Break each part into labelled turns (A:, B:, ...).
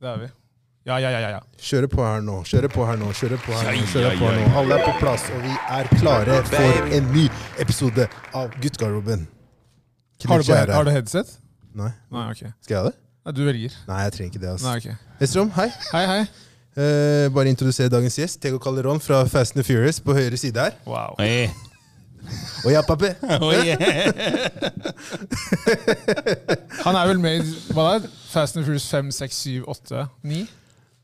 A: Det er vi. Ja, ja, ja. ja, ja.
B: Kjøre på her nå, kjøre på her nå, kjøre på her nå.
C: Ja,
B: kjøre
C: ja,
B: på
C: ja,
B: nå.
C: ja.
B: Alle er på plass, og vi er klare for en ny episode av Guttgarderoben.
A: Har, du bare,
B: Knut Skjære.
A: har du headset?
B: Nei,
A: Nei, ok.
B: skal jeg ha det?
A: Nei, du velger.
B: Nei, jeg trenger ikke det.
A: Nei,
B: ass.
A: ok.
B: Hestrom, hei.
A: Hei, hei.
B: Eh, bare introdusere dagens gjest. Tego Calderón fra Fast and the Furious på høyre side her.
A: Wow.
C: Oi.
B: Og ja, pappi.
C: Oi.
A: Han er vel med i hva er det? Fast and Furious 5, 6, 7, 8, 9?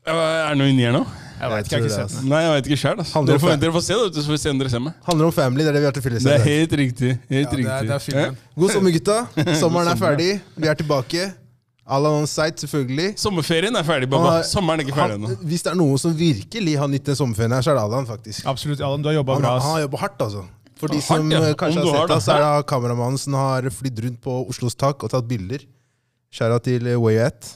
C: Er det noe inni her nå?
A: Jeg vet ikke, jeg har
B: tror
A: ikke
B: det,
A: sett den.
C: Nei, jeg vet ikke sjøl.
B: Handler
C: Dere,
B: om
C: får-
B: fan-
C: dere får se det, så får vi se om dere ser meg.
B: Handler om family, det er det vi har til felles.
C: Det
B: i
C: er
B: dag.
C: helt riktig. Helt
A: Ja, det, er,
C: riktig.
A: det er filmen.
B: God sommer, gutta. Sommeren er
C: sommer.
B: ferdig. Vi er tilbake. Alan on site, selvfølgelig.
C: Sommerferien er ferdig, baba.
B: Han er-
C: Sommeren er ikke ferdig
B: Han-
C: ennå.
B: Hvis det er noen som virkelig har nytt den sommerferien her, så er det Alan, faktisk.
A: Absolutt, Alan. Du har jobba
B: Han,
A: bra.
B: han
A: ass.
B: har jobba hardt, altså. For de
C: Hardt,
B: som
C: ja.
B: eh,
C: Om
B: kanskje
C: du
B: har
C: har
B: sett det,
C: det.
B: så er det kameramannen som har flydd rundt på Oslos tak og tatt bilder. Skjæra til eh, Wayat.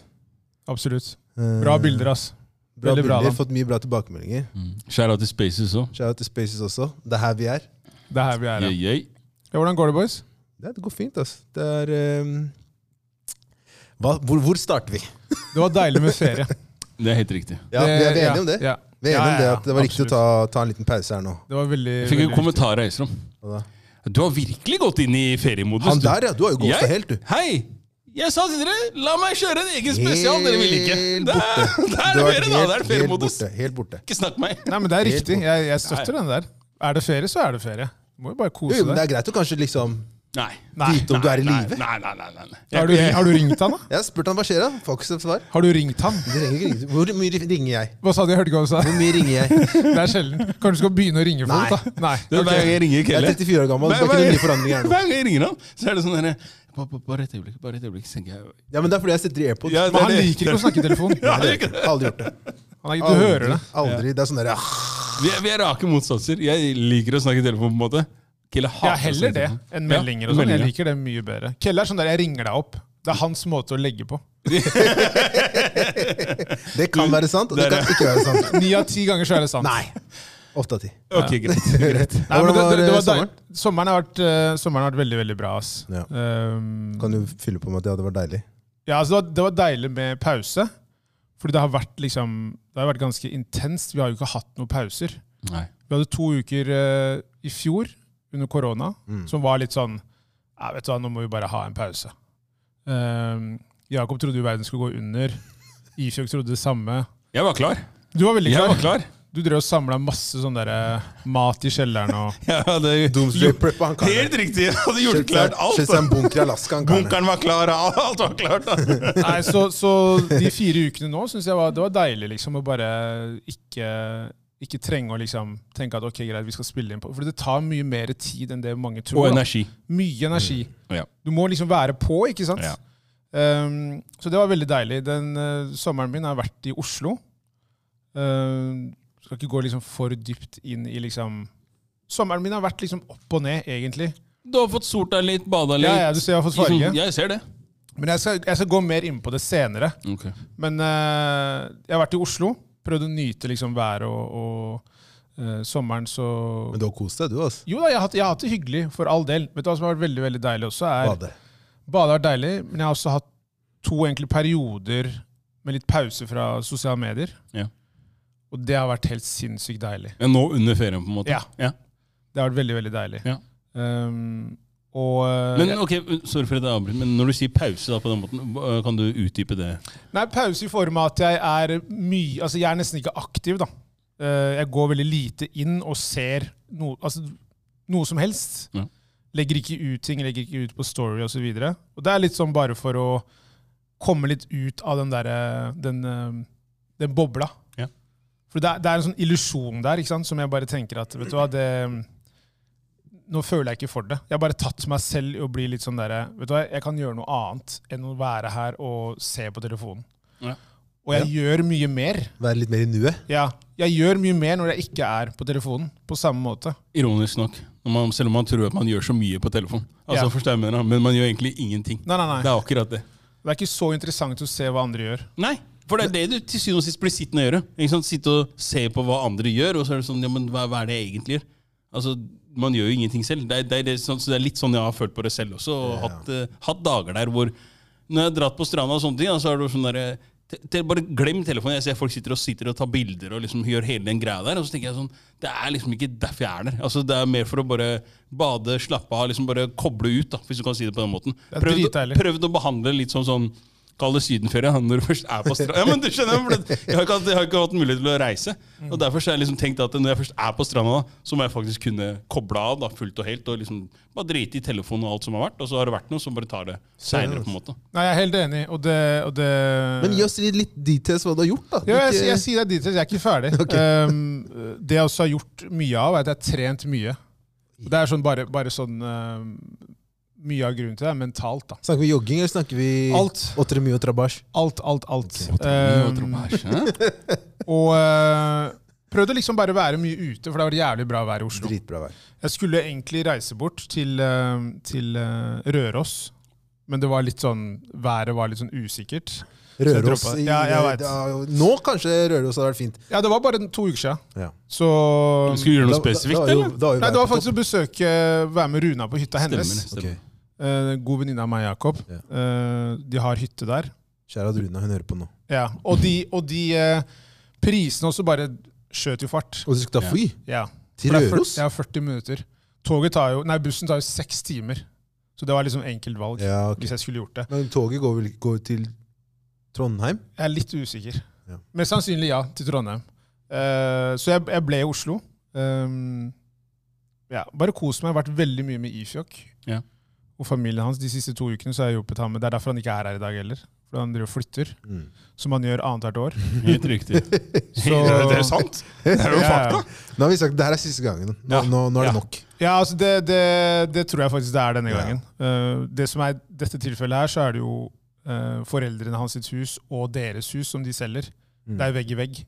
A: Absolutt.
B: Eh,
A: Bra bilder, ass.
B: Bra
A: Veldig bra,
B: bilder,
A: Alan.
B: Fått mye bra tilbakemeldinger.
C: Mm. Skjær av til Spaces òg.
B: Skjæra til Spaces også. Det er her vi er.
A: Det er her vi er.
C: Jøy,
A: Ja.
C: jøy.
A: Ja, hvordan går det, boys?
B: Det, det går fint, altså. Det er eh, hva, hvor, hvor starter vi?
A: Det var deilig med ferie.
C: Det er helt riktig.
B: Ja, vi er vi er
A: ja,
B: enige om det?
A: Ja.
B: Vi er
A: Ja,
B: enige om det
A: ja,
B: at det var riktig å
A: absolutt.
B: ta, ta en liten pause her nå.
A: Det var veldig,
C: Jeg fikk en
A: veldig
C: kommentar av Eidsrom.
B: Hva da?
C: Du har virkelig gått inn i feriemodus.
B: Han
C: du.
B: der, ja. Du har jo ghosta
C: Jeg?
B: helt, du.
C: Hei! Jeg sa til dere, la meg kjøre en egen spesial! Dere ville ikke.
B: Helt
C: Der,
B: borte.
C: der er
B: Du har vært
C: dere, da! Det er
B: helt- helt
C: feriemodus.
B: borte, Helt borte.
C: Ikke snakk meg.
A: viktig. Nei, men det er
B: Helt
A: riktig.
B: bort.
A: Jeg, jeg støtter den der. Er det ferie, så er det ferie. Du må jo bare
B: Jo,
A: kose
B: men det
A: deg.
B: er greit å kanskje liksom
C: Nei.
A: Nei.
B: vite om du er i
C: nei,
B: live.
C: Nei, nei, nei. nei, nei.
A: Har du, har du ringt han, da?
B: Jeg har spurt han hva skjer, da. Får ikke et svar.
A: Har du ringt han?
B: Du ringer ikke ringe. Hvor mye ringer jeg?
A: Hva sa du? Jeg hørte ikke hva du sa.
B: Hvor mye ringer jeg?
A: Det er sjelden. Kanskje du skal begynne å ringe
B: Nei.
A: folk, da? Nei.
C: Det er
A: ok.
C: Hver gang jeg ringer
B: Jeg er
C: Kelle
B: 34 år gammel, det er
C: Hver-
B: ikke noen
C: hver-
B: nye forandringer her nå.
C: Hver gang jeg ringer ham, så er det sånn derre Bare bare- bare et øyeblikk, bare et øyeblikk, så tenker jeg
B: Ja, men Det er fordi jeg setter i airpod.
C: Ja,
A: Men han liker ikke å snakke i telefon.
C: Ja,
B: Aldri
C: det er
B: gjort
C: ikke
B: det.
C: det.
B: Aldri gjort det.
A: Han er, du hører det.
B: Aldri. Det er sånn der, ja.
C: Vi, er, vi er rake motsatser. Jeg liker å snakke i telefon, på en måte. Kelle hater
A: Jeg
C: å
A: er heller
C: snakke i
A: det
C: telefon.
A: enn
C: Ja,
A: meldinger. og sånn. Jeg
C: meldinger.
A: liker det mye bedre. Kelle er sånn der jeg ringer deg opp. Det er hans måte å legge på.
B: Det kan være sant, og det
C: der
B: kan ikke være sant.
A: Ni av ti ganger så er det sant.
B: Nei. Åtte av ti.
C: Ok, greit. greit.
A: Nei, men
B: Hvordan var,
A: det, det, det
B: eh,
A: var
B: sommeren?
A: sommeren? Sommeren har, vært, eh, sommeren har vært veldig veldig bra. ass.
B: Ja.
A: Ehm,
B: Kan du fylle på med at ja, det var deilig?
A: ja, altså, det, var, det var deilig med pause. Fordi det har vært liksom, det har vært ganske intenst. Vi har jo ikke hatt noen pauser.
C: Nei.
A: Vi hadde to uker eh, i fjor under korona
C: Mm.
A: som var litt sånn ja, vet du hva, Nå må vi bare ha en pause. Ehm, Jakob trodde jo verden skulle gå under. Ifjok trodde det samme.
C: Jeg var klar.
A: Du var veldig
C: Jeg
A: klar.
C: var klar.
A: Du drev og samla masse sånn der, eh, mat i kjelleren og
C: Jeg hadde
B: Doomsday prepper han karen.
C: Helt riktig! Jeg hadde gjort klart
B: Kjøpt seg
C: alt.
B: en bunker i Alaska, han karen.
C: Bunkeren var klar, alt var klart. da.
A: Nei, så, så de fire ukene nå syns jeg var, det var deilig liksom å bare ikke, ikke trenge å liksom tenke at ok, greit, vi skal spille inn på For det tar mye mer tid enn det mange tror.
C: Og
A: da.
C: energi. Mm.
A: Mye energi.
C: Ja.
A: Du må liksom være på, ikke sant?
C: Ja.
A: Um, så det var veldig deilig. Den eh, sommeren min har vært i Oslo. Um, skal ikke gå liksom for dypt inn i liksom Sommeren min har vært liksom opp og ned, egentlig.
C: Du har fått sort deg litt, bada litt.
A: Ja, ja, du ser jeg har fått farge.
C: Jeg ser det.
A: Men jeg skal, jeg skal gå mer inn på det senere.
C: Ok.
A: Men eh, jeg har vært i Oslo. Prøvd å nyte liksom været og, og eh, sommeren, så
B: Men du har kost deg, du, altså.
A: Jo da, jeg har, hatt, jeg har hatt det hyggelig, for all del. Vet du hva som har vært veldig veldig deilig også? er
B: Bade.
A: Bade har vært deilig, men jeg har også hatt to enkle perioder med litt pause fra sosiale medier.
C: Ja.
A: Og det har vært helt sinnssykt deilig.
C: Ja, nå under ferien, på en måte.
A: Ja. Det har vært veldig, veldig deilig.
C: Ja.
A: Um, og eh,
C: Men ok, Sorry for at jeg avbryter, men når du sier pause da på den måten, hva- kan du utdype det?
A: Nei, pause i form av at jeg er mye Altså, jeg er nesten ikke aktiv, da. Eh, Jeg går veldig lite inn og ser noe, altså, noe som helst.
C: Ja.
A: Legger ikke ut ting, legger ikke ut på story osv. Og, så videre. og det er litt sånn bare for å komme litt ut av den derre den, eh, den bobla.
C: Ja.
A: For det er, det er en sånn illusjon der ikke sant? som jeg bare tenker at Vet du hva, det nå føler jeg ikke for det. Jeg har bare tatt meg selv i å bli litt sånn derre Vet du hva, jeg kan gjøre noe annet enn å være her og se på telefonen.
C: Ja.
A: Og jeg gjør mye mer.
B: Være litt mer i nuet.
A: Ja, jeg gjør mye mer når jeg ikke er på telefonen, på samme måte.
C: Ironisk nok. Når man, selv om man tror at man gjør så mye på telefon. Altså,
A: Ja.
C: forstår jeg hva jeg mener, Men man gjør egentlig ingenting.
A: Nei, nei,
C: Det
A: nei.
C: er akkurat det.
A: Det er ikke så interessant å se hva andre gjør.
C: Nei, for det er det du til syvende og sist blir sittende og gjøre. Ikke sant? Sitte og se på hva andre gjør, og så er det sånn Ja, men hva, hva er det jeg egentlig gjør? Altså, Man gjør jo ingenting selv. Det er, det, er, det, sånn, så det er litt sånn jeg har følt på det selv også. Og hatt, eh, hatt dager der hvor Når jeg har dratt på stranda og sånne ting, da, så er det jo sånn derre te, te, bare glem telefonen. Jeg ser folk sitter og sitter og tar bilder og liksom gjør hele den greia der. Og så tenker jeg sånn, Det er liksom ikke derfor jeg er der. Altså, Det er mer for å bare bade, slappe av, liksom bare koble ut, da, hvis du kan si det på den måten.
A: er
C: Prøvd,
A: dritdeilig.
C: prøvd å behandle litt sånn sånn Kall det sydenferie han, når du først er på stranda. Ja, men du skjønner, for det- jeg, har ikke, hatt- jeg har ikke hatt mulighet til å reise. Og Derfor så har jeg liksom tenkt at når jeg først er på stranda, da, så må jeg faktisk kunne koble av da, fullt og helt. Og liksom bare drite i telefonen og alt som har vært. Og så har det vært noe, så bare tar det seinere, på en måte.
A: Nei, jeg er helt enig, og det, og det
B: Men gi oss litt- litt details hva du har gjort, da.
A: Ja, jeg,
B: Ikke-
A: jeg, sier det er details, jeg er ikke ferdig. Um, det jeg også har gjort mye av, er at jeg har trent mye. Og Det er sånn bare, bare sånn um, Mye av grunnen til det er mentalt, da.
B: Snakker vi jogging, eller snakker vi
A: Alt.
B: Otremi og Trabash?
A: Alt, alt, alt. Um,
C: Hæ?
A: og uh, prøvde liksom bare å være mye ute, for det var jævlig bra vær i Oslo.
B: Dritbra vær.
A: Jeg skulle egentlig reise bort til, eh, til eh, Røros, men det var litt sånn, været var litt sånn usikkert. jeg
B: Røros
A: droppa-
B: i-
A: Ja, jeg vet.
B: ja, Nå kanskje Røros hadde vært fint.
A: Ja, det var bare to uker siden.
B: Ja.
A: Så
C: Skal vi gjøre noe
B: Da- da- da
C: spesifikt,
B: var jo-
C: eller?
B: da var jo
A: Nei, det var
B: været på
A: faktisk å besøke, eh, være med Runa på hytta
C: Stemmer,
A: hennes.
B: topp.
C: stemmer.
B: Ok.
A: Eh, en god venninne av meg, Jakob.
B: Ja.
A: Eh, de har hytte der.
B: Kjære at Runa, hun hører på nå.
A: Ja. Og de, og de eh, prisene også bare skjøt jo fart.
B: Og du skal ta
C: Ja.
B: fly?
A: Ja.
B: Til
A: For det er fyr-
B: Røros?
A: Ja, 40 minutter. Toget tar jo, nei, bussen tar jo seks timer. Så det var liksom enkelt valg
B: Ja, ok.
A: hvis jeg skulle gjort det.
B: Men toget går vel går til Trondheim?
A: Jeg er litt usikker.
B: Ja.
A: Mest sannsynlig ja, til Trondheim. Eh, så jeg, jeg ble i Oslo. Um, ja, bare kost meg. Vært veldig mye med Ifjok
C: Ja.
A: og familien hans de siste to ukene. så har jeg hjulpet ham med. Det er derfor han ikke er her i dag heller. Fordi han driver og flytter,
B: Mm.
A: som han gjør annethvert år.
C: Helt riktig.
A: Så,
C: Det er sant! Det er jo fakta!
B: Nå har vi sagt det her er siste gangen. Nå,
C: Ja.
B: nå, nå er det
C: Ja.
B: nok.
A: Ja, altså det, det, det tror jeg faktisk det er denne
B: Ja.
A: gangen. Eh, det som er i dette tilfellet her, så er det jo eh, foreldrene hans sitt hus og deres hus som de selger.
B: Mm.
A: Det er jo vegg i vegg.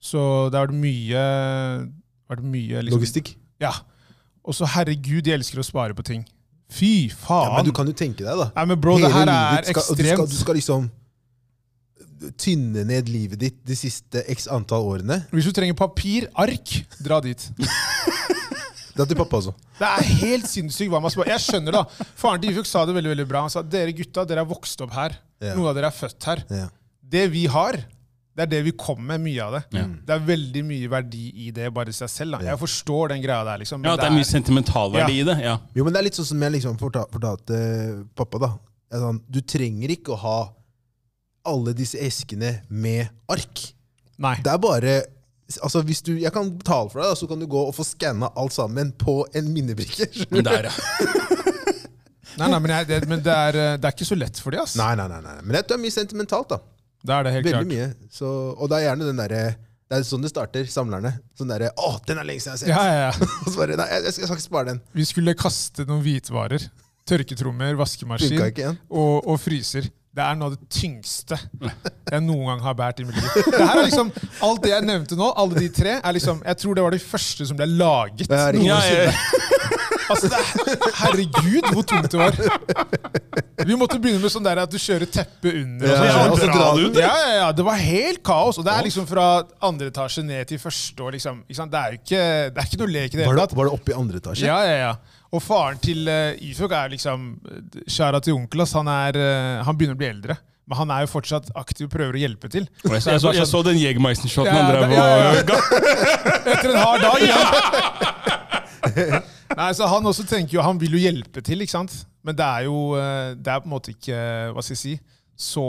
A: Så det har vært mye, vært mye liksom,
B: Logistikk.
A: Ja. Og så herregud, de elsker å spare på ting. Fy
B: Ja,
A: faen!
B: men du kan jo tenke deg, da.
A: Nei, men bro, det her
B: Hele livet
A: er
B: ditt skal- og Du skal,
A: ekstremt.
B: du skal liksom tynne ned livet ditt de siste x antall årene.
A: Hvis du trenger papir, ark, dra dit.
B: Det er til pappa også.
A: Det er helt sinnssykt hva man sparer. Jeg skjønner da. Faren til Ifuk sa det veldig veldig bra. Han sa dere gutta, dere er vokst opp her.
B: Ja.
A: Noen av dere er født her.
B: Ja.
A: Det vi har, det er det vi kommer med, mye av det.
C: Ja.
A: Det er veldig mye verdi i det bare i seg selv. Da.
B: Mm. Ja.
A: Jeg forstår den greia der, liksom. men
C: Ja, det er mye sentimentalverdi i det. ja.
B: Jo, men det er litt sånn som jeg liksom fortalte, fortalte eh, pappa, da. Jeg sa han, du trenger ikke å ha alle disse eskene med ark.
A: Nei.
B: Det er bare Altså, hvis du, Jeg kan betale for deg, da, så kan du gå og få skanna alt sammen på en minnebrikke.
C: Men der, ja.
A: Nei, nei, men, jeg, det, men det, er, eh, det er ikke så lett for de, ass.
B: Nei, nei, nei, nei. Men det er mye sentimentalt, da.
A: Det er det helt
B: Veldig
A: klart.
B: mye. Så, og det er gjerne den derre Det er sånn det starter, samlerne. Sånn derre 'Å, den er lenge siden jeg
A: Ja,
B: har sett'.
A: ja, ja.
B: Og så bare, nei, jeg, jeg skal ikke spare den.
A: Vi skulle kaste noen hvitvarer. Tørketrommer, vaskemaskin
B: Funka ikke igjen.
A: og, og fryser. Det er noe av det tyngste jeg noen gang har båret i mitt liv. Det her er liksom, alt det jeg nevnte nå, alle de tre, er liksom, jeg tror det var de første som ble laget.
B: Ja, herregud.
C: Ja, ja, ja.
A: Altså, det er, herregud, hvor tungt det var. Vi måtte begynne med sånn der at du kjører teppet under. Og
B: Ja, og
A: sånn.
B: så dra det ut,
A: Ja, ja, ja, Det var helt kaos. Og det er liksom fra andre etasje ned til første. Og liksom, ikke sant? Det, er jo ikke, det er ikke noe lek i det
B: Var
A: hele
B: det,
A: tatt.
B: var det oppe i andre etasje?
A: Ja, ja, ja. Og faren til uh, Ifjok er liksom Kjæra til onkel ass, han, er, eh, han begynner å bli eldre. Men han er jo fortsatt aktiv og prøver å hjelpe til.
C: Og Jeg så, jeg så,
A: sånn-
C: jeg så den Jegermeister-shoten han
A: Ja,
C: drev
A: ja, ja.
C: og ga.
A: Etter en hard dag. Ja. Nei, så Han også tenker jo, han vil jo hjelpe til, ikke sant? men det er jo eh, det er på en måte ikke eh, hva skal jeg si, så,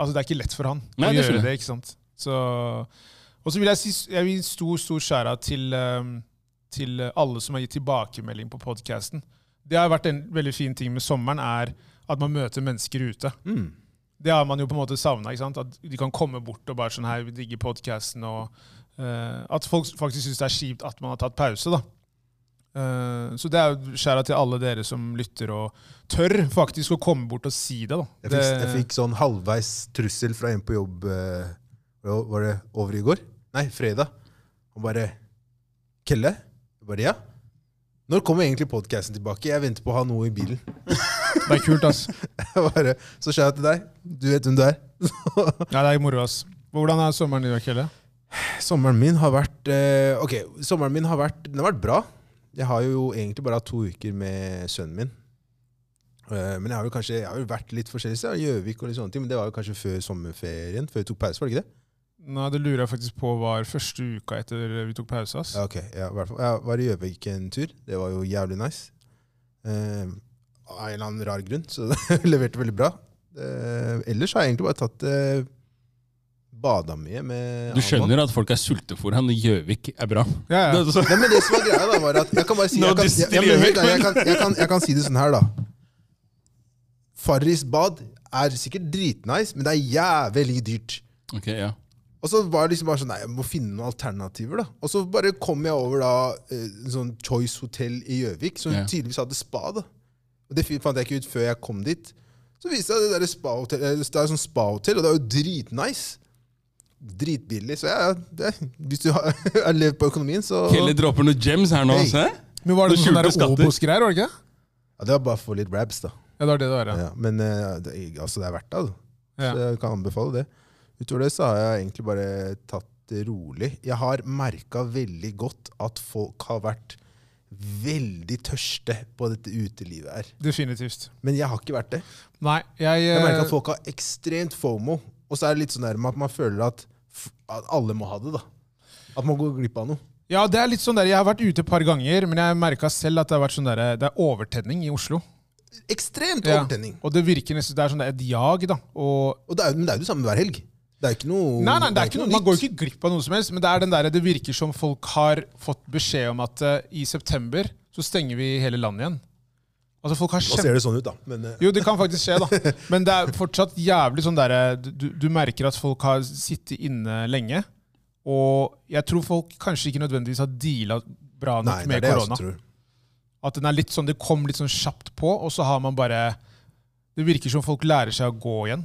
A: altså det er ikke lett for han
C: Nei,
A: å
C: det skjønner
A: gjøre det. ikke sant? Så, og så vil jeg si jeg vil gi stor stor skjæra til, eh, til alle som har gitt tilbakemelding på podkasten. Det har vært en veldig fin ting med sommeren, er at man møter mennesker ute.
B: Mm.
A: Det har man jo på en måte savna. At de kan komme bort og bare sånn her, vi digger podkasten. Og eh, at folk faktisk syns det er kjipt at man har tatt pause. da. Eh, så det er jo skjæra til alle dere som lytter og tør faktisk å komme bort og si det. da.
B: Jeg,
A: det,
B: fikk, jeg fikk sånn halvveis trussel fra en på jobb eh, hva Var det over i går? Nei, fredag. Og bare Kelle? Jeg bare, ja. Når kommer egentlig podkasten tilbake? Jeg venter på å ha noe i bilen.
A: det er kult, ass.
B: Jeg bare, så skjer jeg til deg. Du vet hvem du er.
A: Ja, det er moro, ass. Hvordan er sommeren i dag, Kelle?
B: Sommeren min har vært eh, Ok, sommeren min har vært, den har vært bra. Jeg har jo egentlig bare hatt to uker med sønnen min. Eh, Men jeg har jo kanskje jeg har jo vært litt forskjellig sted. Gjøvik og litt sånne ting. Men det var jo kanskje før sommerferien. Før vi tok pause, var det ikke det?
A: Nei, det lurer jeg faktisk på var første uka etter vi tok pause. ass.
B: Ja, ok. Ja, i hvert fall. Jeg var i Gjøvik en tur. Det var jo jævlig nice. Eh, av en eller annen rar grunn, så det leverte veldig bra. Eh, ellers har jeg egentlig bare tatt eh, bada mye med
C: Du
B: Amman.
C: skjønner at folk er sultefòra når Gjøvik er bra?
A: Ja, ja.
C: Det er så-
B: Nei, men det som var greia da, var at Jeg kan bare si
C: Nå
B: jeg kan,
C: disser
B: ja, ja, men, hør
C: Gjøvik,
B: da, jeg, kan, jeg, kan, jeg kan si det sånn her, da. Farris bad er sikkert dritnice, men det er jævlig dyrt.
C: Ok, ja.
B: Og så var det liksom bare sånn, nei, jeg må finne noen alternativer da. Og så bare kom jeg over da, eh, en sånn Choice Hotel i Gjøvik, som
C: Ja.
B: tydeligvis hadde spa da. Og det fi- fant jeg ikke ut før jeg kom dit. Så viste jeg det der spa-hotell, eh, det er sånn spa-hotell, og det er jo dritnice. Dritbillig, så ja, ja, det, hvis du har, har levd på økonomien, så...
C: Kelly dropper noen gems her nå.
B: Hey.
C: Se.
A: Men var det
C: Noen
A: noen
C: skjulte
A: sånne
C: skatter.
A: Obos-greier, var det ikke?
B: Ja, det var bare for litt rabs da.
A: Ja, det var det det var, ja.
B: Ja, men eh, det, altså, det er verdt det, altså.
A: Ja.
B: Så jeg kan anbefale det. Utover det så har jeg egentlig bare tatt det rolig. Jeg har merka veldig godt at folk har vært veldig tørste på dette utelivet her.
A: Definitivt.
B: Men jeg har ikke vært det.
A: Nei, jeg,
B: Jeg
A: eh,
B: merker at folk har ekstremt fomo. Og så er det litt sånn der med at man føler at, f- at alle må ha det. da. At man går glipp av noe.
A: Ja, det er litt sånn der, Jeg har vært ute et par ganger, men jeg merka selv at det har vært sånn der, det er overtenning i Oslo.
B: Ekstremt
A: Ja.
B: overtenning.
A: Og det virker nesten det er sånn der, et jag. da. Og,
B: Og det er, men det er jo det samme hver helg. Det er jo ikke noe
A: nei, nei, det er ikke noe, Man går
B: nytt.
A: jo ikke glipp av noe som helst, men det er den der, det virker som folk har fått beskjed om at eh, i september så stenger vi hele landet igjen. Altså folk har
B: Nå
A: kjempe...
B: ser det sånn ut, da. Men eh,
A: Jo, det kan faktisk skje, da. Men det er fortsatt jævlig sånn derre du, du- du merker at folk har sittet inne lenge. Og jeg tror folk kanskje ikke nødvendigvis har deala bra nok
B: nei, det altså.
A: med
B: er det jeg også
A: korona.
B: tror.
A: At den er litt sånn, det kom litt sånn kjapt på, og så har man bare Det virker som folk lærer seg å gå igjen.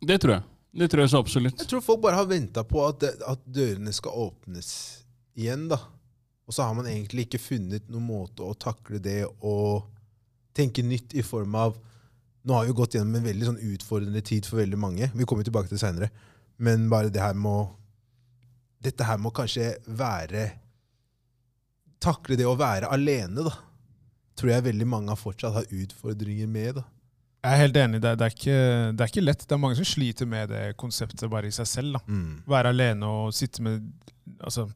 C: Det tror jeg. Det tror jeg så absolutt.
B: Jeg tror folk bare har venta på at, det- at dørene skal åpnes igjen, da. Og så har man egentlig ikke funnet noen måte å takle det og tenke nytt i form av Nå har vi jo gått gjennom en veldig sånn utfordrende tid for veldig mange. Vi kommer tilbake til det seinere. Men bare det her med å Dette her må kanskje være Takle det å være alene, da. Tror jeg veldig mange har fortsatt har utfordringer med. da.
A: Jeg er helt enig. Det er, det, er ikke, det er ikke lett. Det er mange som sliter med det konseptet bare i seg selv. da.
B: Mm.
A: Være alene og sitte med altså,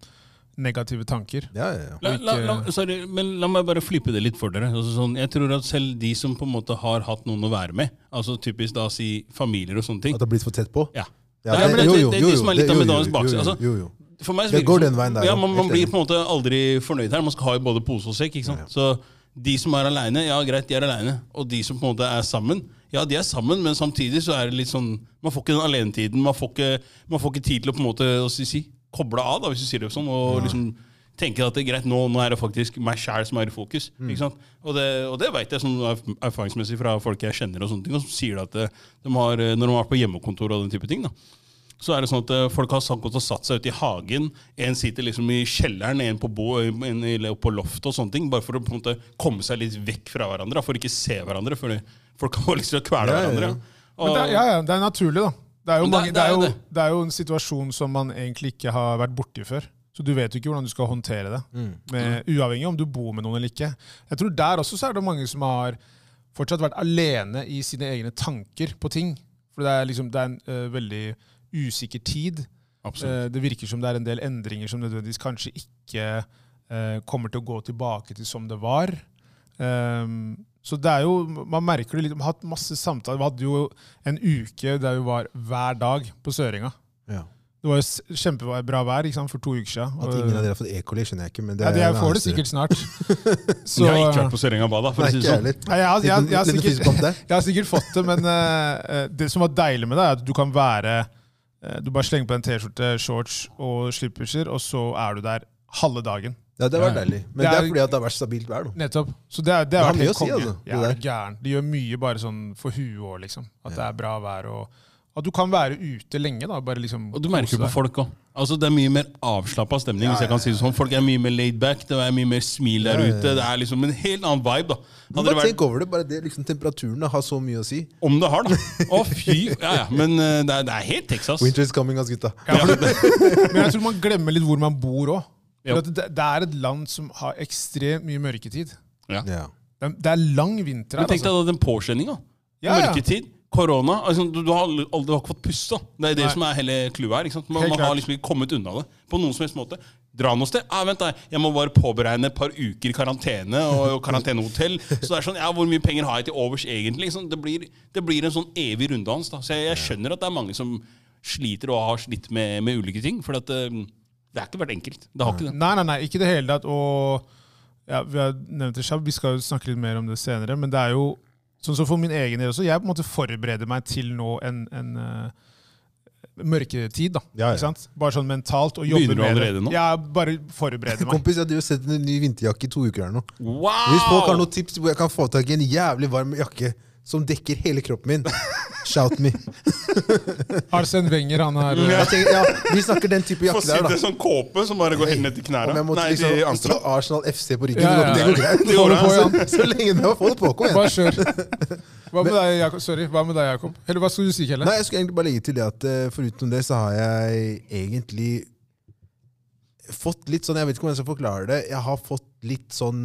A: negative tanker.
B: Ja, ja, ja.
C: La, la, la,
A: ikke-
C: sorry, men la meg bare flippe det litt for dere. Altså, sånn, jeg tror at Selv de som på en måte har hatt noen å være med, altså typisk da si familier og sånne ting
B: At det har blitt for tett på?
C: Ja.
B: Ja,
C: Nei, men det-
B: jo,
C: det-
B: jo,
C: det er
B: jo,
C: det
B: jo,
C: som er litt
B: det-
C: av
B: jo, jo,
C: medalens bakside,
B: jo, jo,
C: altså.
B: Jo, jo.
C: For meg så
B: Det
C: virker
B: går
C: som-
B: den veien der,
C: Ja,
B: ja.
C: man,
B: Helt
C: man blir
B: enig.
C: på en måte aldri fornøyd her. Man skal ha i både pose og sekk. ikke sant? Så de som er aleine, ja greit, de er aleine. Og de som på en måte er sammen, ja de er sammen, men samtidig så er det litt sånn Man får ikke den alenetiden. Man får ikke, man får ikke tid til å på en måte å si, si, koble av, da, hvis du sier det sånn. og liksom tenke at det er greit, nå, nå er det faktisk meg sjæl som er i fokus.
B: Mm.
C: ikke sant? Og det, og det veit jeg sånn erf- erfaringsmessig fra folk jeg kjenner, og sånne ting, og som sier at eh, de har, eh, når de har på hjemmekontor og den type ting. da, så er det sånn at eh, folk har sagt- gått og satt seg ute i hagen. En sitter liksom i kjelleren, en på, bo, en i- på loftet og sånne ting. Bare for å på en måte komme seg litt vekk fra hverandre. da, For ikke se hverandre. For det- folk kan jo liksom kvele
B: Ja, ja, ja.
C: hverandre.
A: Men
C: ja.
A: det,
C: Og-
A: er- ja, ja, det er naturlig, da. Det er, jo
C: Men det-
A: mange, det, er jo,
C: det er det.
A: det er jo en situasjon som man egentlig ikke har vært borti før. Så du vet jo ikke hvordan du skal håndtere det.
C: Mm.
A: Med, uavhengig om du bor med noen eller ikke. Jeg tror Der også så er det mange som har fortsatt vært alene i sine egne tanker på ting. For det er, liksom, det er en eh, veldig usikker tid.
C: Absolutt.
A: Eh, det virker som det er en del endringer som nødvendigvis kanskje ikke eh, kommer til å gå tilbake til som det var. Ehm, så det er jo, man merker det litt, vi har hatt masse samtaler. Vi hadde jo en uke der vi var hver dag på Søringa.
B: Ja.
A: Det var jo s- kjempebra vær ikke sant, for to uker siden.
B: At
A: Og-
B: ingen av dere har fått E-coli, skjønner jeg ikke. Men det
A: ja, de
B: er
A: jeg
B: en
A: får
B: annen
A: det
B: historie.
A: sikkert snart. Så,
C: jeg har ikke vært på Sørenga bada, for å
B: Nei,
C: si det
B: ikke jeg
C: sånn.
B: heller.
A: Nei, jeg, har- jeg, har- jeg, har
B: Liten- liten
A: sikkert,
B: fistbump der.
A: jeg har sikkert fått det, men eh, eh, det som var deilig med det, er at du kan være eh, Du bare slenger på en T-skjorte, shorts og slipperser, og så er du der halve dagen.
B: Ja, det var
C: Ja, ja.
B: deilig.
A: Det
B: Men det
A: er-
B: er fordi at det har vært stabilt vær. Da.
A: Nettopp. Så det, er- det,
B: Det har
A: har vært
B: mye
A: helt
B: å si,
A: konge.
B: altså, det
A: ja, det er
B: der.
A: gæren. Det gjør mye bare sånn for huet òg, liksom. At det er bra vær og At du kan være ute lenge, da. Bare liksom
C: Og du
A: kose
C: merker jo på
A: deg.
C: folk òg. Altså, det er mye mer avslappa stemning. hvis jeg kan si det sånn. Folk er mye mer laid back, det er mye mer smil der ute. Det er liksom en helt annen vibe. da. Hadde
B: Men
C: det
B: bare
C: vært
B: tenk over det. Bare det liksom, temperaturen da, har så mye å si.
C: Om det har, da. Å, fy. Ja, ja. Men eh, det er, det er helt Texas.
B: Winter is coming, ass, gutta.
C: Ja, det-
A: Men jeg tror man glemmer litt hvor man bor òg.
C: Ja.
A: Det, det er et land som har ekstremt mye mørketid.
C: ja.
B: Ja.
A: Det er, det er lang vinter
C: Men
A: her.
C: tenk deg
A: Altså.
C: da den påkjenninga.
A: Ja, ja.
C: Mørketid, korona. Altså, du, du har aldri, aldri du har ikke fått puste. da. Det er det
A: Nei.
C: som er hele clouet her. Ikke sant? Man,
A: Helt
C: man har
A: klart.
C: liksom ikke kommet unna det på noen som helst måte. Dra noe sted. Ah, vent da, Jeg må bare påberegne et par uker karantene og, og karantenehotell. Så det er sånn, ja, Hvor mye penger har jeg til overs egentlig? Ikke sant? det, blir, det blir en sånn evig runddans. da. Så jeg, jeg skjønner at det er mange som sliter og har slitt med, med ulike ting. For at, eh, det har ikke vært enkelt. Det har ikke det.
A: Nei, nei, nei, ikke i det hele tatt. Og ja, vi har nevnt det selv, vi skal jo snakke litt mer om det senere, men det er jo sånn som for min egen del også. Jeg på en måte forbereder meg til nå en, en eh, mørketid, da.
B: Ja, ja.
A: Ikke sant? Bare sånn mentalt. Og jobber
C: Begynner du
A: med
C: allerede
A: det.
C: nå?
A: Ja, bare forbereder meg.
B: Kompis, jeg har sett en ny vinterjakke i to uker her nå.
C: Wow!
B: Hvis folk har noen tips hvor jeg kan få tak i en jævlig varm jakke som dekker hele kroppen min, shout me.
A: Arsen Wenger, han har eh,
B: Jeg tenker, ja, vi snakker den type jakke
C: Få
B: der,
C: sitte
B: da.
C: i sånn kåpe som bare går helt ned til knærne.
B: Om jeg måtte
C: Nei, til
B: liksom stå
C: anklene.
B: Arsenal FC på ryggen,
A: Ja, ja.
B: det går greit.
A: Det går bra,
C: altså.
B: Så-
A: ja.
B: Så lenge det er å få det på, kom igjen.
A: eh, Bare kjør. Hva med deg, Jakob? Sorry, hva med deg, Jakob? Eller hva skulle du si, Kelle?
B: Nei, jeg skulle egentlig bare legge til det at eh, foruten det så har jeg egentlig fått litt sånn Jeg vet ikke om jeg skal forklare det. Jeg har fått litt sånn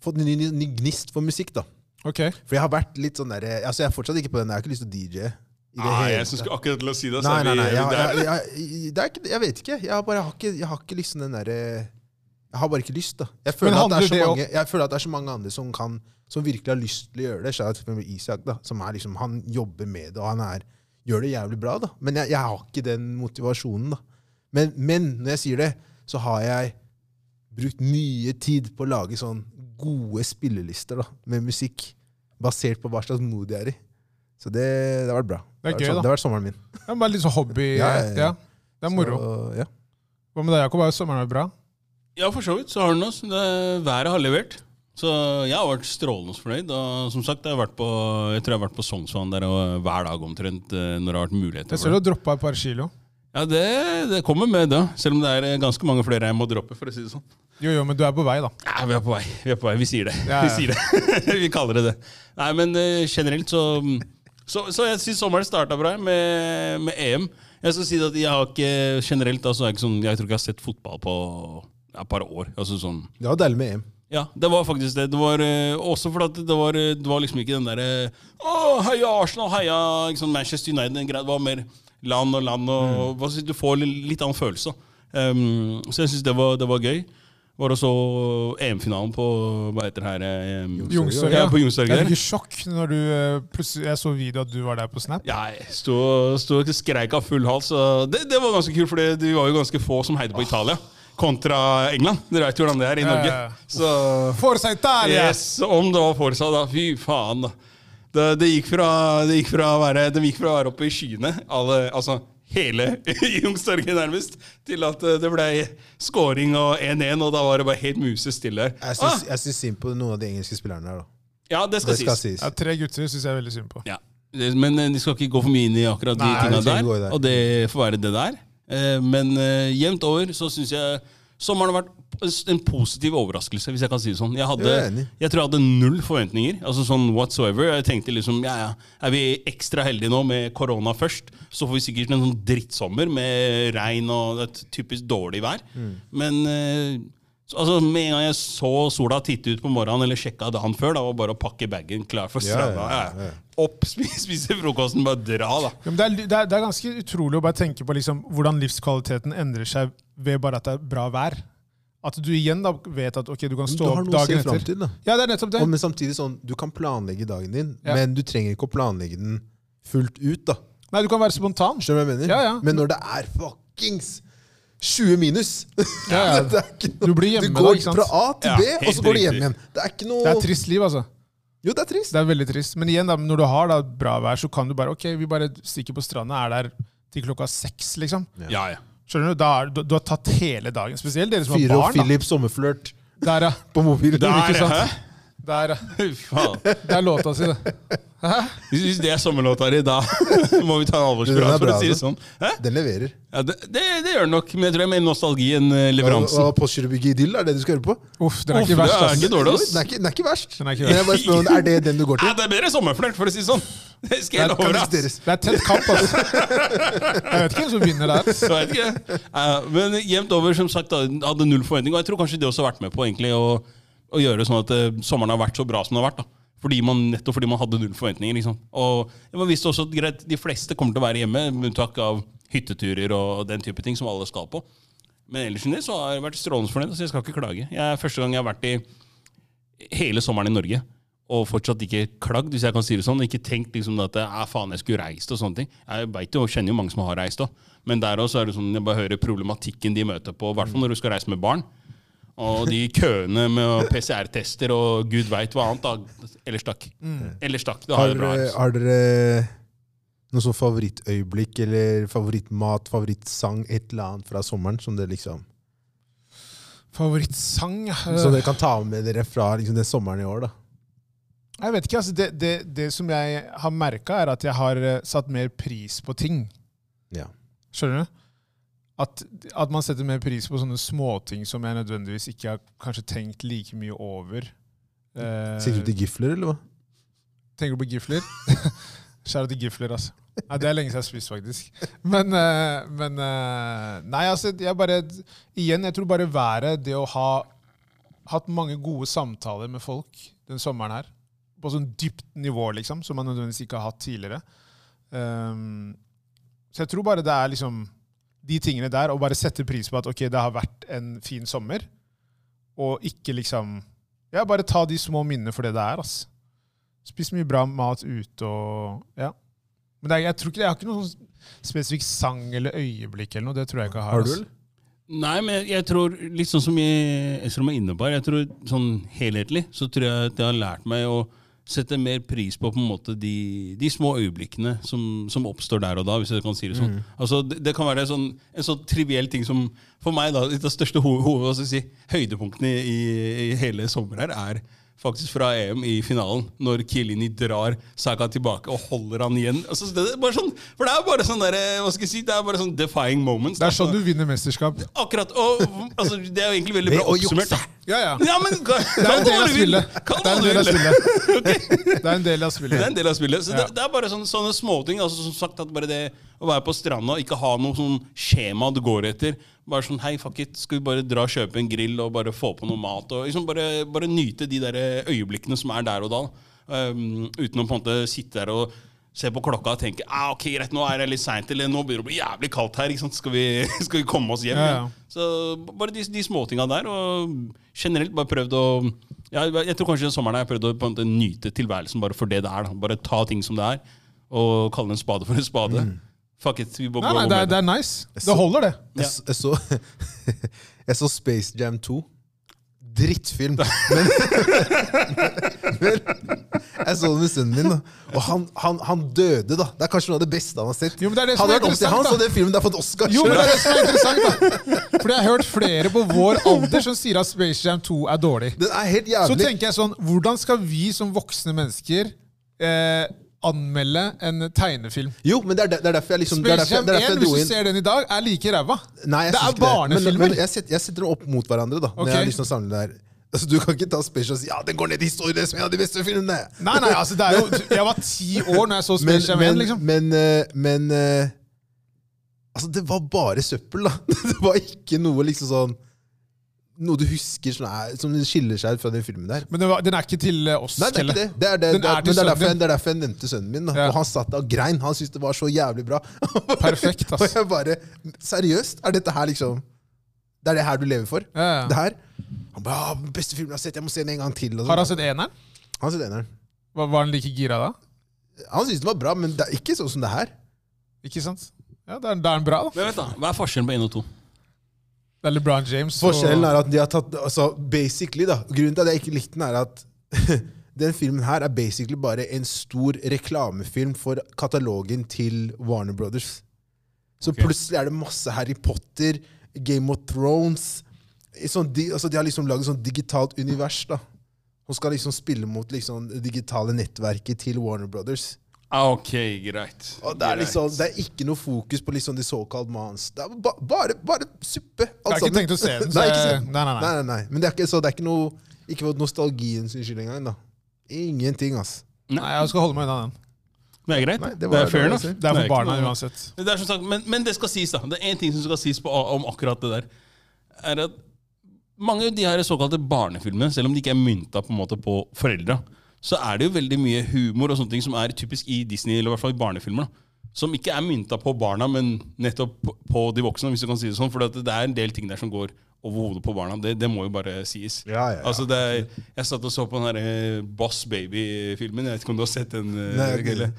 B: Fått en ny, ny, ny gnist for musikk, da.
A: Ok.
B: For jeg har vært litt sånn der, altså jeg er fortsatt ikke på den. Jeg har ikke lyst til å DJ. i det
C: Nei,
B: hele
C: jeg
B: tatt.
C: skulle akkurat til å si det. Så
B: Nei,
C: er
B: nei,
C: vi-
B: nei.
C: er
B: Jeg,
C: vi der.
B: jeg, jeg, det er ikke, jeg vet ikke. Jeg har, bare, jeg har ikke. jeg har ikke liksom den derre Jeg har bare ikke lyst, da. Jeg føler, at det,
A: handler
B: er så
A: det om-
B: mange, jeg føler at det er så mange andre som kan Som virkelig har lyst til å gjøre det. Shout out til eksempel Isak, da, som er liksom, han jobber med det, og han er, gjør det jævlig bra. da. Men jeg, jeg har ikke den motivasjonen. da. Men, men når jeg sier det, så har jeg brukt mye tid på å lage sånn gode spillelister da, med musikk. Basert på hva slags mood jeg er i. Så det, det har vært bra.
A: Det er
B: har vært
A: gøy, da.
B: det har vært sommeren min.
A: Det er bare litt sånn hobby.
B: Ja, ja, ja.
A: Ja, Det er moro.
B: Så, ja.
A: Hva med deg, Jakob? Er jo sommeren vært bra?
C: Ja, for så vidt. Så har den oss. Det, været har levert. Så jeg har vært strålende fornøyd. Og som sagt, jeg, har vært på, jeg tror jeg har vært på Sognsvann der og hver dag omtrent eh, når det har vært muligheter
A: Jeg ser
C: for
A: du
C: det.
A: har droppa et par kilo.
C: Ja, det, det kommer med, da. Selv om det er eh, ganske mange flere jeg må droppe, for å si det sånn.
A: Jo, jo, men du er på vei, da.
C: Ja, vi er på vei. Vi er på vei. Vi sier det.
A: Ja, ja.
C: Vi sier det. vi kaller det det. Nei, men eh, generelt så Så, så jeg syns sommeren starta bra med, med EM. Jeg skal si det at jeg har ikke generelt altså, jeg, er ikke sånn, jeg tror ikke jeg har sett fotball på ja, et par år. Altså sånn
B: Det var deilig med EM.
C: ja, det var faktisk det. det var, eh, også fordi at det var, eh, det var liksom ikke den derre Å, heia Arsenal, heia ikke sånn Manchester United. Den greia. Det var mer land og land og hva synes Du du får li- litt annen følelse. da. Um, så jeg syns det, var- det var gøy. Var også EM-finalen på Hva heter det her? eh, um,
A: Youngstorget.
C: Ja, på Youngstorget
A: Jeg
C: der.
A: fikk i sjokk når du eh, plutselig Jeg så video at du var der på Snap.
C: Ja, jeg sto sto og skreik av full hals. og Det, det var ganske kult, for det- vi var jo ganske få som heide på Italia. Kontra England. Dere vet jo hvordan det er i
A: Ja,
C: Norge.
A: ja, ja.
C: Så
A: Forza Italia!
C: Yes, om det var Forsa, da. Fy faen, da. Det, det, gikk fra, det gikk fra å være De gikk fra å være oppe i skyene, alle, altså hele Youngstorget nærmest, til at eh, det ble scoring og 1-1, og da var det bare helt musestille her.
A: Ah!
B: Jeg syns, jeg syns synd på noen av de engelske spillerne her. da.
C: Ja, det skal,
B: Det skal
C: sies.
B: sies.
A: Ja, tre gutter syns jeg er veldig synd på.
C: Ja. Det- Men eh, de skal ikke gå for mye inn i akkurat de
B: Nei,
C: tinga
B: vi trenger
C: der,
B: ikke gå i det.
C: og det får være det der. Eh, Men eh, jevnt over så syns jeg sommeren har vært en positiv overraskelse, hvis jeg kan si det sånn. Jeg, hadde,
B: Jeg er enig.
C: jeg tror jeg hadde null forventninger. altså sånn whatsoever. Jeg tenkte liksom ja, ja, er vi ekstra heldige nå med korona først, så får vi sikkert en sånn drittsommer med regn og et typisk dårlig vær.
B: Mm.
C: Men eh, så- altså, med en gang jeg så sola titte ut på morgenen, eller sjekka dagen før, da var det bare å pakke bagen klar for
B: Ja, ja,
C: stranda. Ja,
B: ja.
C: Opp, spise, spise frokosten, bare dra, da.
A: Ja, men det, er, li- det, er, det er ganske utrolig å bare tenke på liksom, hvordan livskvaliteten endrer seg ved bare at det er bra vær. At du igjen da vet at ok, du kan
B: Du
A: stå
B: har
A: opp
B: noe å se
A: dagen
B: fram
A: etter.
B: til. da.
A: Ja, det er nettopp det.
B: Og, men samtidig sånn, Du kan planlegge dagen din,
A: Ja.
B: men du trenger ikke å planlegge den fullt ut. da.
A: Nei, du kan være spontan.
B: Skjønner du hva jeg mener?
A: Ja, ja.
B: Men når det er fuckings 20 minus
A: Ja, ja.
B: det er ikke noe,
A: Du blir hjemme
B: du går
A: da, ikke sant?
B: fra A
C: Ja,
B: til B, og
C: helt
B: så går du hjem
C: riktig.
B: igjen. Det er ikke noe
A: Det er et trist liv, altså.
B: Jo, det er trist.
A: Det er veldig trist. Men igjen, da, når du har da, bra vær, så kan du bare ok, vi bare stikker på stranda, er der til klokka seks, liksom.
C: Ja, ja.
A: Skjønner du? Da er, du, du har tatt hele dagen. Spesielt dere som
B: Fyre og
A: har barn.
B: Philip sommerflørt
A: Da. Der, ja.
B: på mobilen.
C: Der,
A: Ikke sant?
C: hæ?
A: Der, ja.
C: Fy faen.
A: Det er låta si, det.
C: Hvis, hvis det er sommerlåta di, da må vi ta
B: Den
C: en alvorsprat,
B: er
C: for
B: bra,
C: å si det
B: altså.
C: sånn. Hæ?
B: Den leverer.
C: Ja, det, det, det gjør den nok, men jeg tror det er mer nostalgi enn eh,
B: Og,
C: leveransen.
B: og Postgirobygget Idyll er det du skal høre på?
A: Uff, den er
C: Uff,
A: ikke verst,
C: det er
A: ass.
C: ikke dårlig, ass.
B: Den er ikke, den er ikke verst.
A: Den er ikke
B: Men jeg bare spør om, Er det den du går
C: Ja,
B: til?
C: det er bedre sommerflørt, for å si det sånn. Det skal jeg
A: Det er
C: love
B: Kan
C: deg. ass.
B: diskuteres.
A: Det er tett kamp, ass. Jeg vet ikke hvem som vinner der. ass.
C: Jeg vet ikke. Eh, Men jevnt over, som sagt, da, hadde null forventning. Og jeg tror kanskje det også har vært med på egentlig å å gjøre sånn at eh, sommeren har vært så bra som den har vært. da. Fordi man, nettopp fordi man hadde null forventninger. Liksom. Og man visste også at greit, de fleste kommer til å være hjemme, med unntak av hytteturer og den type ting som alle skal på. Men ellers enn det så har jeg vært strålende fornøyd, så jeg skal ikke klage. Jeg, første gang jeg har vært i hele sommeren i Norge og fortsatt ikke klagd, hvis jeg kan si det sånn. Ikke tenkt liksom at «Ah, faen, jeg skulle reist og sånne ting. Jeg vet jo, og kjenner jo mange som har reist òg. Men der også er det sånn, jeg bare hører problematikken de møter på, i hvert fall når du skal reise med barn. Og de køene med PCR-tester og gud veit hva annet. da. Ellers takk.
A: Mm.
C: Ellers takk. Det har
B: Har,
C: det bra. altså.
B: dere-
C: Ellers.
B: har dere noe sånn favorittøyeblikk eller favorittmat, favorittsang, et eller annet fra sommeren som dere liksom
A: Favorittsang?
B: Som dere kan ta med dere fra liksom, den sommeren i år, da?
A: Jeg vet ikke, altså det, det, det som jeg har merka, er at jeg har eh, satt mer pris på ting.
B: Ja.
A: Skjønner du? At, at man setter mer pris på sånne småting som jeg nødvendigvis ikke har kanskje tenkt like mye over. Eh,
C: Øh.
B: Sikter du til gifler, eller hva?
A: Tenker du på gifler? Skjæra til gifler, altså. Nei, det er lenge siden jeg har spist, faktisk. Men, eh, men eh, Nei, altså, jeg bare Igjen, jeg tror bare været, det å ha hatt mange gode samtaler med folk den sommeren her, på sånn dypt nivå, liksom, som man nødvendigvis ikke har hatt tidligere. Ehm, så jeg tror bare det er liksom de tingene der, og bare sette pris på at ok, det har vært en fin sommer, og ikke liksom Ja, bare ta de små minnene for det det er, ass. Spist mye bra mat ute og Ja. Men det er, jeg tror ikke, jeg har ikke noen sånn spesifikk sang eller øyeblikk eller noe. Det tror jeg ikke jeg har.
B: Har du,
A: ass.
B: eller?
C: Nei, men jeg tror, litt sånn som jeg- Esrom er inne på her, jeg tror sånn helhetlig så tror jeg at jeg har lært meg å sette mer pris på på en måte de, de små øyeblikkene som, som oppstår der og da, hvis jeg kan si det sånn.
A: Mm.
C: Altså, det, det kan være sånn, en sånn triviell ting som for meg da, litt av største ho ho hva skal jeg si, høydepunktene i, i hele sommeren her er faktisk fra EM i finalen, når Chiellini drar Saka tilbake og holder han igjen. Altså, det, er bare sånn, for det er bare sånn der, hva skal jeg si, det er bare sånn defying moments.
A: Det
C: da.
A: er sånn du vinner mesterskap.
C: Akkurat. Og, altså, det er jo egentlig veldig
B: Ved
C: bra
B: å
C: oppsummert.
B: jukse.
C: da.
A: Ja, ja.
C: Ja, men kan,
A: Det er
C: kan
A: en del av
C: du vinne?
A: spillet.
C: Kan
A: Det er en
C: du
A: del av
C: vinne?
A: spillet. Det er en del av
C: Det er
A: spillet.
C: en del av spillet. Så
A: Ja.
C: det, det er bare sånne, sånne småting. Altså, som sagt, at bare det å være på stranda og ikke ha noe sånn skjema du går etter. Bare sånn Hei, fuck it, skal vi bare dra og kjøpe en grill og bare få på noe mat? Og liksom bare, bare nyte de der eh, øyeblikkene som er der og da. Um, uten å på en måte sitte der og se på klokka og tenke ah, ok, greit, nå er det litt seint, eller nå begynner det å bli jævlig kaldt her. Ikke sant? Skal, vi, skal vi komme oss hjem?
A: Ja, ja.
C: Så b- bare de, de småtinga der, og generelt bare prøvd å ja, Jeg tror kanskje den sommeren har jeg prøvd å på en måte nyte tilværelsen bare for det det er. Da. Bare ta ting som det er, og kalle en spade for en spade. Fuck it, vi må
A: Nei,
C: gå
A: nei,
C: med
A: det er, det
C: det.
A: er nice. Det holder, det.
B: Jeg, s- jeg, så, jeg så Space Jam 2. Drittfilm. Men, men jeg så den med sønnen min, da. og han, han, han døde, da. Det er kanskje noe av det beste han har sett.
A: Jo, men det er det som
B: hadde
A: er
B: vært opp til han,
A: interessant,
B: så
A: da.
B: den filmen der fått Oscar.
A: Jo, men det er det som er interessant, da. Fordi jeg har hørt flere på vår alder som sier at Space Jam 2 er dårlig.
B: Den er helt
A: Så
B: jævlig.
A: tenker jeg sånn, hvordan skal vi som voksne mennesker eh, anmelde en tegnefilm?
B: Jo, men det er, der- det er derfor jeg liksom det er
A: Space
B: derfor,
A: Jam
B: det er
A: 1,
B: derfor jeg dro
A: hvis du
B: inn
A: ser den i dag, er like ræva.
B: Nei, jeg
A: Det
B: synes
A: er
B: ikke Men,
A: barnefilmer.
B: men jeg, setter, jeg setter dem opp mot hverandre, da.
A: Ok.
B: Når jeg har lyst til å samle det her. Altså, Du kan ikke ta Space Jam og si ja, den går ned i historien som en av de beste filmene.
A: Nei, nei, altså, det er jo, jeg var ti år når jeg så
B: Men,
A: Space Jam 1,
B: men,
A: liksom.
B: men, eh, men eh, Altså, det var bare søppel, da. Det var ikke noe liksom sånn Noe du husker som, er, som skiller seg ut fra den filmen der.
A: Men det var, den er ikke til eh, oss,
B: Nei, det er
A: Kelle.
B: ikke det. Det er, det,
A: Den
B: det er,
A: er til
B: men det er,
A: sønnen
B: derfor, jeg,
A: din.
B: det er derfor jeg nevnte sønnen min. Da.
A: Ja.
B: Og han satt der og grein. Han syntes det var så jævlig bra.
A: Perfekt, ass.
B: og jeg bare Seriøst? Er dette her liksom Det er det her du lever for?
A: Ja, ja.
B: Det her? Han bare «Ah, 'Beste filmen jeg har sett. Jeg må se den en gang til.' Og sånn.
A: Har han sett eneren?
B: Han har sett eneren.
A: Var, var han like gira da?
B: Han syntes den var bra, men det er ikke sånn som det her.
A: Ikke sant? Ja, det er, det er en bra, da.
C: Men vent da, Hva er forskjellen på én og to?
A: Det er LeBron James. og-
B: Forskjellen er at de har tatt altså, basically da, Grunnen til at jeg ikke likte den, er at den filmen her er basically bare en stor reklamefilm for katalogen til Warner Brothers. Så plutselig er det masse Harry Potter, Game of Thrones sånn, de, altså, de har liksom laget sånn digitalt univers. da. Hun skal liksom spille mot liksom, det digitale nettverket til Warner Brothers.
C: Ah, ok, greit.
B: Og Det er
C: Greit.
B: liksom, det er ikke noe fokus på liksom de såkalt mans. Det er ba, bare, bare suppe.
A: Jeg har ikke tenkt å se den, så
B: nei, ikke
A: jeg-
B: se den.
A: nei, nei, nei.
B: Nei, nei, nei. Men det er ikke, så det er ikke noe Ikke for nostalgien sin skyld engang. da. Ingenting, ass.
A: Nei, jeg skal holde meg unna den.
C: Det er greit.
B: Nei, det
C: det,
B: var-
C: er
B: det
C: fair
B: var
C: enough.
B: det jeg
A: Det er for
C: ikke
A: barna
C: noe-
A: uansett.
C: Men Det er som sagt, men, men det skal sies, da. Det er én ting som skal sies på, om akkurat det der. Er at mange av de her såkalte barnefilmene, selv om de ikke er mynta på, en måte på foreldra, så er det jo veldig mye humor og sånne ting som er typisk i Disney, eller i hvert fall i barnefilmer. da, Som ikke er mynta på barna, men nettopp på- på de voksne. hvis du kan si det sånn, For det er en del ting der som går over hodet på barna. Det, det må jo bare sies.
B: Ja, ja, ja.
C: Altså, det er, Jeg satt og så på den her eh, Boss Baby-filmen. Jeg vet ikke om du har sett den? eh,
B: Nei, jeg har ikke
C: Gille?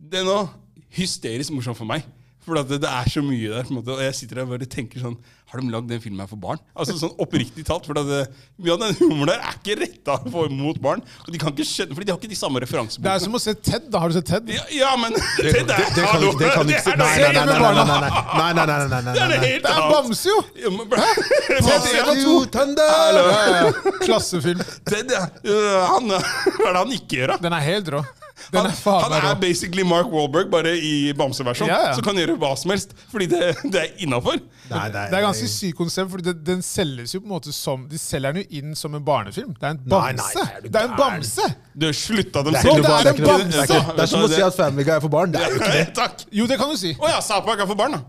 C: Det er nå hysterisk morsomt for meg. For at det, det er så mye der. på en måte, Og jeg sitter der og bare tenker sånn Har de lagd den filmen her for barn? Altså sånn Oppriktig talt. For at det, mye av den humoren der er ikke retta for- mot barn. Og de kan ikke skjønne, fordi de har ikke de samme
A: Det er
C: referansebordene.
A: som å se Ted. da. Har du sett Ted?
C: Ja, ja, men Det,
B: Det, det, det kan du
C: hallo,
B: ikke det kan du ikke si.
C: er
B: Nei,
C: noe
B: nei, nei.
C: helt
B: nei,
A: med
B: nei,
A: barna.
B: nei, nei, nei, nei, nei, nei,
C: Det
B: nei,
C: er noe
B: nei.
C: helt
A: Det er
C: annet.
A: Bamse, jo!
C: Ja, men bra.
A: Ted
B: Fuck
A: 1 og 2.
B: you, Thunder!
A: Klassefilm.
C: Ted, ja. Øh, Han, hva er det han ikke gjør, da?
A: Den er helt rå. Den
C: Han,
A: er faen
C: han
A: meg
C: er
A: rå.
C: basically Mark Wahlberg, bare i bamseversjon.
A: Ja, ja.
C: Så kan han gjøre hva som helst, fordi det, det er innafor.
B: Nei, nei,
A: Det er ganske sykt konsept, for den, den selges jo på en måte som De selger den jo inn som en barnefilm. Det er en
B: Nei, nei,
A: bamse!
B: nei, er du
A: Det er en
B: gæren?
A: bamse!
C: Du slutta dem
B: Det er
A: Så det
B: ikke
A: er
B: noe barn,
A: en
B: det er ikke noe- det er
A: bamse.
B: ikke- det er som å si at Family Guy er for barn. Det er jo ikke det.
C: Takk.
A: Jo, det kan du si.
C: Å ja, Sapak er for barn, da.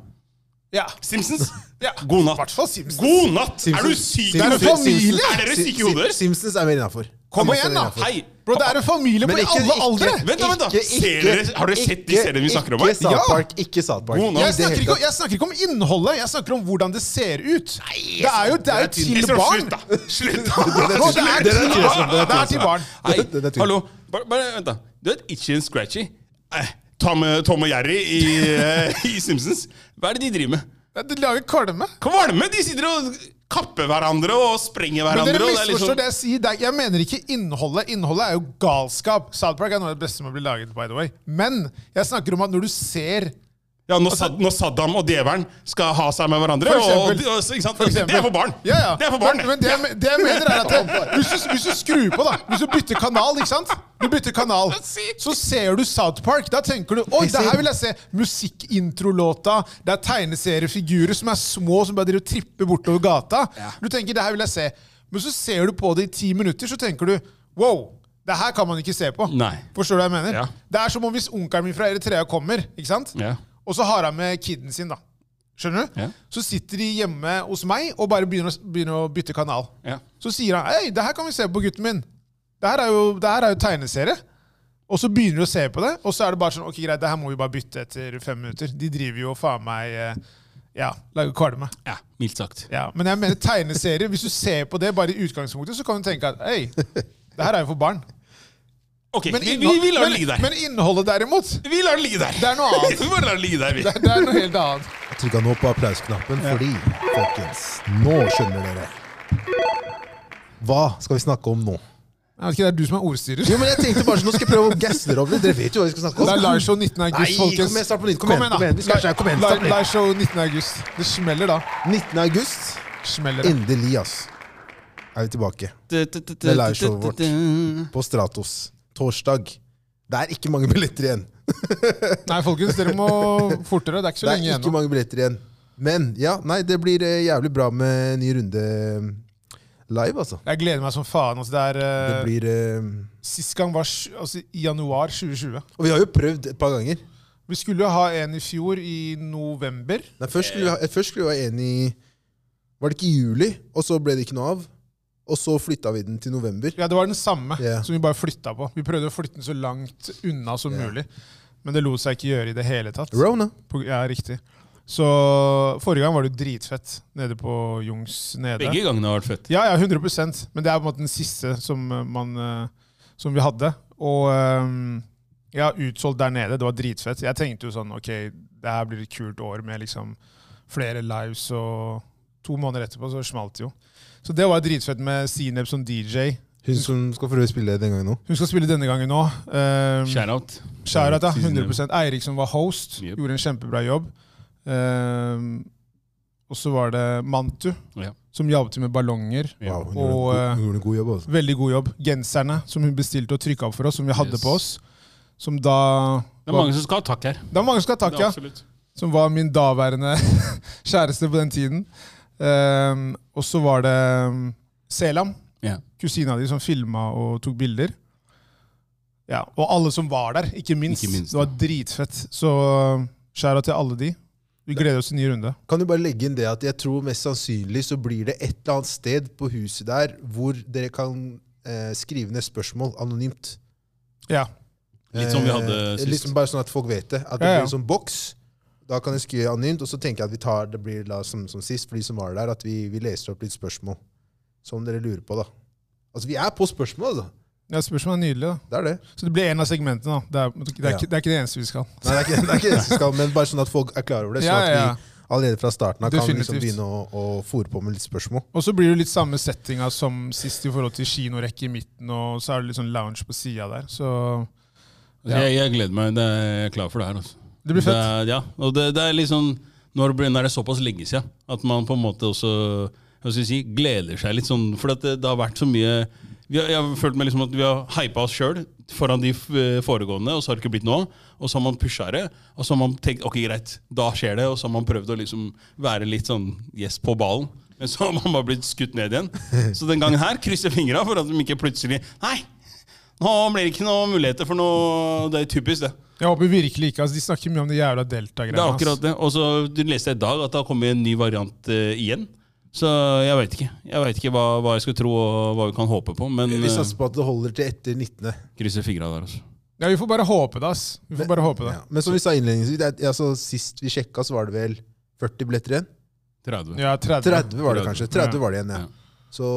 A: Ja.
C: Simpsons.
A: Ja.
C: God
A: I hvert
C: natt.
A: fall Simpsons.
C: God natt!
B: Simpsons-
C: Er du syk i
B: Simpsons-
A: Det er en familie!
C: Er dere syke i hodet deres?
B: Simpsons er mer innafor.
A: Kom igjen, da!
C: Hei!
A: Bro, det er en familie
B: Men
A: på
B: ikke-
A: alle
B: ikke-
A: aldre!
C: Vent, da, vent, da! Ser dere, har dere sett de seriene vi snakker om?
B: Ikke
C: her?
B: South
A: Ja.
B: Park. Ikke South Park.
C: God natt.
A: Jeg
B: Det
A: snakker,
B: hele
A: ikke,
B: tatt.
A: jeg snakker ikke om innholdet, jeg snakker om hvordan det ser ut. Det er jo, det er jo
C: Jeg
A: til
C: tror-
A: barn.
C: Slutt, da! Slutt! da.
A: Bro, det er
B: Det er
A: til
B: tvilsomt,
A: barn. Det er til barn.
C: Hei,
B: Det- det er tydelig.
C: hallo. Bare, bare vent, da. Du vet Itchy and Scratchy? Eh, Tom, Tom og Jerry i, eh, i Simpsons. Hva er det de driver med?
A: De lager kvalme.
C: Kvalme! De sitter og kapper hverandre og sprenger
A: Men
C: hverandre.
A: dere
C: og det er litt sånn-
A: misforstår det jeg sier. Det er- Jeg mener ikke innholdet. Innholdet er jo galskap. South Park er noe av det beste som har blitt laget, by the way. Men jeg snakker om at når du ser
C: Ja, når, Sad når Saddam og djevelen skal ha seg med hverandre.
A: Altså- For
C: og,
A: eksempel.
C: og, og, ikke sant?
A: For eksempel.
C: det er for barn!
A: Ja, ja.
C: Det er for barn,
A: men,
C: det.
A: men det, jeg, det jeg mener er at det, hvis, du, hvis du skrur på, da Hvis du bytter kanal, ikke sant? Du bytter kanal, så ser du South Park. Da tenker du Oi, det her vil jeg se! Musikkintrolåta. Det er tegneseriefigurer som er små, som bare driver og tripper bortover gata. Du tenker, det her vil jeg se. Men så ser du på det i ti minutter, så tenker du Wow! Det her kan man ikke se på.
C: Nei.
A: Forstår du hva jeg mener?
C: Ja.
A: Det er som om hvis onkelen min fra Eritrea kommer, ikke sant?
C: Ja.
A: og så har han med kiden sin, da. Skjønner du?
C: Ja.
A: Så sitter de hjemme hos meg og bare begynner å, begynner å bytte kanal.
C: Ja.
A: Så sier han Hei, det her kan vi se på, gutten min. Det her er jo, det her er jo tegneserie. Og så begynner de å se på det, og så er det bare sånn Ok, greit, det her må vi bare bytte etter fem minutter. De driver jo og faen meg eh, Ja, lager kvalme.
C: Ja, mildt sagt.
A: Ja, men jeg mener tegneserie. Hvis du ser på det bare i utgangspunktet, så kan du tenke at hei, det her er jo for barn.
C: Ok,
A: Men,
C: vi, vi,
A: innhold-
C: vi lar det
A: men,
C: ligge der.
A: men innholdet derimot,
C: vi lar det ligge der.
A: Det er noe annet.
C: vi bare lar det ligge der, vi.
A: det er noe helt annet.
B: Jeg trykka nå på applausknappen fordi, folkens, nå skjønner dere. Hva skal vi snakke om nå?
A: Jeg vet ikke, Det er du som er ordstyrer.
B: Jo, men jeg tenkte bare sånn, Nå skal jeg prøve å gasse dere opp litt. Dere vet jo hva vi skal snakke om.
A: Det er liveshow 19. august,
B: Nei,
A: folkens.
B: kom igjen, start på nytt. Kom igjen,
A: da.
B: kom igjen. Vi skal skjerpe- kom igjen,
A: Live-
B: start på nytt.
A: Liveshow 19. august. Det smeller da.
B: 19. august.
A: Smeller da.
B: Endelig, ass. Er vi tilbake
C: Det
B: er liveshowet vårt. på Stratos. Torsdag. Det er ikke mange billetter igjen.
A: Nei, folkens, dere må fortere. Det er ikke så
B: Det er
A: lenge
B: ikke
A: igjen nå.
B: mange billetter igjen. Men ja, nei, det blir eh, jævlig bra med ny runde eh, live, altså.
A: Jeg gleder meg som faen. Altså, det er, eh,
B: Det blir eh,
A: Sist gang var sj- altså, i januar 2020.
B: Og vi har jo prøvd et par ganger.
A: Vi skulle jo ha en i fjor, i november.
B: Nei, først skulle, vi ha, først skulle vi være enige i Var det ikke i juli, og så ble det ikke noe av? Og så flytta vi den til november.
A: Ja, Det var den samme
B: Ja.
A: som vi bare flytta på. Vi prøvde å flytte den så langt unna som
B: Ja.
A: mulig. Men det lot seg ikke gjøre i det hele tatt.
B: Rona.
A: På, ja, riktig. Så forrige gang var det jo dritfett nede på Jungs nede.
C: Begge gangene har vært fett.
A: Ja, ja, 100 Men det er på en måte den siste som, eh, man, eh, som vi hadde. Og eh, ja, utsolgt der nede. Det var dritfett. Jeg tenkte jo sånn Ok, det her blir et kult år med liksom flere lives og To måneder etterpå så smalt det jo. Så det var dritfett med Sineb som DJ.
B: Hun som skal få spille den gangen nå.
A: Hun skal spille denne gangen nå. Um,
C: Shout-out.
A: Skjærat, ja.
C: Sineb.
A: 100 Eirik som var host,
C: Yep.
A: gjorde en kjempebra jobb. Eh, og så var det Mantu,
C: Ja.
A: som hjalp til med ballonger.
B: Wow, hun,
A: Og,
B: gjorde en,
A: eh,
B: god- hun gjorde en god jobb. altså.
A: Veldig god jobb. Genserne som hun bestilte og trykka opp for oss, som vi hadde
C: Yes.
A: på oss. Som da
C: Det er mange som skal ha takk her.
A: det er mange som skal ha takk, ja.
C: Absolutt.
A: Som var min daværende kjæreste på den tiden. Ehm, og så var det um, Selam,
C: Ja.
A: kusina di, som filma og tok bilder. Ja, Og alle som var der, ikke minst.
C: Ikke minst,
A: det var dritfett. Så skjæra til alle de. Vi gleder oss til en ny runde.
B: Kan du bare legge inn det at jeg tror mest sannsynlig så blir det et eller annet sted på huset der hvor dere kan eh, skrive ned spørsmål anonymt.
A: Ja.
C: Litt som vi hadde
B: Eh,
C: sist.
B: Liksom bare sånn at folk vet det. At det
A: Ja, ja.
B: blir en sånn boks. Da kan jeg skrive anonymt, og så tenker jeg at vi tar, det blir da som, som sist for de som var der, at vi, vi leser opp litt spørsmål som dere lurer på. da. Altså, vi er på spørsmål, altså.
A: ja spørsmålet er nydelig. da.
B: Det er det.
A: Så det blir en av segmentene. da. Det er, det er,
B: Ja.
A: ikke- det er ikke det eneste vi skal.
B: Nei, det er ikke det, er ikke det som skal, men bare sånn at folk er klar over det. Sånn
A: Ja, ja, ja.
B: at vi allerede fra starten av kan liksom
A: Definitivt.
B: begynne å, å fòre på med litt spørsmål.
A: Og så blir det litt samme settinga som sist i forhold til kinorekke i midten, og så er det litt sånn lounge på sida der. Så
C: Altså, Jeg, jeg gleder meg. Det er, jeg er klar for det her. Altså.
A: det blir fett.
C: er, ja, og det, det er liksom Når blir- når er det såpass lenge siden at man på en måte også hva skal jeg si, gleder seg litt sånn For at det, det har vært så mye vi har, Jeg har følt meg liksom at vi har hypa oss sjøl foran de f- eh, foregående, og så har det ikke blitt noe av. Og så har man pusha det, og så har man tenkt ok, greit, da skjer det. Og så har man prøvd å liksom være litt sånn yes på ballen. Men så har man bare blitt skutt ned igjen. Så den gangen her krysser jeg fingra for at de ikke plutselig Nei! Nå blir det ikke noen muligheter for noe Det er typisk, det.
A: Jeg håper virkelig ikke. altså De snakker mye om det jævla delta-greiene.
C: Det er
A: ass.
C: akkurat det. Og så du leste jeg i dag at det har kommet en ny variant eh, igjen. Så jeg veit ikke. Jeg vet ikke hva, hva jeg skal tro og hva vi kan håpe på. Men
B: Vi
C: uh,
B: satser på at det holder til etter 19.
C: krysser fingra der, altså.
A: Ja, Vi får bare håpe det. ass. Vi får bare håpe det.
B: Ja. Men som vi sa innledningsvis, det er, altså, sist vi sjekka, så var det vel 40 billetter igjen?
C: 30.
A: Ja, 30.
B: 30 var det kanskje. 30 var det igjen,
C: Ja.
B: ja. Så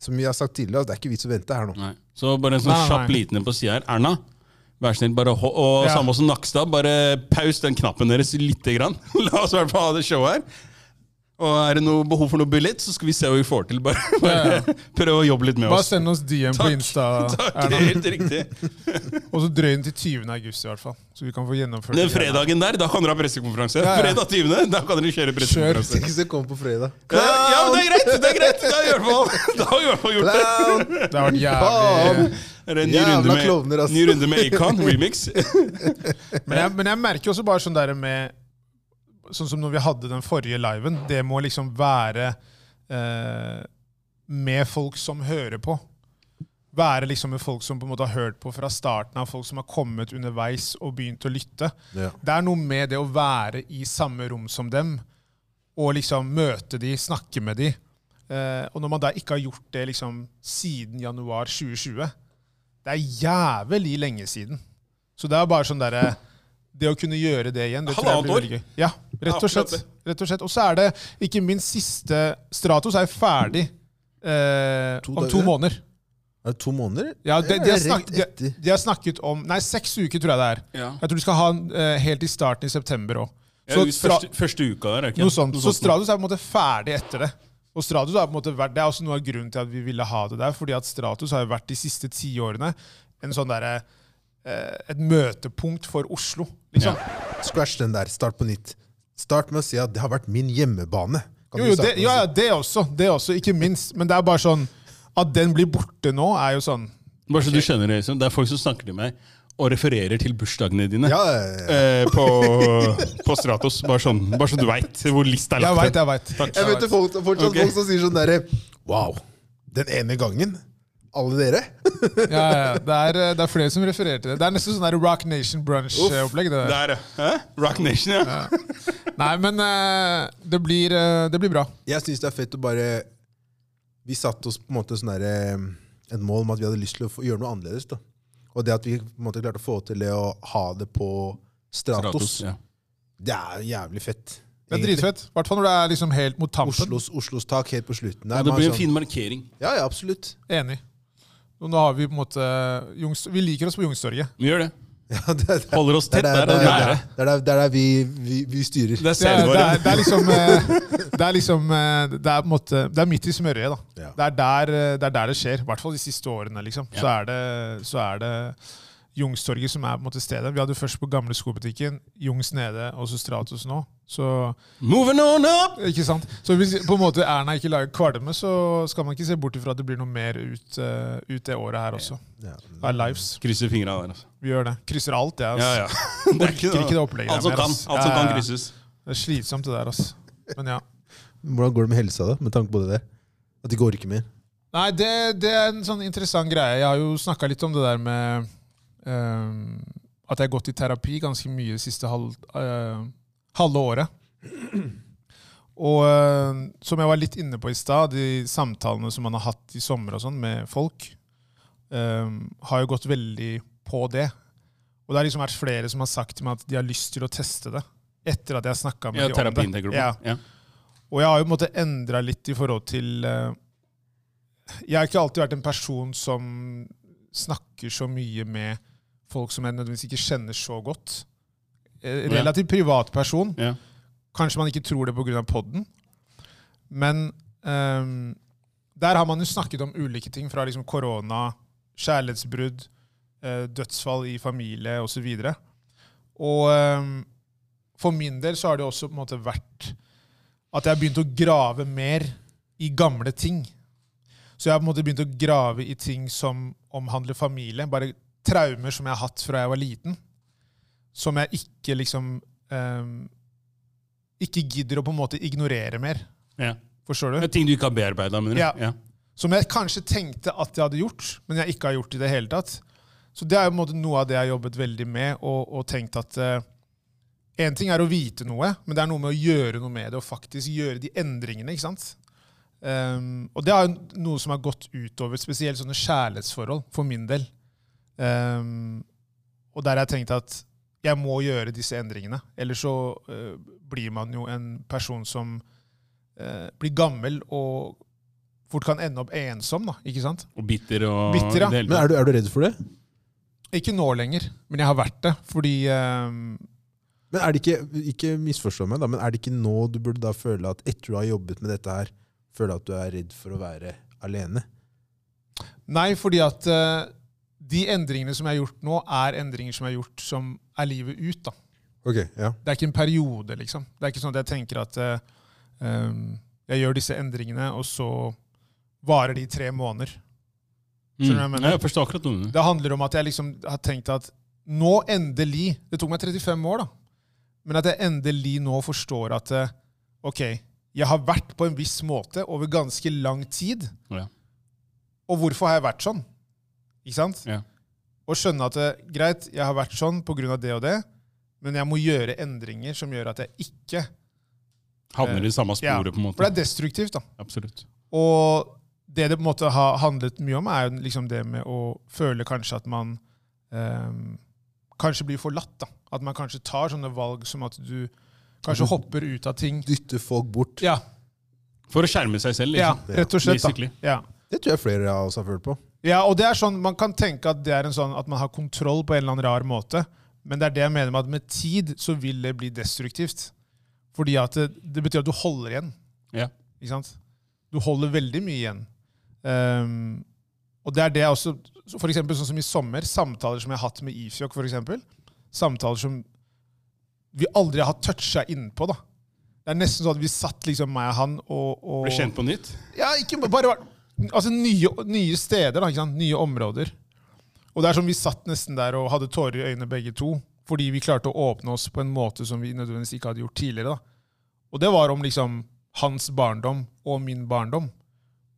B: som vi har sagt tidligere, altså, det er ikke vits å vente her nå.
C: Nei. Så bare en sånn
A: Nei, nei,
C: kjapp
A: nei.
C: liten en på sida her. Erna, vær snill, bare ho og
A: Ja.
C: samme som Nakstad, bare paus den knappen deres lite grann. La oss i hvert fall ha det showet her. Og er det noe behov for noe billett, så skal vi se hva vi får til. Bare, bare
A: Ja,
C: prøv å jobbe litt med
A: Bare
C: oss.
A: send oss DM på
C: Takk.
A: Insta.
C: Takk,
A: Erna.
C: helt riktig.
A: Og så drøy den til 20. august, i hvert fall. Så vi kan få gjennomført
C: Den
A: det.
C: fredagen der, da kan dere ha pressekonferanse.
A: Ja, ja.
C: Fredag 20., da kan dere kjøre
B: Hvis
C: pressekonferanse.
B: ikke så kommer på fredag.
C: Ja, ja, men det er greit! det er greit Da har vi i hvert fall- da har vi i hvert fall gjort det.
B: Clown!
A: Det har vært jævlig.
B: Faen!
C: Er det en ny
B: Jævla
C: runde med,
B: klovner, ass.
C: ny runde med Acon remix.
A: Men jeg, men jeg merker jo også bare sånn der med Sånn som når vi hadde den forrige liven. Det må liksom være eh, med folk som hører på. Være liksom med folk som på en måte har hørt på fra starten av, folk som har kommet underveis og begynt å lytte.
B: Ja.
A: Det er noe med det å være i samme rom som dem, og liksom møte de, snakke med de. Eh, og når man da ikke har gjort det liksom siden januar 2020 Det er jævlig lenge siden. Så det er bare sånn derre Det å kunne gjøre det igjen, det tror jeg
C: Halvannet
A: blir
C: år?
A: veldig gøy. Ja, rett og
C: Ja, akkurat
A: slett. Rett og slett. Og så er det ikke minst siste Stratos er jo ferdig eh,
B: To
A: om to
B: dager?
A: måneder.
B: Er det to måneder?
A: Ja, de, de, har
B: Ja, rett
A: snakket, de,
B: etter.
A: de har snakket om Nei, seks uker tror jeg det er.
C: Ja.
A: Jeg tror du skal ha den eh, helt i starten i september òg.
C: Ja, ut første, første uka der, er ikke
A: Noe sånt. Så Stradus er på en måte ferdig etter det. Og Stratus har på en måte vært, Det er også noe av grunnen til at vi ville ha det der. fordi at Stratus har jo vært de siste ti årene en sånn derre eh, et møtepunkt for Oslo. liksom.
B: Scratch den der. Start på nytt. Start med å si at det har vært min hjemmebane. Kan
A: Jo,
B: du
A: jo, det,
B: starte med å
A: ja,
B: si?
A: ja, det også. Det også, ikke minst. Men det er bare sånn At den blir borte nå, er jo sånn
C: Bare så du skjønner det, liksom. Det er folk som snakker til meg og refererer til bursdagene dine.
B: Ja, ja, ja.
C: eh, På, på Stratos. Bare, sånn, bare så du veit hvor lista er
A: Jeg veit,
C: lagt. hen.
A: jeg veit.
B: Jeg vet det er folk, fortsatt
C: Ok.
B: folk som sier sånn derre Wow, den ene gangen. Alle dere.
A: Ja, ja, ja. det, er, eh, det er flere som refererer til det. Det er nesten sånn der Rock Nation brunch-opplegg. det der.
C: Der, ja. Hæ? Rock Nation, ja.
A: Nei, men eh, det, blir, eh, det blir bra.
B: Jeg syns det er fett å bare Vi satte oss på en måte sånn derre et mål om at vi hadde lyst til å få, gjøre noe annerledes. da. Og det at vi på en måte klarte å få til det å ha det på Stratos,
C: Stratos, ja.
B: det er jævlig fett.
A: Det er
B: egentlig.
A: dritfett. I hvert fall når det er liksom helt mot tampen.
B: Oslos, Oslos tak helt på slutten. der,
C: Og
B: man
C: det
B: er
C: blir
B: sånn-
C: en fin markering.
B: Ja, ja, absolutt.
A: Enig. Og nå har vi på en måte eh, Jungs, Vi liker oss på Youngstorget.
C: Vi gjør det.
B: Ja, det, er-
C: Holder oss
B: det
C: tett
B: er der,
C: der.
B: det
C: og
B: er der,
C: nære.
B: det er der, det er der vi, vi, vi styrer.
C: Det er
A: Det er, det,
C: selvåret.
A: er, det er liksom eh, Det er liksom eh, Det er på en måte Det er midt i smørøyet, da.
B: Ja.
A: Det er der eh, det, er der det skjer. I hvert fall de siste årene, liksom. Så er det, så er det Youngstorget som er på en måte stedet. Vi hadde først på gamle skobutikken, Jungs nede og så Stratos nå. Så
C: Moving on up!
A: ikke sant? Så hvis på en måte Erna ikke lager kvalme, så skal man ikke se bort ifra at det blir noe mer ut, eh, ut det året her også.
B: Ja.
A: Det er lives.
C: Krysser fingra der, altså.
A: Vi gjør det. Krysser alt, jeg.
C: Ja,
A: Altså.
C: ja. Det er ikke
A: Orker ikke det opplegget
C: Alt som
A: der mer,
C: kan,
A: ass.
C: alt som
A: Ja,
C: kan
A: ja.
C: krysses.
A: Det er slitsomt, det der. altså. Men ja.
B: Hvordan går det med helsa, da, med tanke på det der? At de går ikke mer?
A: Nei, det, det er en sånn interessant greie. Jeg har jo snakka litt om det der med ehm, at jeg har gått i terapi ganske mye det siste halv, eh, halve året. Og eh, som jeg var litt inne på i stad, de samtalene som man har hatt i sommer og sånn med folk, eh, har jo gått veldig på det. Og det har liksom vært flere som har sagt til meg at de har lyst til å teste det. Etter at jeg har snakka med
C: Ja,
A: de om det.
C: terapien, tenker du på.
A: Ja.
C: Ja.
A: Og jeg har jo på en måte endra litt i forhold til eh, Jeg har ikke alltid vært en person som snakker så mye med folk som jeg nødvendigvis ikke kjenner så godt. Eh,
C: Ja.
A: Relativt privat person.
C: Ja.
A: Kanskje man ikke tror det pga. podden. Men ehm, der har man jo snakket om ulike ting, fra liksom korona, kjærlighetsbrudd, eh, dødsfall i familie osv. Og, um, for min del så har det også på en måte vært at jeg har begynt å grave mer i gamle ting. Så jeg har på en måte begynt å grave i ting som omhandler familie. Bare traumer som jeg har hatt fra jeg var liten, som jeg ikke liksom ehm, ikke gidder å på en måte ignorere mer.
C: Ja.
A: Forstår
C: Det
A: du?
C: er ting du ikke har bearbeida, mener du?
A: Ja. Som jeg kanskje tenkte at jeg hadde gjort, men jeg ikke har gjort i det hele tatt. Så det er jo på en måte noe av det jeg har jobbet veldig med, og, og tenkt at én ting er å vite noe, men det er noe med å gjøre noe med det, og faktisk gjøre de endringene. ikke sant? Ehm, og det er jo noe som har gått utover spesielt sånne kjærlighetsforhold, for min del. Ehm, og der har jeg tenkt at jeg må gjøre disse endringene. Ellers så eh, blir man jo en person som eh, blir gammel og fort kan ende opp ensom. da, Ikke sant?
C: Og bitter og
A: Bitter, ja.
C: i det hele
B: Men
C: tatt.
B: er du, er du redd for det?
A: Ikke nå lenger, men jeg har vært det. Fordi ehm,
B: Men er det ikke, ikke misforstå meg da, men er det ikke nå du burde da føle at etter du har jobbet med dette her, føle at du er redd for å være alene?
A: Nei, fordi at eh, de endringene som jeg har gjort nå, er endringer som jeg har gjort som er livet ut. da.
B: Ok, ja.
A: Det er ikke en periode, liksom. Det er ikke sånn at jeg tenker at eh, ehm, jeg gjør disse endringene, og så varer de i tre måneder. Skjønner du hva jeg
C: Mm.
A: mener?
C: Ja, jeg forstår akkurat noe.
A: Det handler om at jeg liksom har tenkt at nå endelig Det tok meg 35 år, da. Men at jeg endelig nå forstår at eh, OK, jeg har vært på en viss måte over ganske lang tid.
C: Ja.
A: Og hvorfor har jeg vært sånn? Ikke sant?
C: Ja.
A: Og skjønne at eh, greit, jeg har vært sånn pga. det og det, men jeg må gjøre endringer som gjør at jeg ikke
C: Havner i samme
A: Ja,
C: sporet, på
A: For
C: en måte.
A: det er destruktivt, da.
C: Absolutt.
A: Og det det på en måte har handlet mye om, er jo liksom det med å føle kanskje at man ehm, kanskje blir forlatt. da. At man kanskje tar sånne valg som at du kanskje hopper ut av ting.
B: Dytte folk bort.
A: Ja,
C: For å skjerme seg selv,
A: ja
C: liksom.
A: rett og slett. da.
C: Basically.
A: Ja.
B: Det tror jeg flere av oss har følt på.
A: ja, og det er sånn, Man kan tenke at det er en sånn at man har kontroll på en eller annen rar måte, men det er det jeg mener med at med tid så vil det bli destruktivt. Fordi at det, det betyr at du holder igjen.
C: Ja.
A: Ikke sant? Du holder veldig mye igjen. Ehm, og det er det jeg også så For eksempel sånn som i sommer, samtaler som jeg har hatt med Ifjok, for eksempel. Samtaler som vi aldri har toucha innpå, da. Det er nesten sånn at vi satt liksom meg og han og, og
C: Ble kjent på nytt.
A: Ja, ikke bare vært- Altså nye, nye steder, da. Ikke sant? Nye områder. Og det er som vi satt nesten der og hadde tårer i øynene begge to. Fordi vi klarte å åpne oss på en måte som vi nødvendigvis ikke hadde gjort tidligere. da. Og det var om liksom hans barndom og min barndom.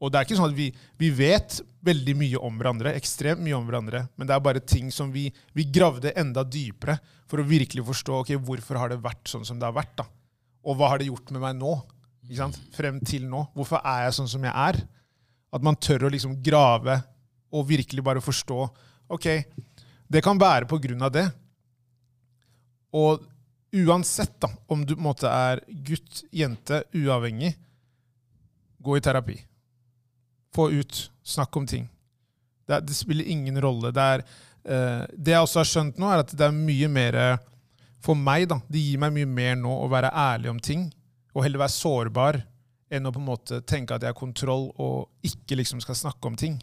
A: Og det er ikke sånn at vi, vi vet veldig mye om hverandre, ekstremt mye om hverandre, men det er bare ting som vi, vi gravde enda dypere for å virkelig forstå ok, hvorfor har det vært sånn som det har vært. da? Og hva har det gjort med meg nå? Ikke sant? Frem til nå. Hvorfor er jeg sånn som jeg er? At man tør å liksom grave og virkelig bare forstå Ok, det kan være på grunn av det. Og uansett da, om du på en måte er gutt, jente, uavhengig, gå i terapi. Få ut. Snakk om ting. Det, er, det spiller ingen rolle. Det, er, eh, det jeg også har skjønt nå, er at det er mye mer eh, For meg, da. Det gir meg mye mer nå å være ærlig om ting. Og heller være sårbar enn å på en måte tenke at jeg har kontroll og ikke liksom skal snakke om ting.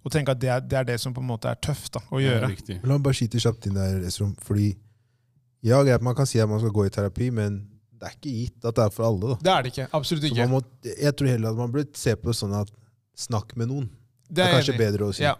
A: Og tenke at det er det, er det som på en måte er tøft da, å gjøre.
C: Riktig.
B: Men La meg bare skyte kjapt inn der, Esrom. Fordi ja, greit, man kan si at man skal gå i terapi, men det er ikke gitt at det er for alle. da.
A: Det er det ikke. Absolutt
B: Så
A: ikke.
B: man må, jeg tror heller at man burde se på det sånn at snakk med noen. Det
A: Det
B: er
A: er
B: kanskje
A: jeg enig i.
B: bedre å si.
A: Ja.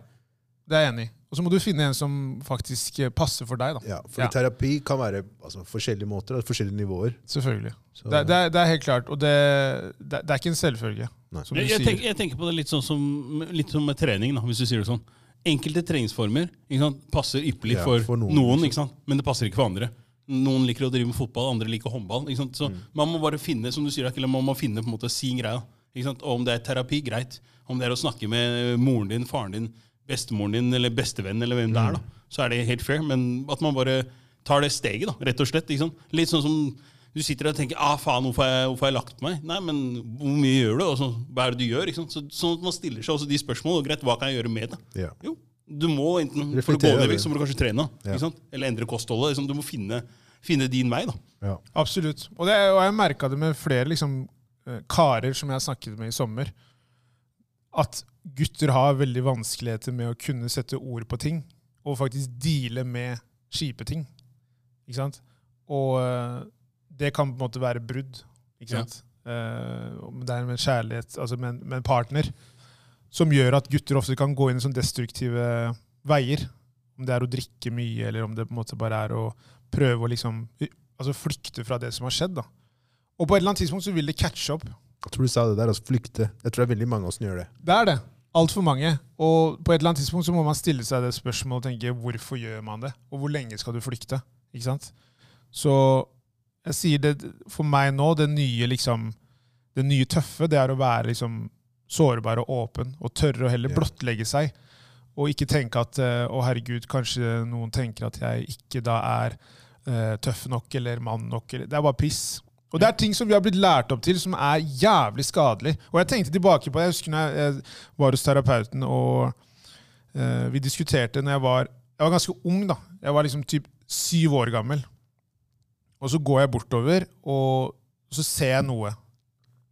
A: Det er jeg enig i. Og så må du finne en som faktisk eh, passer for deg. da.
B: Ja, for
A: Ja.
B: terapi kan være altså, forskjellige måter, da, forskjellige nivåer.
A: Selvfølgelig.
B: Så,
A: Det, er- det, er, det er helt klart. Og det, det, det er ikke en selvfølge,
B: Nei.
A: som du
C: Jeg, jeg,
A: sier.
C: tenker, jeg tenker på det litt sånn som, litt som med trening, da, hvis du sier det sånn. Enkelte treningsformer ikke sant, passer ypperlig
B: Ja,
C: for,
B: for noen,
C: noen,
B: liksom.
C: ikke sant? men det passer ikke for andre. Noen liker å drive med fotball, andre liker håndball. Ikke sant? Så
B: Mm.
C: Man må bare finne som du sier, Akile, man må finne på en måte sin greie. Ikke sant? Og om det er terapi, greit. Om det er å snakke med moren din, faren din, bestemoren din eller bestevennen, eller hvem det
B: Mm.
C: er, da, så er det helt fair. Men at man bare tar det steget, da, rett og slett. Ikke sant? Litt sånn som du sitter der og tenker ah, faen, hvorfor har jeg, hvorfor har jeg lagt meg? Nei, men hvor mye gjør du? Og så, hva er det du gjør? Ikke sant? Så, sånn at man stiller seg også de spørsmålene. og Greit, hva kan jeg gjøre med det?
B: Ja.
C: Jo, du må enten For å gå
B: Reflektere
C: ned i
B: over
C: vekt, så må du kanskje trene.
B: Ja.
C: Ikke sant? Eller endre kostholdet. Liksom. Du må finne, finne din vei. da.
B: Ja.
A: Absolutt. Og, det, og jeg merka det med flere liksom, eh, karer som jeg snakket med i sommer, at gutter har veldig vanskeligheter med å kunne sette ord på ting, og faktisk deale med kjipe ting. Ikke sant? Og eh, det kan på en måte være brudd. Ikke
C: Ja.
A: sant? Eh, om det er med kjærlighet, altså med, en- med en partner, som gjør at gutter ofte kan gå inn i sånne destruktive veier. Om det er å drikke mye, eller om det på en måte bare er å prøve å liksom altså flykte fra det som har skjedd. da. Og på et eller annet tidspunkt så vil det catche opp.
B: Jeg tror du sa det der, altså flykte. Jeg tror det er veldig mange av oss som gjør det.
A: Det er det. Altfor mange. Og på et eller annet tidspunkt så må man stille seg det spørsmålet og tenke hvorfor gjør man det? Og hvor lenge skal du flykte? Ikke sant? Så jeg sier det for meg nå, det nye liksom det nye tøffe, det er å være liksom sårbar og åpen, og tørre å heller
B: Ja.
A: blottlegge seg. Og ikke tenke at eh, å herregud, kanskje noen tenker at jeg ikke da er eh, tøff nok eller mann nok. Eller, det er bare piss. Og det er ting som vi har blitt lært opp til, som er jævlig skadelig. Og jeg tenkte tilbake på Jeg husker når jeg eh, var hos terapeuten, og eh, vi diskuterte når jeg var Jeg var ganske ung, da. Jeg var liksom typ syv år gammel. Og så går jeg bortover, og så ser jeg noe.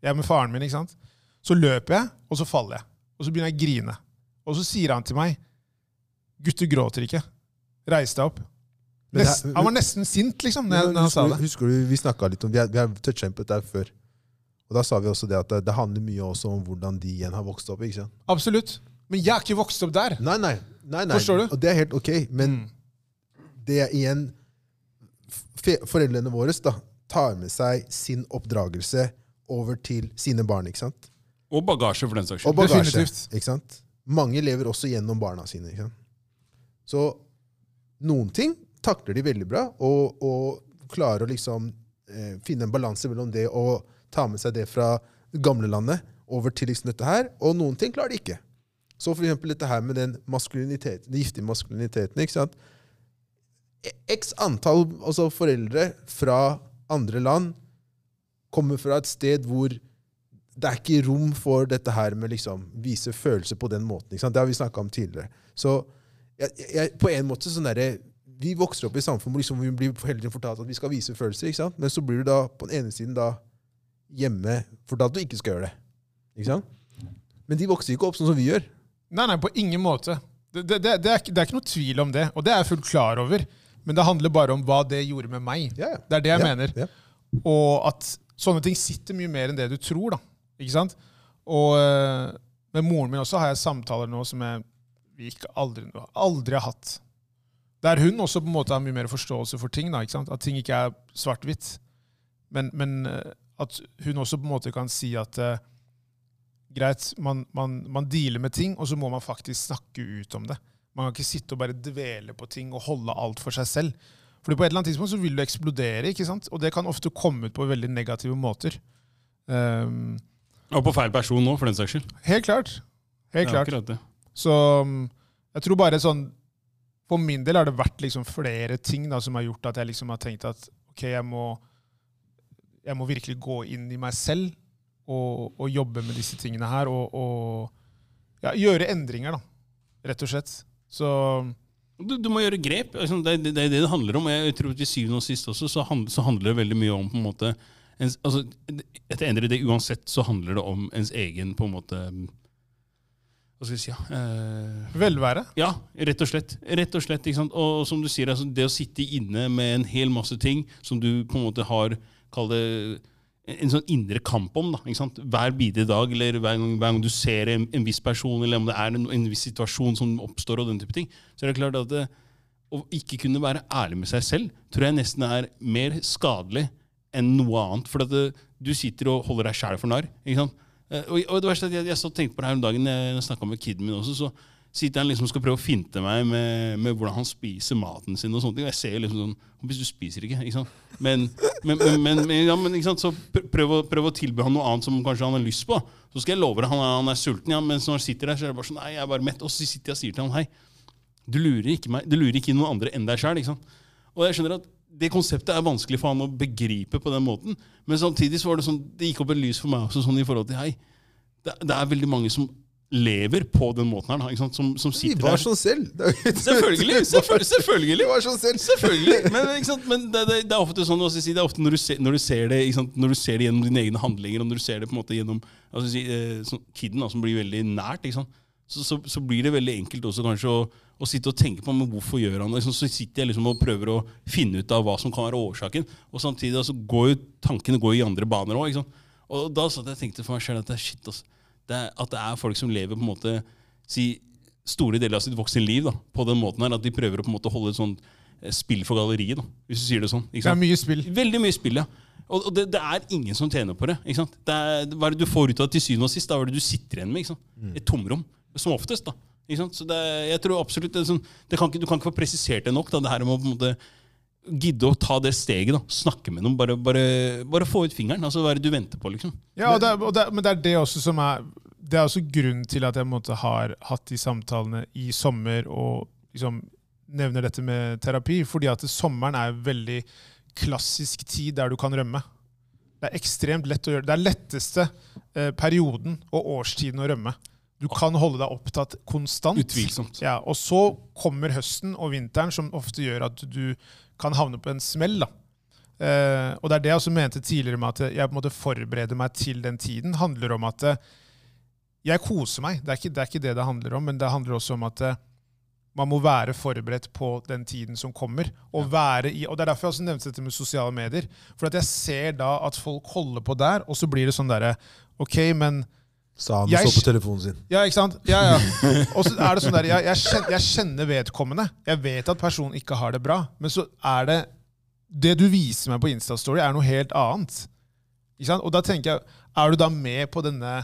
A: Jeg er med faren min, ikke sant? Så løper jeg, og så faller jeg. Og så begynner jeg å grine. Og så sier han til meg, gutter gråter ikke. Reis deg opp.
B: Men det er-
A: Nest, han var nesten sint, liksom,
B: Men
A: når, når han sa
B: husker, du-
A: det.
B: husker du, vi snakket litt om, vi har, vi har touchet inn på dette her før. Og da sa vi også det at det, det handler mye også om hvordan de igjen har vokst opp. ikke sant?
A: Absolutt. Men jeg har ikke vokst opp der.
B: Nei, nei. nei, nei.
A: Forstår du? Mm.
B: Og det er helt ok, men det er igjen fe- Foreldrene våre da, tar med seg sin oppdragelse over til sine barn. ikke sant?
C: Og bagasje, for den saks
B: Og
C: skyld.
B: bagasje.
A: Definitivt.
B: Ikke sant? Mange lever også gjennom barna sine. Ikke sant? Så noen ting takler de veldig bra, og, og klarer å liksom eh, finne en balanse mellom det å ta med seg det fra gamlelandet over til liksom dette her, og noen ting klarer de ikke. Så for eksempel dette her med den maskuliniteten, den giftige maskuliniteten. ikke sant? E- X antall altså foreldre fra andre land kommer fra et sted hvor det er ikke rom for dette her med liksom vise følelser på den måten. Ikke sant? Det har vi snakka om tidligere. Så jeg, jeg, på en måte sånn derre Vi vokser opp i et samfunn hvor liksom vi blir hele tiden fortalt at vi skal vise følelser, ikke sant? men så blir du da på den ene siden da hjemme fortalt at du ikke skal gjøre det. Ikke sant? Men de vokser ikke opp sånn som vi gjør.
A: Nei, nei, på ingen måte. Det, det, det, det, er, ikke- det er ikke noe tvil om det, og det er jeg fullt klar over. Men det handler bare om hva det gjorde med meg.
B: Ja, ja.
A: Det er det jeg
B: Ja,
A: mener.
B: ja.
A: Og at sånne ting sitter mye mer enn det du tror. da. Ikke sant? Og eh, med moren min også har jeg samtaler nå som jeg vi ikke aldri, aldri har hatt. Der hun også på en måte har mye mer forståelse for ting. da, ikke sant? At ting ikke er svart-hvitt. Men, men eh, at hun også på en måte kan si at eh, greit, man, man, man dealer med ting, og så må man faktisk snakke ut om det. Man kan ikke sitte og bare dvele på ting og holde alt for seg selv. Fordi på et eller annet tidspunkt så vil du eksplodere, ikke sant? og det kan ofte komme ut på veldig negative måter. Ehm,
C: Og på feil person nå, for den saks skyld.
A: helt klart. Helt
C: Ja,
A: klart.
C: akkurat det.
A: Så um, jeg tror bare sånn For min del har det vært liksom flere ting da, som har gjort at jeg liksom har tenkt at ok, jeg må, jeg må virkelig gå inn i meg selv og, og jobbe med disse tingene her. Og, og ja, gjøre endringer, da, rett og slett. Så
C: Du, du må gjøre grep. Liksom, det er det, det er det det handler om. og Jeg tror til syvende og sist også så, hand, så handler det veldig mye om på en måte ens, altså, Etter endre det uansett, så handler det om ens egen på en måte Hva skal jeg si? Ja, eh,
A: velvære.
C: Ja, rett og slett. Rett og slett, ikke sant? Og som du sier, altså, det å sitte inne med en hel masse ting som du på en måte har kall det, en sånn indre kamp om da, ikke sant? hver bidige dag, eller hver gang, hver gang du ser en, en viss person, eller om det er en, en viss situasjon som oppstår, og den type ting, så er det klart at eh, det, å ikke kunne være ærlig med seg selv, tror jeg nesten er mer skadelig enn noe annet. For at det, du sitter og holder deg sjæl for narr. ikke sant? Eh, Og, og det verste er at jeg, jeg så tenkte på det her om dagen, jeg snakka med kiden min også, så sitter han liksom og skal prøve å finte meg med, med hvordan han spiser maten sin. og sånne ting. Og jeg ser jo liksom sånn Hvis du spiser ikke, ikke sant? Men, men, men, men, men, ja, men ikke sant? Så pr- prøv å, prøv å tilby han noe annet som kanskje han har lyst på. Så skal jeg love deg, han er, han er sulten, ja, mens når han sitter der, så er det bare sånn Nei, jeg er bare mett. Og så sitter jeg og sier til ham hei. Du lurer ikke, meg, du lurer ikke inn noen andre enn deg sjøl. Og jeg skjønner at det konseptet er vanskelig for han å begripe på den måten. Men samtidig så var det sånn, det gikk opp et lys for meg også sånn i forhold til hei. Det, det er veldig mange som lever på den måten her. da, ikke sant? Som, som
B: Vi
C: sitter
B: var
C: der.
B: sånn selv. Det er jo ikke-
C: Selvfølgelig! selvfø-
B: Vi
C: selvfølgelig.
B: var sånn selv.
C: Selvfølgelig, men, ikke sant? men det, det, det er ofte sånn hva skal jeg si, det er ofte når du, ser, når, du ser det, ikke sant? når du ser det gjennom dine egne handlinger, og når du ser det på en måte gjennom hva skal jeg si, eh, sånn, kidden, da, som blir veldig nært, ikke sant? Så, så, så blir det veldig enkelt også kanskje å, å sitte og tenke på men hvorfor gjør han det. Liksom, så sitter jeg liksom og prøver å finne ut av hva som kan være årsaken, og samtidig altså, går jo tankene går i andre baner òg. Og da satt jeg og tenkte for meg selv at det er shit, altså. Det er, at det er folk som lever på en måte si, store deler av sitt voksne liv da, på den måten her, at de prøver å på en måte holde et sånt eh, spill for galleriet, da, hvis du sier det sånn.
A: Det
C: Ikke
A: er
C: sant?
A: mye spill.
C: Veldig mye spill, ja. Og, og det, det er ingen som tjener på det. ikke sant? Det er, hva er det du får ut av det til syvende og sist? Da er det du sitter igjen med. ikke sant? Et tomrom. Som oftest. da. Ikke sant? Så det, er- jeg tror absolutt det er sånn, det kan ikke, Du kan ikke få presisert det nok, da, det her med å på en måte gidde å ta det steget. da, Snakke med noen. Bare, bare, bare få ut fingeren. altså Hva er det du venter på, liksom?
A: Ja, og det, er- og det, er- men det er det også som er Det er også grunnen til at jeg på en måte har hatt de samtalene i sommer og liksom nevner dette med terapi, fordi at sommeren er veldig klassisk tid der du kan rømme. Det er ekstremt lett å gjøre. Det er letteste eh, perioden og årstiden å rømme. Du kan holde deg opptatt konstant.
C: Utvilsomt.
A: Ja, og så kommer høsten og vinteren, som ofte gjør at du kan havne på en smell. da. Eh, og det er det jeg også mente tidligere med at jeg på en måte forbereder meg til den tiden. handler om at eh, jeg koser meg. Det er, ikke, det er ikke det det handler om, men det handler også om at eh, man må være forberedt på den tiden som kommer. Og, være i, og Det er derfor jeg også nevnte dette med sosiale medier. For at jeg ser da at folk holder på der, og så blir det sånn derre OK, men
B: Sa han og
A: Jeg
B: så på telefonen sin.
A: ja, ikke sant? Ja, ja. Og så er det sånn der, jeg, jeg, kjenner, jeg kjenner vedkommende. Jeg vet at personen ikke har det bra. Men så er det Det du viser meg på Insta-story, er noe helt annet. Ikke sant? Og da tenker jeg, er du da med på denne,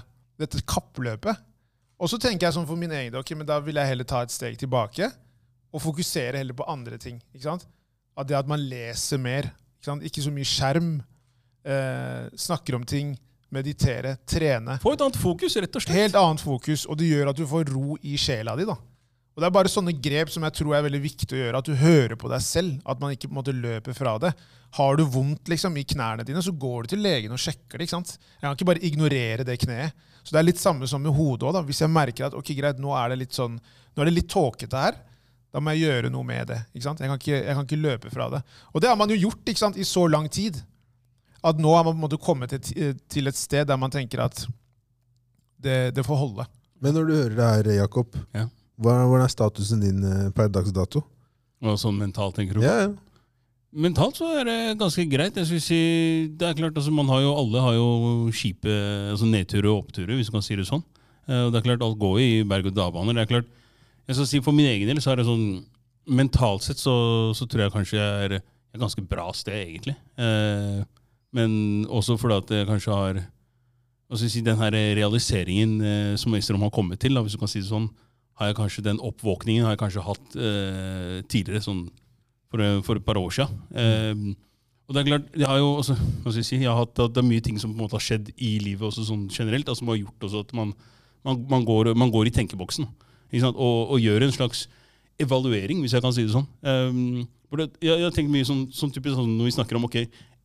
A: dette kappløpet? Og så tenker jeg sånn for min egen del, ok, men da vil jeg heller ta et steg tilbake og fokusere heller på andre ting. Ikke sant? At det at man leser mer, ikke, sant? ikke så mye skjerm, eh, snakker om ting, meditere, trene.
C: Få et annet fokus, rett og slett.
A: Helt annet fokus, og det gjør at du får ro i sjela di. da. Og Det er bare sånne grep som jeg tror er veldig viktig å gjøre. At du hører på deg selv. At man ikke på en måte løper fra det. Har du vondt liksom, i knærne dine, så går du til legen og sjekker det. ikke sant? Jeg kan ikke bare ignorere det kneet. Så det er litt samme som med hodet òg. Hvis jeg merker at ok, greit, nå er det litt sånn, nå er det litt tåkete her, da må jeg gjøre noe med det. ikke sant? Jeg kan ikke, jeg kan ikke løpe fra det. Og det har man jo gjort ikke sant, i så lang tid. At nå har man på en måte kommet til, til et sted der man tenker at det, det får holde.
B: Men når du hører det her, Jakob,
C: Ja.
B: hva- hvordan er statusen din eh, per dags dato?
C: Og sånn mentalt, tenker du?
B: Ja, ja.
C: Mentalt så er det ganske greit. Jeg skulle si, det er klart, altså, man har jo, Alle har jo kjipe altså, nedturer og oppturer, hvis man kan si det sånn. Eh, og det er klart, Alt går jo i berg-og-dal-baner. Det er klart, jeg skal si For min egen del så er det sånn Mentalt sett så, så tror jeg kanskje jeg er et ganske bra sted, egentlig. Eh, men også fordi at jeg kanskje har hva skal jeg si, den her realiseringen eh, som Øystein har kommet til, da, hvis du kan si det sånn, har jeg kanskje den oppvåkningen har jeg kanskje hatt eh, tidligere. sånn for, for et par år siden. Eh, og det er klart, jeg har jo også, hva skal jeg si, jeg har hatt, det er mye ting som på en måte har skjedd i livet også sånn generelt, da, som har gjort også at man, man, man, går, man går i tenkeboksen ikke sant? Og, og gjør en slags evaluering, hvis jeg kan si det sånn. Eh, for det, jeg, jeg tenker mye sånn, sånn typisk sånn, når vi snakker om ok,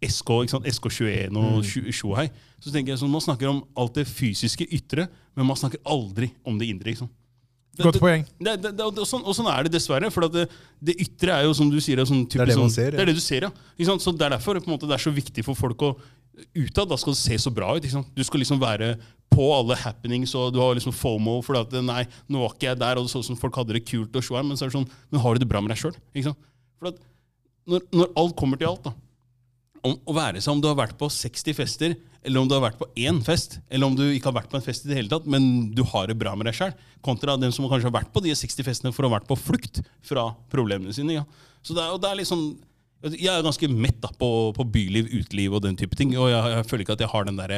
C: SK, ikke sant? SK21 og tju- Sjohei, så tenker jeg sånn, man snakker om alt det fysiske ytre, men man snakker aldri om det indre. ikke sant? Det-
A: Godt
C: det-
A: poeng.
C: det, det, det, og, sånn, og sånn er det dessverre. For at det, det ytre er jo som du sier, er sånn typisk,
B: er det man
C: sånn-
B: ser, ja.
C: det er det du ser, ja. Ikke sant? Så det er derfor på en måte, det er så viktig for folk å utad. Da skal det se så bra ut. Ikke sant? Du skal liksom være på alle happenings, og du har liksom fomo for at nei, nå var ikke jeg der, og det så ut som folk hadde det kult og svær, men så er det sånn, men har du det bra med deg sjøl? For at når, når alt kommer til alt, da om å være seg om du har vært på 60 fester, eller om du har vært på én fest, eller om du ikke har vært på en fest i det hele tatt, men du har det bra med deg sjøl, kontra den som kanskje har vært på de 60 festene for å ha vært på flukt fra problemene sine. Ja. Så det er, og det er liksom, Jeg er ganske mett da, på, på byliv, uteliv og den type ting, og jeg, jeg føler ikke at jeg har den der,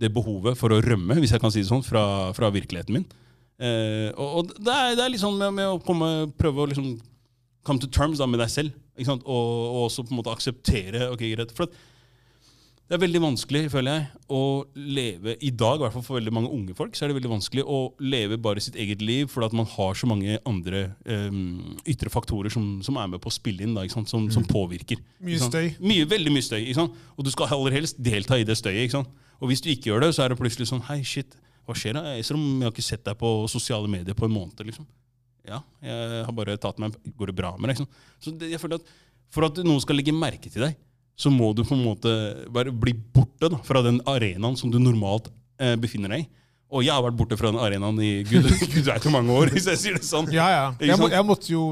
C: det behovet for å rømme, hvis jeg kan si det sånn, fra, fra virkeligheten min. Eh, og, og det, er, det er liksom med, med å komme, prøve å liksom come to terms da, med deg selv. Ikke sant? Og, og også på en måte akseptere ok, greit. For at det er veldig vanskelig, føler jeg, å leve i dag, i hvert fall for veldig mange unge folk, så er det veldig vanskelig å leve bare sitt eget liv fordi at man har så mange andre em, ytre faktorer som, som er med på å spille inn, da, ikke sant? Som, som påvirker.
A: Mm. Mye
C: ikke sant?
A: støy.
C: Mye, veldig mye støy. ikke sant? Og du skal aller helst delta i det støyet. ikke sant? Og hvis du ikke gjør det, så er det plutselig sånn Hei, shit, hva skjer da? Esrom, jeg har ikke sett deg på sosiale medier på en måned. liksom. Ja, jeg har bare tatt meg Går det bra med deg? Liksom. Så det, jeg føler at For at noen skal legge merke til deg, så må du på en måte bare bli borte da, fra den arenaen som du normalt eh, befinner deg i. Og jeg har vært borte fra den arenaen i gud, gud vet hvor mange år, hvis jeg sier det sånn.
A: Ja, ja.
C: Ikke
A: Jeg, må,
C: sant?
A: jeg måtte jo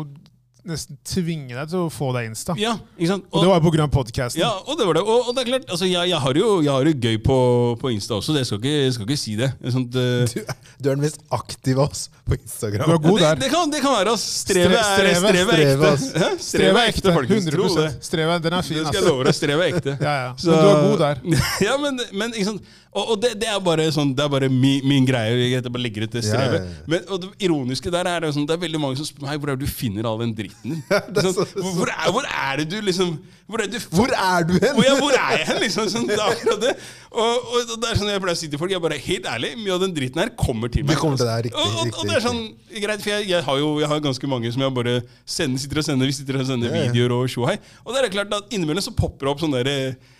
A: nesten tvinge deg til å få deg Insta.
C: Ja, ikke sant?
A: Og det var jo pga. podkasten.
C: Ja, og det var det. Og, og det er klart, altså, jeg, jeg, har jo, jeg har jo gøy på, på Insta også, det jeg skal ikke, jeg skal ikke si det. Det er Sånt, eh,
B: Du, du er den mest aktive av oss på Instagram.
A: Du er god
C: det,
A: der.
C: det, kan, det kan være, ass. Strevet er,
A: Stre- strevet-
C: strevet
B: strevet,
C: er ekte.
B: ass.
C: Hæ? Strevet er ekte, folkens. Tro det.
A: 100 Strevet, den er fin.
C: Det skal jeg
A: ass.
C: love deg. Strevet er ekte.
A: Ja, ja. Men du er god der.
C: ja, men, men ikke sant? Og, og det, det er bare, sånn, det er bare min, min greie. Jeg bare legger ut det
B: Ja, ja, ja.
C: strevet. Men, og det ironiske der er jo sånn, det er veldig mange som spør meg hvor er det du finner all den dritten din.
B: det er
C: Sånn,
B: så-
C: hvor, hvor, er, hvor er det du liksom Hvor er det du
B: Hvor er du hen?
C: hvor, ja, hvor er jeg hen? Liksom, sånn, det er akkurat det. Og, og det er sånn jeg pleier å si til folk, jeg bare helt ærlig, mye av den dritten her kommer til meg.
B: Det kommer til deg, riktig,
C: og, og,
B: riktig,
C: og det er sånn, greit, for jeg, jeg har jo jeg har ganske mange som jeg bare sender, sitter og sender, vi sitter og sender
B: Ja, ja.
C: videoer og tjohei. Og det er klart at innimellom så popper det opp sånne der, eh,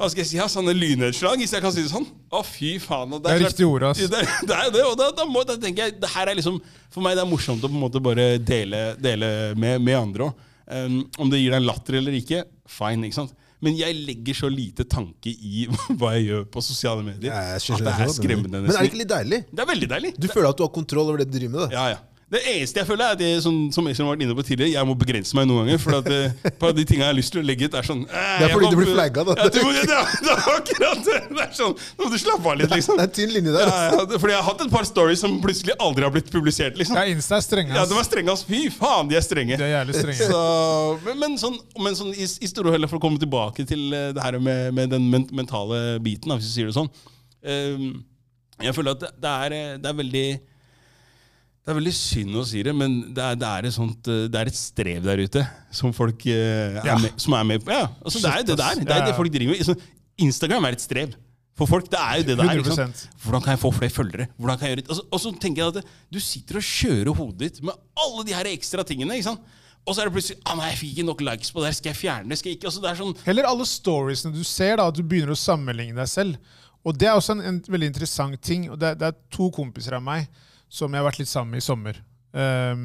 C: hva skal jeg si, ja, sånne lynnedslag, hvis jeg kan si det sånn. Å, fy faen. Og
A: Det er riktig ord, ass.
C: Det, er- det er jo det, og da, da, må, da tenker jeg, det her er liksom, for meg det er morsomt å på en måte bare dele, dele med, med andre også. Um, om det gir deg en latter eller ikke, fine, ikke sant? Men jeg legger så lite tanke i hva jeg gjør på sosiale medier,
B: Ja, jeg
C: at
B: skjønner
C: det er
B: godt, men-
C: skremmende
B: Men er det
C: nesten.
B: ikke litt deilig?
C: Det er veldig deilig.
B: Du føler at du har kontroll over det du driver med? da.
C: Ja, ja. Det eneste jeg føler, er at jeg, som, som Espen har vært inne på tidligere, jeg må begrense meg noen ganger. For at eh, på de tingene jeg har lyst til å legge ut, er sånn eh,
B: Det er
C: jeg
B: fordi
C: kan-
B: du blir flagget, da.
C: Ja, det, det, er- det er akkurat det! Det er sånn, Nå må du slappe av litt, liksom.
B: Det er en tynn linje
C: Ja,
B: der. altså.
C: ja, det- fordi jeg har hatt et par stories som plutselig aldri har blitt publisert, liksom.
A: Ja, Insta er strenge.
C: Ja,
A: ass.
C: de er strenge, ass. Fy faen, de er strenge.
A: De er jævlig strenge.
C: Så, men, men sånn, men sånn i, i store heller for å komme tilbake til eh, det her med, med den men mentale biten, da, hvis vi sier det sånn. Ehm, jeg føler at det, det, er, eh, det er veldig det er veldig synd å si det, men det er, det er, et, sånt, eh, det er et strev der ute som folk eh, er,
A: Ja.
C: med, som er med på. Ja, altså, det er jo det
A: Shit, ass.
C: der. Det er
A: Ja,
C: det
A: ja.
C: folk driver med. Sånn, Instagram er et strev for folk. Det er jo det det er. ikke sant?
A: 100%.
C: Hvordan kan jeg få flere følgere? Hvordan kan jeg gjøre det? Og så- Og så tenker jeg at det- du sitter og kjører hodet ditt med alle de her ekstra tingene. ikke sant? Og så er det plutselig ah, nei, jeg fikk ikke nok likes på det her. Skal jeg fjerne det? Skal jeg ikke? Altså, det er sånn,
A: Heller alle storiesene du ser, da, at du begynner å sammenligne deg selv. Og det er også en, en veldig interessant ting. og det, er- det er to kompiser av meg som jeg har vært litt sammen med i sommer. Ehm,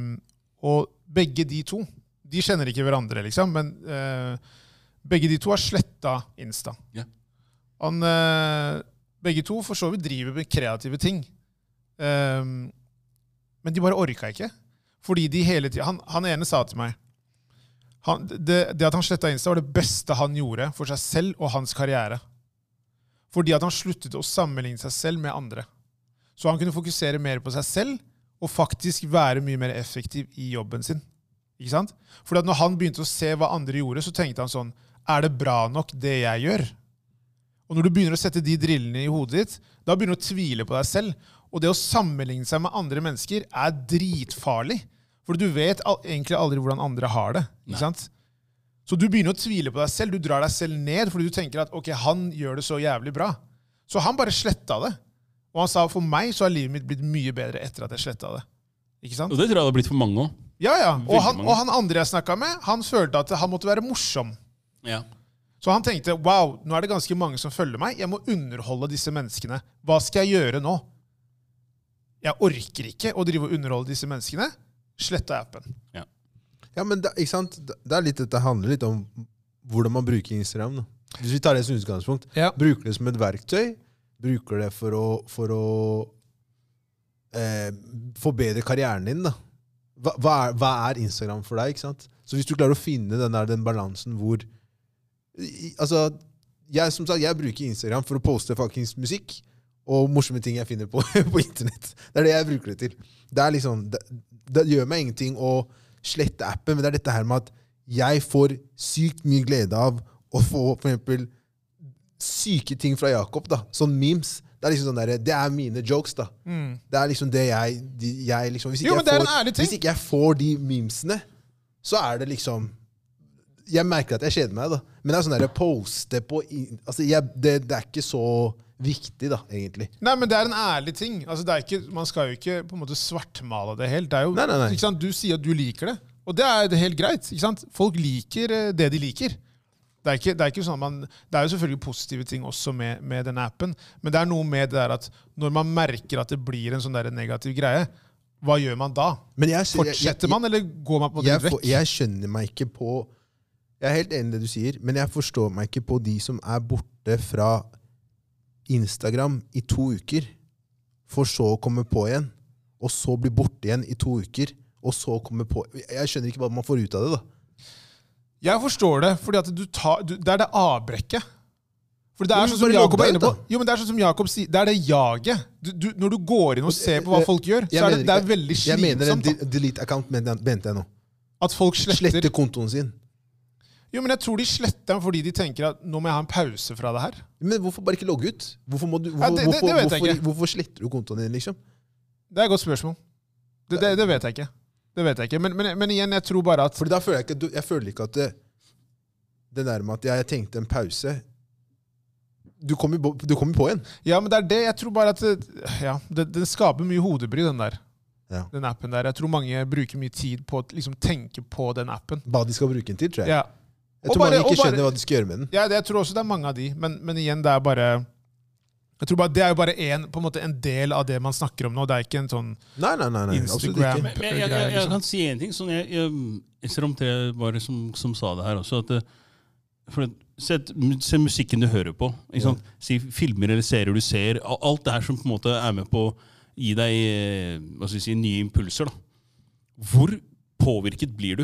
A: og begge de to De kjenner ikke hverandre, liksom, men eh, begge de to har sletta Insta.
C: Ja.
A: Han, eh, begge to for så vidt driver med kreative ting. Ehm, men de bare orka ikke. Fordi de hele tiden, han, han ene sa til meg han, det, det at han sletta Insta, var det beste han gjorde for seg selv og hans karriere. Fordi at han sluttet å sammenligne seg selv med andre. Så han kunne fokusere mer på seg selv og faktisk være mye mer effektiv i jobben sin. Ikke sant? Fordi at når han begynte å se hva andre gjorde, så tenkte han sånn Er det bra nok, det jeg gjør? Og når du begynner å sette de drillene i hodet ditt, da begynner du å tvile på deg selv. Og det å sammenligne seg med andre mennesker er dritfarlig. For du vet al egentlig aldri hvordan andre har det. Ikke sant? Så du begynner å tvile på deg selv. Du drar deg selv ned fordi du tenker at ok, han gjør det så jævlig bra. Så han bare sletta det. Og han sa for meg så har livet mitt blitt mye bedre etter at jeg sletta det. Ikke sant?
C: og det tror jeg det har blitt for mange òg.
A: Ja, ja. Og
C: Veldig
A: han,
C: mange.
A: og han andre jeg snakka med, han følte at han måtte være morsom.
C: Ja.
A: Så han tenkte wow, nå er det ganske mange som følger meg. Jeg må underholde disse menneskene. Hva skal jeg gjøre nå? Jeg orker ikke å drive og underholde disse menneskene. Sletta appen.
B: Ja, men det, ikke sant? Det- Det, er litt, det handler litt om hvordan man bruker Instagram. Da. Hvis vi tar det som utgangspunkt,
A: Ja.
B: bruker det som et verktøy, bruker det for å, for å eh, forbedre karrieren din. Da. Hva, hva, er, hva er Instagram for deg? Ikke sant? Så hvis du klarer å finne den, der, den balansen hvor i- Altså, jeg, som sagt, jeg bruker Instagram for å poste fuckings musikk og morsomme ting jeg finner på, på internett. Det er det jeg bruker det til. Det, er liksom, det, det gjør meg ingenting å slette appen, men det er dette her med at jeg får sykt mye glede av å få for eksempel syke ting fra Jakob, da. Sånn memes. Det Det er liksom sånn der, det er mine jokes, da. Det er liksom det jeg, de, jeg liksom, hvis, ikke
A: Mm. Jo, men
B: jeg
A: det er
B: får,
A: en ærlig ting.
B: hvis ikke jeg får de memesene, så er det liksom Jeg merker at jeg kjeder meg, da. Men det er sånn der, poste på in- altså jeg, det, det er ikke så viktig, da, egentlig.
A: Nei, men det er en ærlig ting. Altså, det er ikke, man skal jo ikke på en måte svartmale det helt. Det er jo,
B: Nei, nei, nei.
A: Ikke sant? Du sier at du liker det, og det er det helt greit. Ikke sant? Folk liker eh, det de liker. Det er, ikke, det, er ikke sånn at man, det er jo selvfølgelig positive ting også med, med denne appen, men det er noe med det der at når man merker at det blir en sånn der negativ greie, hva gjør man da?
B: Men jeg, jeg- jeg-
A: Fortsetter man, eller går man på en måte
B: jeg,
A: litt vekk?
B: for, jeg skjønner meg ikke på Jeg er helt enig i det du sier, men jeg forstår meg ikke på de som er borte fra Instagram i to uker, for så å komme på igjen, og så bli borte igjen i to uker, og så komme på Jeg skjønner ikke hva man får ut av det, da.
A: Jeg forstår det, fordi at du tar, du, det er det avbrekket. For det
B: Men
A: er
B: du
A: sånn som
B: Mm, bare
A: Jakob
B: logger
A: er inne
B: deg
A: på.
B: ut,
A: Jo, men det er sånn som Jakob sier, det er det jaget. Du, du, når du går inn og ser på hva folk gjør, så er det,
B: mener
A: det er
B: ikke-
A: veldig
B: Jeg mener en
A: slitsomt da,
B: de- delete account, men den- mente jeg nå.
A: at folk sletter.
B: Slette kontoen sin.
A: Jo, men jeg tror de sletter den fordi de tenker at nå må jeg ha en pause fra det her.
B: Men hvorfor bare ikke logge ut? Hvorfor, må du, hvorfor,
A: Ja, det- det- det
B: hvorfor,
A: vet jeg
B: hvorfor,
A: ikke.
B: hvorfor sletter du kontoen din, liksom?
A: Det er et godt spørsmål. Det, det, det vet jeg ikke. Det vet jeg ikke. Men, men, men igjen, jeg tror bare at
B: Fordi da føler jeg ikke, at du- jeg føler ikke at det, det der med at jeg trengte en pause Du kommer jo på- du kommer jo på igjen.
A: Ja, men det er det. Jeg tror bare at det- ja, det, det skaper mye hodebry, den der.
B: Ja.
A: Den appen der. Jeg tror mange bruker mye tid på å liksom, tenke på den appen.
B: Hva de skal bruke den til, tror jeg.
A: Ja.
B: Jeg
A: Og
B: tror
A: bare-
B: mange ikke
A: og bare-
B: skjønner hva de skal gjøre med den.
A: Ja, det, jeg tror også det er mange av de, men, men igjen, det er bare jeg tror bare, Det er jo bare en, på en, måte, en del av det man snakker om nå. Det er ikke en sånn
B: Nei, nei, nei, nei absolutt
A: Instagram
B: ikke.
C: Men jeg, jeg, jeg, jeg kan si én ting. Sånn, jeg, jeg, jeg ser om det var det som, som sa det her også. At, det- for at, sett, mu- se musikken du hører på. Ikke sant? Si filmer eller serier du ser. a- Alt det her som på en måte er med på å gi deg eh, hva skal jeg si, nye impulser. Da. Hvor påvirket blir du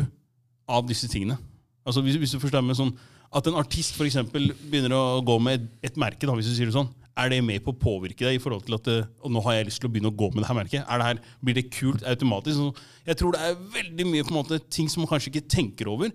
C: av disse tingene? Altså hvis, hvis du forstår meg sånn At en artist for eksempel, begynner å gå med et, et merke, da, hvis du sier det sånn, er det med på å påvirke deg i forhold til at eh, og nå har jeg lyst til å begynne å gå med det her merket? Er det her, blir det kult automatisk? Så jeg tror det er veldig mye på en måte, ting som man kanskje ikke tenker over.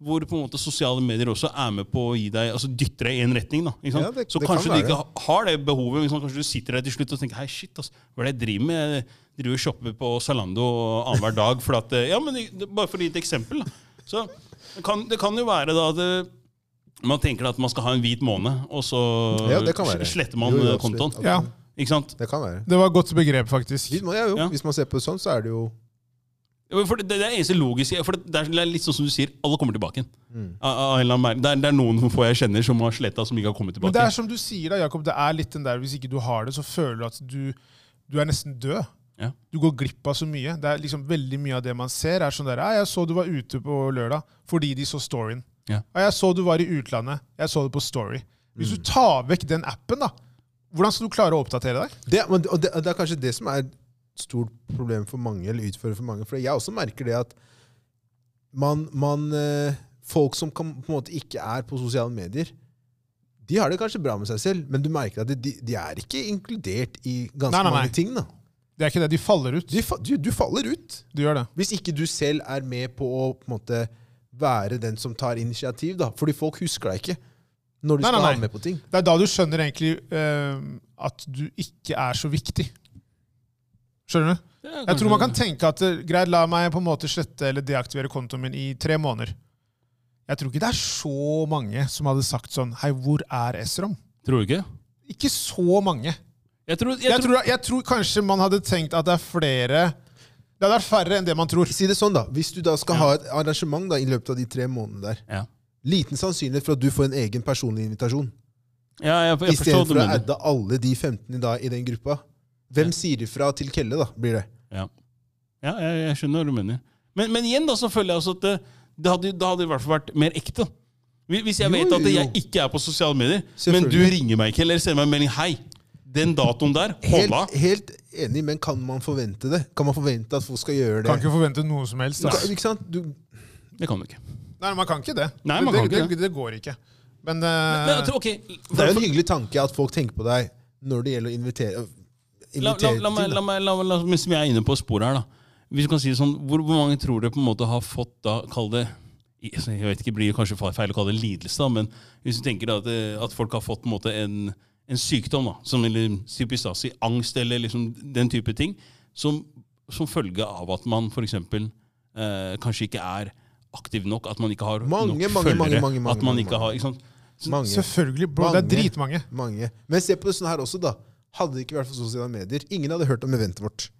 C: Hvor på en måte sosiale medier også er med på å gi deg, altså dytter deg i én retning. da, ikke sant?
B: Ja, det-
C: så
B: det kan
C: kanskje du ikke
B: være.
C: ha- har det behovet. Liksom, kanskje du sitter der til slutt og tenker hei, shit, ass, hva er det jeg driver med? Jeg driver og shopper på Zalando annenhver dag. For at, eh, ja, men det- bare for å gi et eksempel. Da. Så det kan, det kan jo være da at eh, man tenker at man skal ha en hvit måned, og så
B: Ja, det kan være.
C: sletter man
B: Jo, jo,
C: eh,
B: absolutt.
C: kontoen.
A: Ja,
C: Ikke sant?
B: Det kan være.
A: det var et godt begrep, faktisk.
B: Hvis man, ja, jo,
C: Ja.
B: hvis man ser på det sånn, så er det jo
C: Ja, men For det, det er det eneste logiske for det, det er litt sånn som du sier, alle kommer tilbake igjen. Av- av en eller annen mer- Det, er- det er noen få jeg kjenner som har sletta, som ikke har kommet
A: Men
C: tilbake.
A: det er som du sier, da, Jakob. Det er litt den der hvis ikke du har det, så føler du at du, du er nesten død.
C: Ja.
A: Du går glipp av så mye. Det er liksom Veldig mye av det man ser, er sånn der «Ja, 'Jeg så du var ute på lørdag fordi de så storyen'.
C: Ja. Mm.
A: «Ja, 'Jeg så du var i utlandet. Jeg så det på Story'. Hvis du tar vekk den appen, da, hvordan skal du klare å oppdatere deg?
B: det, men, og det, og det er kanskje det som er et stort problem for mange, eller utfordring for mange. For jeg også merker det at man, man eh, Folk som kan, på en måte ikke er på sosiale medier, de har det kanskje bra med seg selv, men du merker at de- de, de er ikke inkludert i ganske
A: Nei, nei, nei.
B: mange ting. da.
A: Det er ikke det. De faller ut.
B: Du, fa- du, du faller ut.
A: Du gjør det.
B: Hvis ikke du selv er med på å på en måte, være den som tar initiativ, da. Fordi folk husker deg ikke når du
A: Nei,
B: skal
A: nei, nei.
B: ha med på ting.
A: Det er da du skjønner egentlig øhm, at du ikke er så viktig. Skjønner du?
C: Ja,
A: Jeg
C: kanskje-
A: tror man kan tenke at eh, greit, la meg på en måte slette eller deaktivere kontoen min i tre måneder. Jeg tror ikke det er så mange som hadde sagt sånn Hei, hvor er Esrom?
C: Tror du ikke?
A: Ikke så mange.
C: Jeg tror, jeg
A: Jeg
C: tror,
A: tror, jeg tror kanskje man hadde tenkt at det er flere Det hadde vært færre enn det man tror.
B: Si det sånn, da. Hvis du da skal ha et arrangement da, i løpet av de tre månedene der,
C: ja.
B: liten sannsynlighet for at du får en egen personlig invitasjon.
C: Ja, jeg, jeg forstår hva
B: Istedenfor
C: du
B: å
C: mener.
B: adde alle de 15 da, i den gruppa. Hvem sier ifra til Kelle, da? blir det?
C: Ja, ja jeg, jeg skjønner hva du mener. Men, men igjen da, så føler jeg også at det, det, hadde, det hadde i hvert fall vært mer ekte. da. Hvis hvis jeg
B: Jo,
C: vet at
B: jo, jo.
C: jeg ikke er på sosiale medier, men
B: Selvfølgelig.
C: du ringer meg ikke eller sender meg en melding 'Hei, den datoen der, hålla'.
B: Helt, helt enig, men kan man forvente det? Kan man forvente at folk skal gjøre det?
A: Kan ikke forvente noe som helst.
B: Du
A: Da.
B: kan, ikke sant? Du, e-
C: Det kan du ikke.
A: Nei, man kan ikke det.
C: Nei, man
A: det,
C: kan ikke
A: det, det. det går ikke. Men, eh,
C: Men, jeg tror- ok,
B: det er jo en hyggelig tanke at folk tenker på deg når det gjelder å invitere,
C: La, la,
B: invitere
C: la, meg,
B: til ting.
C: la,
B: da.
C: meg, la, meg- la, mens vi er inne på sporet her, da. Hvis du kan si det sånn, hvor, hvor mange tror dere på en måte har fått da, kall det i- altså, Jeg vet ikke, blir det kanskje fa- feil å kalle det lidelse, da, men hvis du tenker da, at, eh, at folk har fått på en måte en, en sykdom, da, som eller, sypistasi, angst eller liksom den type ting, som, som følge av at man f.eks. Eh, kanskje ikke er aktiv nok, at man ikke har
B: Mange,
C: nok
B: mange,
C: følgere.
B: mange, mange, mange,
C: at man
B: mange,
C: ikke har, ikke sant?
B: Mange.
A: Selvfølgelig, bro. Det er
B: Mange.
A: dritmange.
B: mange. Men se på det sånn her også, da. Hadde det ikke vært for sosiale medier, ingen hadde hørt om eventet vårt.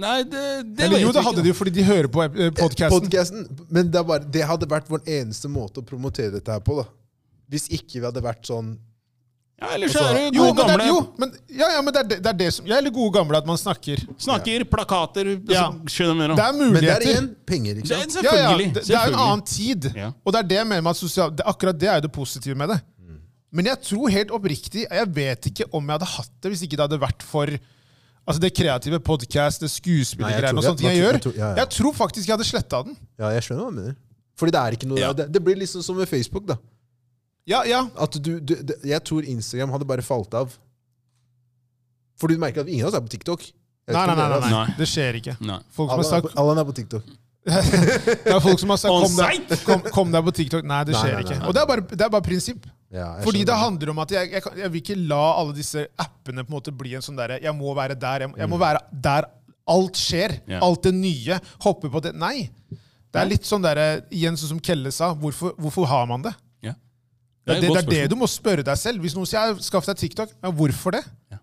C: Nei, det, det
A: Eller jo, det hadde
C: ikke.
A: de jo fordi de hører på eh, podkasten.
B: Podcasten. Men det, er bare, det hadde vært vår eneste måte å promotere dette her på, da. Hvis ikke vi hadde vært sånn
C: Ja, ellers er det
A: Jo, men,
C: gode
A: det
C: gamle
A: er, jo men, ja, ja, men det, er det, det er det som Ja, eller gode gamle, at man snakker.
C: snakker, plakater
A: Ja.
C: altså, Skjønner du mer
A: Det er
B: Men
C: om?
B: det er
A: muligheter.
B: igjen penger, ikke sant?
A: Ja, ja,
C: Selvfølgelig.
A: det, det er jo en
C: selvfølgelig.
A: annen tid.
C: Ja.
A: Og det er det jeg mener med at sosial, det, akkurat det er jo det positive med det. Men jeg tror helt oppriktig Jeg vet ikke om jeg hadde hatt det hvis ikke det hadde vært for altså det kreative podcast, det
B: Nei, jeg
A: skuespillergreiene
B: tror
A: og
B: det.
A: sånne ting jeg
B: Jeg
A: gjør.
B: tror- ja, ja.
A: Jeg tror faktisk jeg hadde sletta den.
B: Ja, jeg skjønner hva du mener. Fordi det er ikke noe
C: Ja.
B: det, det blir liksom som med Facebook, da.
A: Ja, ja.
B: At du, du, det, jeg tror Instagram hadde bare falt av. For du merker at ingen av oss er på TikTok. Jeg vet
A: Nei, nei,
B: ikke om
A: nei,
B: dere er
A: nei, nei.
C: Nei.
A: Det skjer ikke.
C: Nei.
A: Folk
B: det.
A: som har
B: Allan er,
A: sagt,
B: på- Allan er på TikTok.
A: det er folk som har sagt
C: On
A: kom, deg, kom, 'kom deg på TikTok'. Nei, det
B: Nei,
A: skjer
B: nei, nei,
A: ikke.
B: nei.
A: Og det er bare, det er bare prinsipp.
B: Ja, jeg
A: Fordi
B: skjønner
A: det handler om at jeg, jeg, kan- jeg vil ikke la alle disse appene på en måte bli en sånn derre Jeg må være der. Jeg, må- jeg
B: Mm.
A: må være der alt skjer.
C: Ja.
A: Alt det nye. Hoppe på det. Nei. Det er litt sånn derre Igjen sånn som Kelle sa, hvorfor, hvorfor har man det?
C: Ja.
A: Det er det, det
C: et
A: er
C: godt
A: det du må spørre deg selv. Hvis noen sier skaff deg TikTok, ja, hvorfor det?
C: Ja.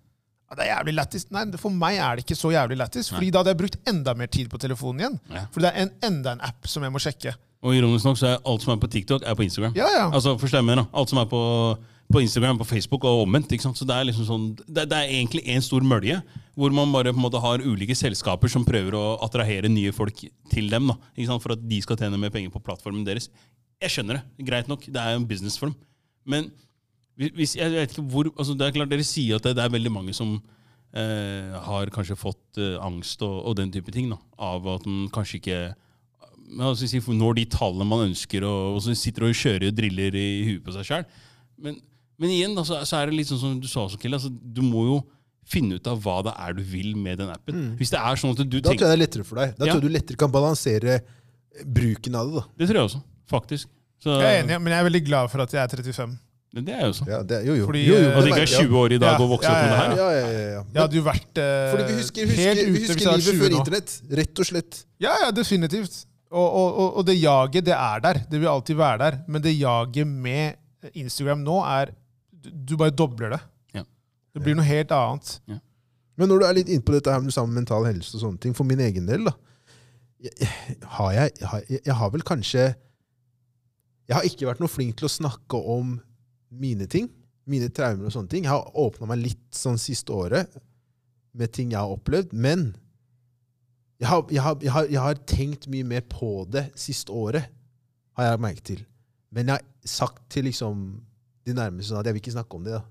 A: Ja, det er jævlig lættis. Nei, for meg er det ikke så jævlig lættis. Fordi da hadde jeg brukt enda mer tid på telefonen igjen.
C: Ja.
A: Fordi det er en, enda en app som jeg må sjekke.
C: Og ironisk nok så er alt som er på TikTok, er på Instagram.
A: Ja, ja.
C: Altså, forstår jeg mener, da. Alt som er på, på Instagram, på Facebook og omvendt. ikke sant? Så Det er liksom sånn, det, det er egentlig én stor mølje, hvor man bare på en måte har ulike selskaper som prøver å attrahere nye folk til dem, da, ikke sant? for at de skal tjene mer penger på plattformen deres. Jeg skjønner det. Greit nok. Det er jo en business for dem. Men hvis- hvis, jeg vet ikke hvor, altså det er klart dere sier at det, det er veldig mange som eh, har kanskje fått eh, angst og, og den type ting da, av at den kanskje ikke men altså, si, for når de tallene man ønsker, og, og så sitter og kjører og driller i huet på seg sjøl. Men, men igjen, da, så, så er det litt sånn som du sa, også, Kille, altså, du må jo finne ut av hva det er du vil med den appen. Hvis det er sånn at du
B: Da tror
C: tenker
B: jeg det er lettere for deg. Da
C: Ja.
B: tror jeg du lettere kan balansere bruken av det. da.
C: Det tror jeg også, faktisk. Så,
A: Jeg er enig, men jeg er veldig glad for at jeg er 35.
C: Det er jeg også.
B: Ja, det, jo, jo.
A: Fordi,
B: jo, jo,
A: eh,
C: At
B: det
C: jeg ikke er
B: merker jeg.
C: 20 år i dag og vokser opp med det
A: Ja,
C: her.
B: Ja, ja, ja, ja.
A: Jeg hadde jo vært eh,
B: Fordi vi husker, husker,
A: helt ute
B: vi
A: hvis
B: husker
A: jeg var
B: livet
A: 20
B: før
A: nå.
B: internett. Rett og slett.
A: Ja, ja, definitivt. Og, og, og, og det jaget, det er der. Det vil alltid være der. Men det jaget med Instagram nå er Du, du bare dobler det.
C: Ja.
A: Det blir noe helt annet.
B: Men når du er litt inne på dette her med sammen med mental helse og sånne ting, for min egen del, da jeg, jeg- har jeg, jeg har- jeg, jeg har vel kanskje Jeg har ikke vært noe flink til å snakke om mine ting. Mine traumer og sånne ting. Jeg har åpna meg litt sånn siste året med ting jeg har opplevd. Men jeg har, jeg, har, jeg, har, jeg har tenkt mye mer på det siste året, har jeg merket til. Men jeg har sagt til liksom de nærmeste sånn at jeg vil ikke snakke om det. da.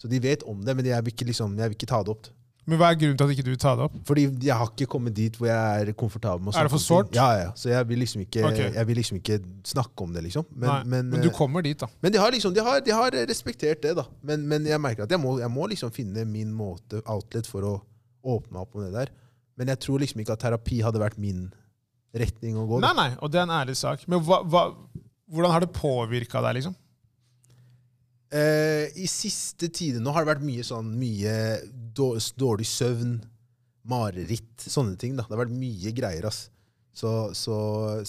B: Så de vet om det, men jeg vil ikke, liksom, jeg vil ikke ta det opp.
A: Men hva er grunnen til at ikke du tar det opp?
B: Fordi jeg har ikke kommet dit hvor jeg er komfortabel med å
A: Er det
B: snakke
A: for
B: om
A: sårt?
B: ting. Ja, ja. Så jeg vil liksom ikke,
A: Ok.
B: jeg vil liksom ikke snakke om det, liksom. Men,
A: Nei,
B: men,
A: men du kommer dit, da.
B: eh, men de har liksom, de har, de har respektert det, da. Men, men jeg merker at jeg må, jeg må liksom finne min måte, outlet, for å åpne meg opp om det der. Men jeg tror liksom ikke at terapi hadde vært min retning å gå. da.
A: Nei, nei, og det er en ærlig sak. Men hva, hva, hvordan har det påvirka deg, liksom?
B: Eh, I siste tide nå har det vært mye sånn mye dår- dårlig søvn, mareritt, sånne ting. da. Det har vært mye greier, ass. Så, så,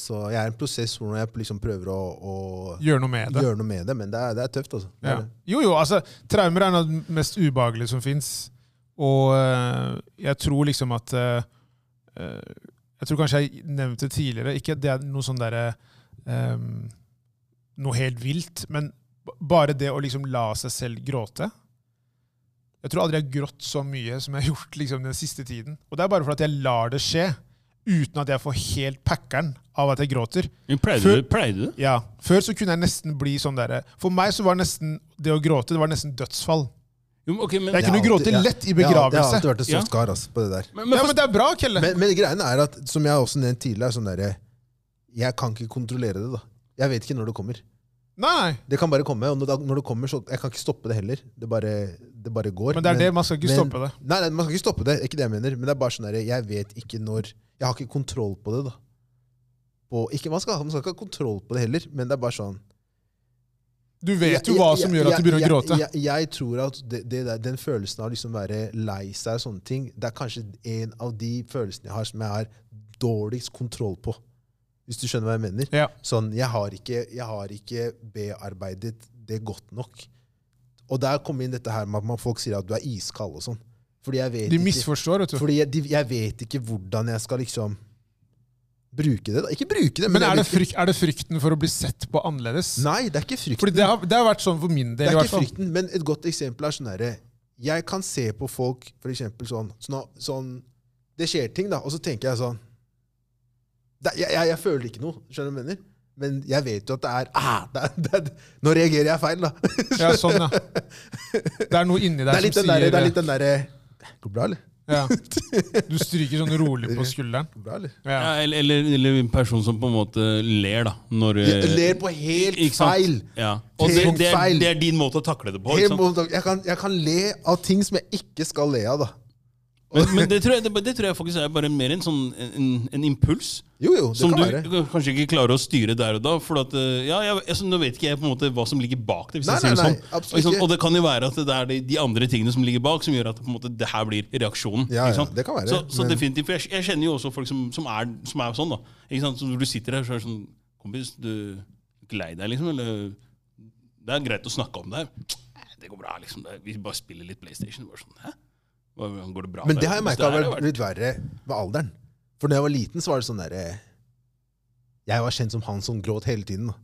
B: så jeg er i en prosess hvor jeg liksom prøver å, å
A: Gjøre noe med det?
B: gjøre noe med det, men det er, det er tøft, altså. Det
A: Ja.
B: er det.
A: Jo, jo, altså, traumer er noe av det mest ubehagelige som fins. Og eh, jeg tror liksom at eh, eh, Jeg tror kanskje jeg nevnte det tidligere, ikke at det er noe sånn derre eh, Noe helt vilt, men b- bare det å liksom la seg selv gråte. Jeg tror aldri jeg har grått så mye som jeg har gjort liksom den siste tiden. Og det er bare for at jeg lar det skje, uten at jeg får helt packeren av at jeg gråter.
C: Men Pleide
A: Før-
C: du pleide du det?
A: Ja. Før så kunne jeg nesten bli sånn derre For meg så var nesten det å gråte det var nesten dødsfall.
C: Jo, men ok, men,
A: Jeg
B: Det er
A: kunne
B: alltid-
A: gråte
B: ja.
A: lett i
B: Jeg har- Jeg har
A: begravelse.
B: alltid vært en
C: Ja.
B: soft kar ass, på det der.
C: men,
A: Ja,
C: men,
A: men det er bra, Kelle.
B: Men, men greiene er at, som jeg også nevnte tidligere, er sånn derre Jeg kan ikke kontrollere det, da. Jeg vet ikke når det kommer.
A: Nei, nei.
B: Det kan bare komme, og når det- når det kommer, så Jeg kan ikke stoppe det heller. Det bare, det bare går.
A: Men det er det, man skal ikke
B: men-
A: stoppe det.
B: Nei, nei, man skal ikke stoppe det. Ikke det jeg mener. Men det er bare sånn der, jeg vet ikke når Jeg har ikke kontroll på det, da. På, ikke, man, skal, man skal ikke ha kontroll på det heller, men det er bare sånn
A: Du vet jo hva som gjør at du begynner å gråte.
B: Jeg, jeg, jeg tror at det, det der, Den følelsen av å liksom være lei seg og sånne ting, det er kanskje en av de følelsene jeg har som jeg har dårligst kontroll på. Hvis du skjønner hva jeg mener.
A: Ja.
B: Sånn, jeg har ikke, jeg har ikke bearbeidet det godt nok. Og der kommer inn dette her med at man, folk sier at du er iskald og sånn. Fordi jeg vet
A: De
B: ikke,
A: misforstår, vet du.
B: fordi jeg, de, jeg vet ikke hvordan jeg skal liksom bruke det. da. Ikke bruke det, men,
A: Men
B: jeg
A: er det,
B: vet ikke-
A: frykt, er det frykten for å bli sett på annerledes?
B: Nei, det er ikke frykten.
A: Fordi det har, det har vært sånn for min
B: Det
A: del. i
B: er
A: hvert
B: ikke
A: fall.
B: frykten, men et godt eksempel er sånn herre Jeg kan se på folk, for eksempel sånn, sånn, sånn Det skjer ting, da, og så tenker jeg sånn det, jeg, jeg, jeg føler ikke noe, skjønner du hva jeg mener? Men jeg vet jo at det er, ah, det er, det er Nå reagerer jeg feil, da.
A: Ja, sånn, ja. Det er noe inni
B: Det
A: der
B: er litt
A: som
B: den derre
A: sier
B: der, der, Går det bra, eller?
A: ja. Du stryker sånn rolig på skulderen.
B: Går det bra, eller?
A: Ja.
C: Ja, eller, eller, eller en person som på en måte ler, da. Når, eh,
B: Jeg ler på helt
C: ikke sant?
B: feil.
C: Ja. Og det,
B: Helt
C: det, er,
B: feil.
C: det er din måte å takle det på.
B: Helt
C: Ikke sant?
B: motsatt. jeg, kan, jeg kan le av ting som jeg ikke skal le av, da.
C: Men, men det, tror jeg, det, det tror jeg faktisk er bare mer en, sånn, en, en impuls.
B: Jo, jo, det
C: Som
B: kan
C: du
B: være.
C: kanskje ikke klarer å styre der og da. For at, eh, ja, jeg, altså, nå vet ikke jeg på en måte hva som ligger bak det. hvis
B: Nei,
C: jeg sier
B: nei,
C: det
B: nei,
C: sånn.
B: absolutt
C: Ikke sant?
B: ikke.
C: Og det kan jo være at det er de, de andre tingene som ligger bak, som gjør at det, på en måte, det her blir reaksjonen.
B: Ja,
C: ikke
B: ja,
C: sant?
B: det kan være,
C: så så
B: men-
C: definitivt, for jeg, jeg kjenner jo også folk som, som, er, som er sånn. da. Ikke sant? Så når du sitter her så er det sånn Kompis, du er ikke lei deg, liksom? Eller Det er greit å snakke om det her. «Nei, Det går bra, liksom. Det, er- vi bare spiller litt PlayStation. Bare sånn, Hæ? Hva- Går det bra?
B: Men det har jeg merka
C: her
B: har
C: har
B: vært
C: vært-
B: blitt verre med alderen. For da jeg var liten, så var det sånn derre Jeg var kjent som han som gråt hele tiden. da.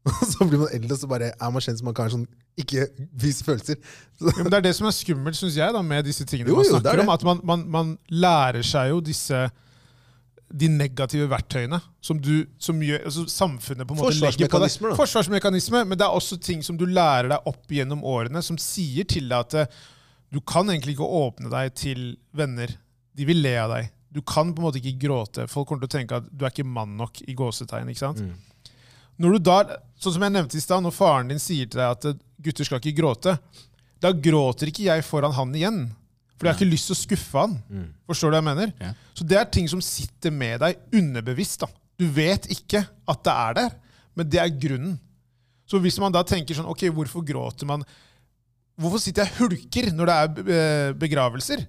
B: Og så blir man eldre, og så bare er man kjent som han kan sånn ikke vise følelser. Så,
A: Ja, men det er det som er skummelt, syns jeg, da, med disse tingene
B: Jo,
A: man
B: jo, det er
A: snakker
B: det.
A: om. At man, man, man lærer seg jo disse de negative verktøyene som, du, som gjør, altså samfunnet på en måte legger på deg.
B: Forsvarsmekanismer, da.
A: Forsvarsmekanismer. Men det er også ting som du lærer deg opp gjennom årene, som sier til deg at eh, du kan egentlig ikke åpne deg til venner. De vil le av deg. Du kan på en måte ikke gråte. Folk kommer til å tenke at du er ikke mann nok i gåsetegn. ikke
B: Mm.
A: sant? Når du da, sånn som jeg nevnte i stad, når faren din sier til deg at eh, gutter skal ikke gråte, da gråter ikke jeg foran han igjen. For jeg har ikke lyst til å skuffe han. Forstår du hva jeg mener?
C: Ja.
A: Så det er ting som sitter med deg underbevisst. da. Du vet ikke at det er der, men det er grunnen. Så hvis man da tenker sånn Ok, hvorfor gråter man? Hvorfor sitter jeg og hulker når det er be- be- begravelser?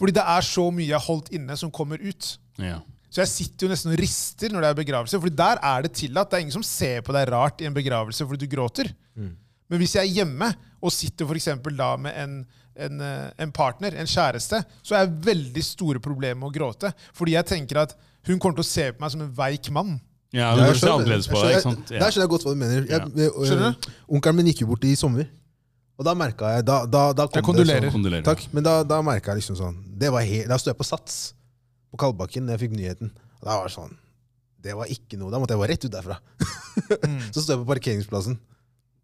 A: Fordi det er så mye jeg har holdt inne, som kommer ut.
C: Ja.
A: Så jeg sitter jo nesten og rister når det er begravelse, Fordi der er det tillatt. Det er ingen som ser på deg rart i en begravelse fordi du gråter.
B: Mm.
A: Men hvis jeg er hjemme og sitter for eksempel da med en, en, eh, en partner, en kjæreste, så er jeg veldig store problemer med å gråte. Fordi jeg tenker at hun kommer til å se på meg som en veik mann.
C: Ja,
B: Ja,
C: hun
B: jeg
C: bør se
B: skjønner.
C: annerledes på
B: Jeg
C: deg. ikke
B: skjønner-
C: sant?
B: Der
C: Ja.
B: skjønner jeg godt hva du mener. Jeg, jeg,
A: Skjønner
B: onkelen min gikk jo bort i sommer. Og da merka jeg da, da, da kom
A: Jeg
B: det
A: kondolerer.
B: sånn-
C: Kondolerer.
B: Takk, men da, da merket jeg liksom sånn det var helt, Da sto jeg på Sats på Kalbakken da jeg fikk nyheten. Og da var det sånn Det var ikke noe. Da måtte jeg bare rett ut derfra. Så står jeg på parkeringsplassen.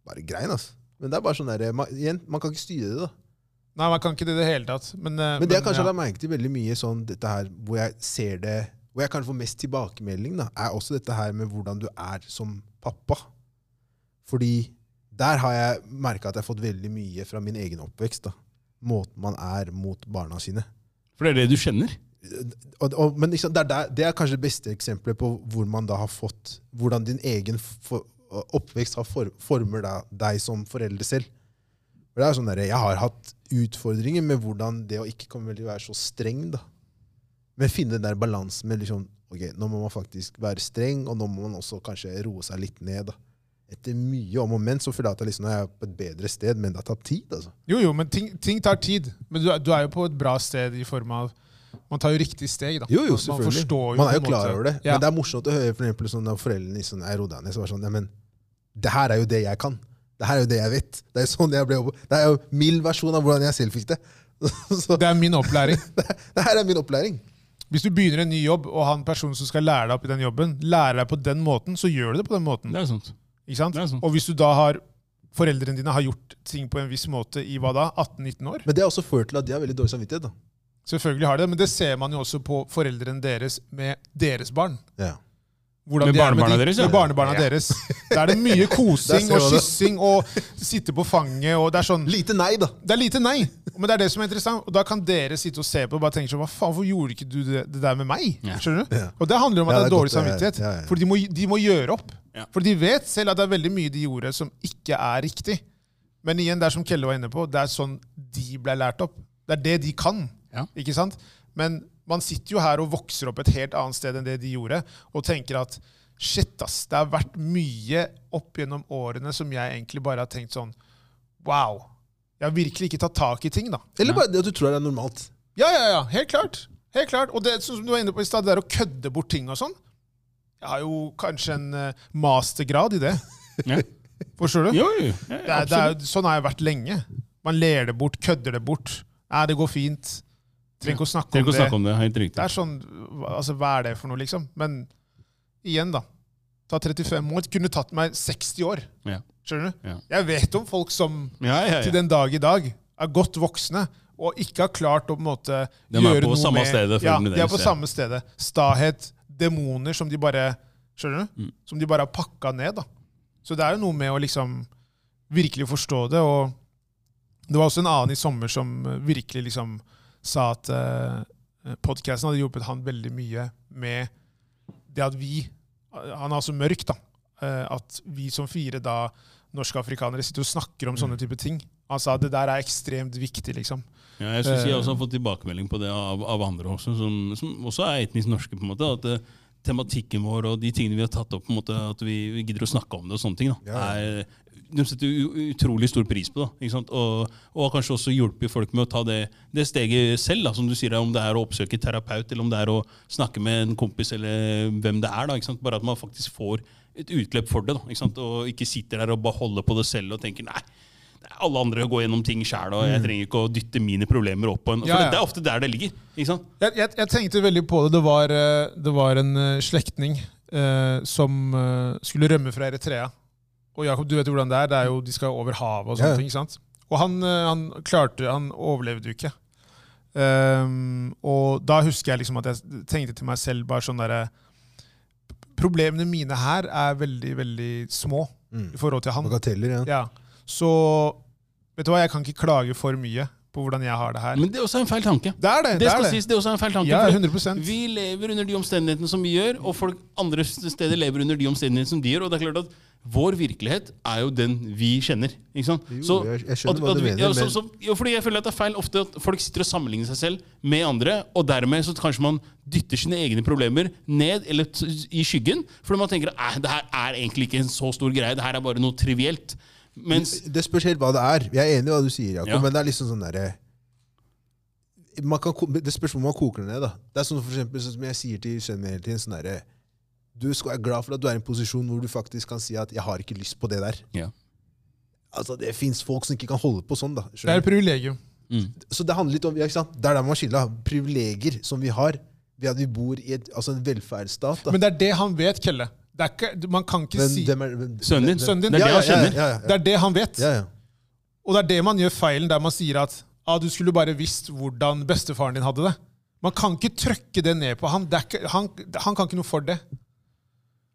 B: Bare grein, altså. Men det er bare sånn der, man, igjen, man kan ikke styre det, da.
A: Nei, man kan ikke det i det hele tatt. Men, eh,
B: Men det jeg kanskje
A: ja.
B: har merket i veldig mye sånn dette her, hvor jeg ser det, hvor jeg kanskje får mest tilbakemelding, da, er også dette her med hvordan du er som pappa. Fordi der har jeg merka at jeg har fått veldig mye fra min egen oppvekst. da. Måten man er mot barna sine.
C: For det er det du kjenner?
B: Og, og, men liksom, det, er der, det er kanskje det beste eksempelet på hvor man da har fått, hvordan din egen for, oppvekst har for, former da, deg som forelder selv. For det er sånn der, Jeg har hatt utfordringer med hvordan det å ikke komme til å være så streng. da. Men finne den der balansen med liksom, ok, nå må man faktisk være streng, og nå må man også kanskje roe seg litt ned. da. Etter mye om og men så føler jeg at jeg liksom, nå er jeg på et bedre sted, men det har tatt tid. altså.
A: Jo, jo, men ting, ting tar tid. Men du, er- du er jo på et bra sted i form av Man tar jo riktig steg, da.
B: Jo, jo,
A: Man- Man,
B: selvfølgelig.
A: forstår jo
B: Man er
A: på
B: jo
A: en
B: klar
A: måte-
B: over det.
A: Ja.
B: Men det er morsomt å høre for eksempel, sånn, når foreldrene i sånn, er Rodane, som er sånn ja, men, Det her er jo det jeg kan. Det her er jo det jeg vet. Det er jo sånn jeg ble opp- Det er jo mild versjon av hvordan jeg selv fikk det. Så
A: det er min opplæring.
B: det, det her er min opplæring.
A: Hvis du begynner en ny jobb, og han personen som skal lære deg opp i den jobben, lærer deg på den måten, så gjør du det på den måten.
C: Det er sant.
A: Ikke sant?
C: det er sant.
A: Og hvis du da har foreldrene dine har gjort ting på en viss måte i hva da, 18-19 år?
B: Men det har også ført til at de har veldig dårlig samvittighet. da.
A: Selvfølgelig har de det, men det ser man jo også på foreldrene deres med deres barn.
B: Ja.
A: Hvordan
C: Med
A: de er de-
C: barnebarna deres, ja.
A: Med barnebarna
B: Ja.
A: deres. Der er det mye kosing
B: Der ser
A: og
B: man det.
A: kyssing og sitte på fanget og det er sånn
B: Lite nei, da.
A: Det er lite nei, men det er det som er interessant. Og da kan dere sitte og se på og bare tenke sånn Hva faen, hvorfor gjorde ikke du det, det der med meg?
C: Ja.
A: Skjønner du?
B: Ja.
A: Og det handler om at det
B: Ja,
A: er
B: det
A: dårlig
B: er godt, det er-
A: samvittighet.
B: ja, ja.
A: For de må, de må gjøre opp.
C: Ja.
A: For de vet selv at det er veldig mye de gjorde som ikke er riktig. Men igjen, det er som Kelle var inne på, det er sånn de ble lært opp. Det er det de kan.
C: Ja.
A: ikke sant? Men man sitter jo her og vokser opp et helt annet sted enn det de gjorde, og tenker at shit, ass, det har vært mye opp gjennom årene som jeg egentlig bare har tenkt sånn wow. Jeg har virkelig ikke tatt tak i ting, da.
B: Eller bare det at du tror det er normalt.
A: Ja, ja, ja. Helt klart. Helt klart. Og det som du var inne på i stad, det der å kødde bort ting og sånn. Jeg har jo kanskje en eh, mastergrad i det.
C: Ja.
A: Forstår du?
C: Jo, jo.
A: Det
C: Ja,
A: er, det er, jo- sånn har jeg vært lenge. Man ler det bort, kødder det bort. Nei, det går fint. Trenger ikke å snakke
C: Tenk
A: om
C: å
A: det.
C: snakke om det. Helt
A: Det
C: riktig.
A: er sånn hva- Altså, hva er det for noe, liksom? Men igjen, da. Ta 35 år. Det kunne tatt meg 60 år.
C: Ja.
A: Skjønner du?
C: Ja.
A: Jeg vet om folk som
C: Ja, ja,
A: til
C: ja.
A: den dag i dag er godt voksne og ikke har klart å på en måte
C: De er
A: gjøre
C: på
A: noe
C: samme
A: med
C: stedet,
A: Ja,
C: følgene
A: de er
C: deres,
A: på
C: ja.
A: samme stedet. Stahet, demoner som de bare Skjønner du?
C: Mm.
A: Som de bare har pakka ned. da. Så det er jo noe med å liksom virkelig forstå det. og Det var også en annen i sommer som eh, virkelig liksom sa at uh, podkasten hadde hjulpet han veldig mye med det at vi Han er altså mørk, da. eh, at vi som fire da norske afrikanere sitter og snakker
C: Mm.
A: om sånne type ting. Han sa det der er ekstremt viktig, liksom.
C: Ja, jeg synes jeg
B: Eh.
C: også har fått tilbakemelding på det av, av andre også, som, som også er etnisk norske. på en måte, at eh, Tematikken vår og de tingene vi har tatt opp, på en måte, at vi, vi gidder å snakke om det. og sånne ting da,
B: Ja,
C: er, De setter jo utrolig stor pris på det. ikke sant? Og, og har kanskje også hjulpet folk med å ta det, det steget selv. da, som du sier, Om det er å oppsøke terapeut, eller om det er å snakke med en kompis, eller hvem det er. da, ikke sant? Bare at man faktisk får et utløp for det. da, ikke sant? Og ikke sitter der og bare holder på det selv og tenker nei, alle andre går gjennom ting sjæl, og jeg trenger ikke å dytte mine problemer opp på en. For
A: Ja, ja.
C: det er ofte der det ligger. ikke sant?
A: Jeg, jeg, jeg tenkte veldig på det. Det var, eh, det var en eh, slektning eh, som eh, skulle rømme fra Eritrea. Og Jakob, du vet jo hvordan det er. Det er jo, de skal over havet og
B: Ja,
A: sånne
B: ja.
A: ting. ikke sant? Og han, eh, han klarte Han overlevde jo ikke. Ehm, og da husker jeg liksom at jeg tenkte til meg selv bare sånn derre Problemene mine her er veldig, veldig små
B: Mm.
A: i forhold til han.
B: Bagateller, ja.
A: Ja. Så vet du hva, jeg kan ikke klage for mye på hvordan jeg har det her.
C: Men det er også en feil tanke.
A: Det er det!
C: Det,
A: Det,
C: skal
A: er det.
C: sies, det er også en feil tanke.
A: Ja,
C: fordi
A: 100
C: vi lever under de omstendighetene som vi gjør, og folk andre steder lever under de omstendighetene som de gjør. Og det er klart at vår virkelighet er jo den vi kjenner. ikke sant?
B: Jo, jeg- jeg skjønner hva du
C: vi-
B: mener,
C: ja, så-
B: men-
C: så- jo, fordi jeg føler at det er feil ofte at folk sitter og sammenligner seg selv med andre, og dermed så kanskje man dytter sine egne problemer ned eller t i skyggen, fordi man tenker at det her er egentlig ikke en så stor greie, det her er bare noe trivielt. Mens
B: Det spørs helt hva det er. Jeg er enig i hva du sier, Jakob,
C: Ja.
B: men det er liksom sånn derre man kan, ko- Det spørs hvor man koker det ned. da. Det er sånn for eksempel, sånn som jeg sier til sønnen min hele tiden. sånn derre, Du skal være glad for at du er i en posisjon hvor du faktisk kan si at 'jeg har ikke lyst på det der'.
C: Ja.
B: Altså, Det fins folk som ikke kan holde på sånn. da.
A: Det er
B: skjønner
A: et privilegium.
C: mm,
B: du? Så det handler litt om, ja, ikke sant? Det er der man skiller privilegier som vi har, ved at vi bor i et, altså en velferdsstat. da.
A: Men det er det han vet, Kelle. Det er ikke, man kan ikke
B: Men
A: si
B: hvem er, hvem-
C: Sønnen din.
A: Sønnen din.
C: Det er det
B: ja,
C: han
B: ja,
C: kjenner.
B: ja, ja,
A: Det er det han vet.
B: ja, ja.
A: Og det er det man gjør feilen der man sier at ah, du skulle bare visst hvordan bestefaren din hadde det. Man kan ikke trøkke det ned på han. Det er ikke, han, han kan ikke noe for det.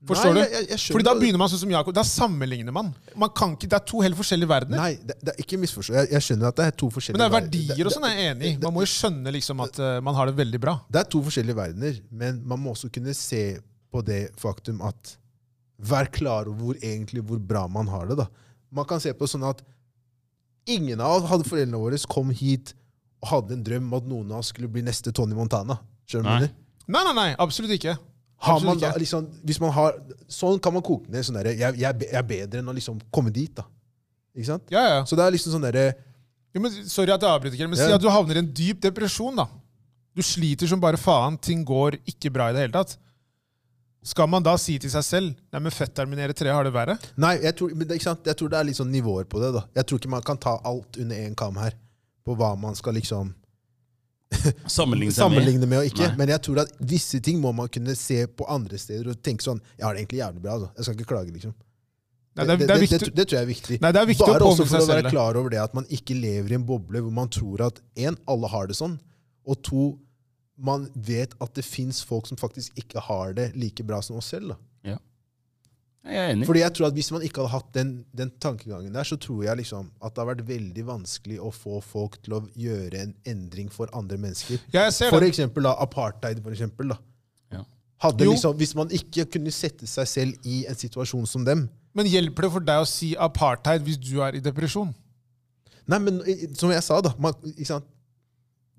A: Forstår
B: Nei,
A: du?
B: jeg- jeg- jeg skjønner
A: Fordi da
B: hva du-
A: begynner man sånn som Jakob. Da sammenligner man. man kan ikke, det er to helt forskjellige verdener.
B: Nei, det, det er ikke misforstå. Jeg, jeg skjønner at det er to forskjellige
A: Men det er
B: verden- det-
A: verdier og sånn jeg er enig i. Man må jo skjønne liksom at eh, man har det veldig bra.
B: Det er to forskjellige verdener, men man må også kunne se på det faktum at Vær klar over hvor, egentlig, hvor bra man har det. da. Man kan se på sånn at ingen av oss hadde foreldrene våre kom hit og hadde en drøm om at noen av oss skulle bli neste Tony Montana. Skjønner du hva jeg
C: Nei.
B: mener?
A: Nei, nei, nei. Absolutt ikke.
B: Har
A: Absolutt
B: man da,
A: ikke.
B: liksom, hvis man har, sånn kan man koke ned. sånn derre, jeg, jeg, er be- jeg er bedre enn å liksom komme dit. da. Ikke sant?
A: Ja, ja.
B: Så det er liksom sånn derre
A: Jo, men, sorry at jeg avbryter, Kjell, men si
B: Ja.
A: at du havner i en dyp depresjon. da. Du sliter som bare faen. Ting går ikke bra i det hele tatt. Skal man da si til seg selv Nei, men fetteren min i Eritrea har det verre?
B: Nei, jeg tror, men det, ikke sant? jeg tror det er litt sånn nivåer på det. da. Jeg tror ikke man kan ta alt under én kam her. På hva man skal liksom
C: Sammenligne seg med.
B: sammenligne med og ikke.
C: Nei.
B: Men jeg tror at visse ting må man kunne se på andre steder og tenke sånn Jeg har det egentlig jævlig bra. Altså. Jeg skal ikke klage, liksom.
A: Nei, det, er- det er
B: det,
A: viktig,
B: det, det tror jeg er viktig.
A: nei, det er viktig å
B: Bare også
A: påminne
B: for
A: seg
B: å være
A: selv det.
B: klar over det at man ikke lever i en boble hvor man tror at en, alle har det sånn, og to, man vet at det fins folk som faktisk ikke har det like bra som oss selv. da.
C: Jeg er enig.
B: Fordi jeg tror at Hvis man ikke hadde hatt den, den tankegangen der, så tror jeg liksom at det har vært veldig vanskelig å få folk til å gjøre en endring for andre mennesker.
A: Ja, jeg ser
B: For
A: det.
B: eksempel da, apartheid, for eksempel. da.
C: Ja.
B: Hadde
A: Jo.
B: liksom, hvis man ikke kunne sette seg selv i en situasjon som dem
A: Men hjelper det for deg å si apartheid hvis du er i depresjon?
B: Nei, men i- i- som jeg sa, da man, ikke sant?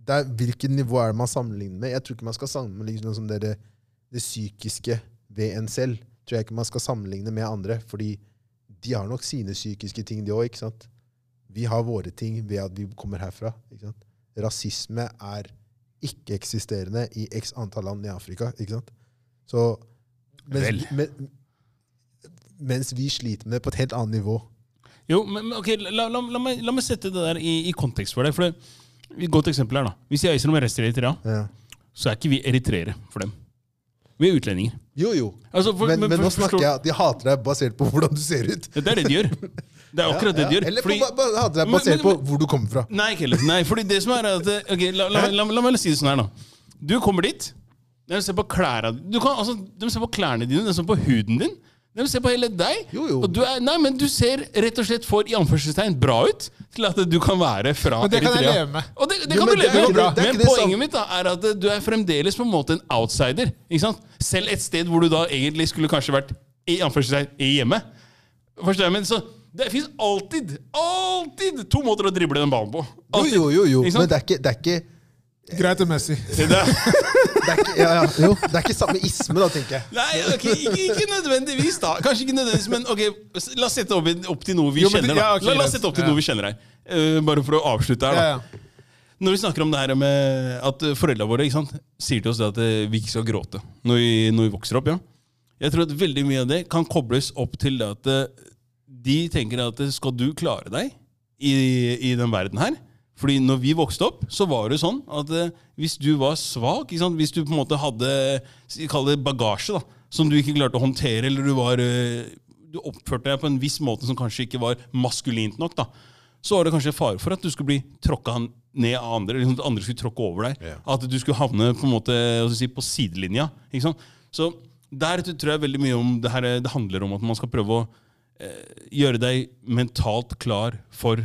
B: Det er, Hvilket nivå er det man sammenligner med? Jeg tror ikke man skal sammenligne noe som det, det, det psykiske ved en selv. tror jeg ikke man skal sammenligne med andre. Fordi de har nok sine psykiske ting, de òg. Vi har våre ting ved at vi kommer herfra. ikke sant? Rasisme er ikke-eksisterende i x antall land i Afrika. ikke sant? Så
C: Vel.
B: mens, men, mens vi sliter med det på et helt annet nivå.
C: Jo, men, men ok, la, la, la, meg, la meg sette det der i, i kontekst for deg. For det, et godt eksempel her da. Hvis jeg reiser om jeg reiser til Eritrea,
B: Ja.
C: så er ikke vi eritreere for dem. Vi er utlendinger.
B: Jo, jo.
C: Altså, for-
B: men, men, nå
C: for- forstår-
B: snakker jeg at de hater deg basert på hvordan du ser ut.
C: Ja, Det er det de gjør. Det er akkurat det de gjør.
B: Eller
C: Fordi-
B: på, ba- hater deg
C: Men-
B: basert
C: men-
B: på hvor du kommer fra.
C: Nei, ikke heller. Nei, fordi det som er at eh, ok, la, la, la, la meg si det sånn her, da. Du kommer dit. De ser på klærne du kan, altså, De ser på klærne dine, de ser på huden din. De ser på hele deg.
B: Jo, jo.
C: Og du er, nei, men du ser rett og slett for i anførselstegn bra ut til at du kan være fra
A: Men det kan jeg
C: Eritrea.
A: leve med.
C: Og det, det
B: Jo,
C: kan
B: men
C: du
B: det er
C: leve
B: ikke
C: med.
B: det- det er
C: men
B: ikke det
C: poenget
B: samme.
C: mitt da er at eh, du er fremdeles på en måte en outsider. Ikke sant? Selv et sted hvor du da egentlig skulle kanskje vært i anførselstegn i hjemme. Forstår jeg, men så det fins alltid, alltid to måter å drible den ballen på.
B: Jo,
C: Alltid.
B: jo, jo, jo.
C: Ikke sant?
B: men det er ikke, det er ikke,
A: Greit og Messi.
C: Det der-
B: det er ikke, ja, ja, jo, det er ikke samme isme, da, tenker jeg.
C: Nei, ok, ikke, ikke nødvendigvis, da. Kanskje ikke nødvendigvis, men ok, s- la oss sette opp, i- opp til noe vi
A: Jo, men det-
C: kjenner. da.
A: ja, ok,
C: la, la oss
A: greit.
C: sette opp til
A: Ja.
C: noe vi kjenner her. Eh, bare for å avslutte her, da.
A: Ja, ja.
C: Når vi snakker om det her med at eh, foreldrene våre ikke sant, sier til oss det at eh, vi ikke skal gråte når vi, når vi vokser opp. ja. Jeg tror at veldig mye av det kan kobles opp til det at eh, de tenker at eh, skal du klare deg i, i den verden her? Fordi når vi vokste opp, så var det sånn at eh, hvis du var svak, ikke sant, hvis du på en måte hadde si- kall det bagasje da, som du ikke klarte å håndtere, eller du var eh, du oppførte deg på en viss måte som kanskje ikke var maskulint nok, da, så var det kanskje fare for at du skulle bli tråkka han- ned av andre. Liksom at andre skulle tråkke over deg. At du skulle havne på en måte hva skal jeg si, på sidelinja. Ikke sant? Så der tror jeg veldig mye om det her det handler om at man skal prøve å eh, gjøre deg mentalt klar for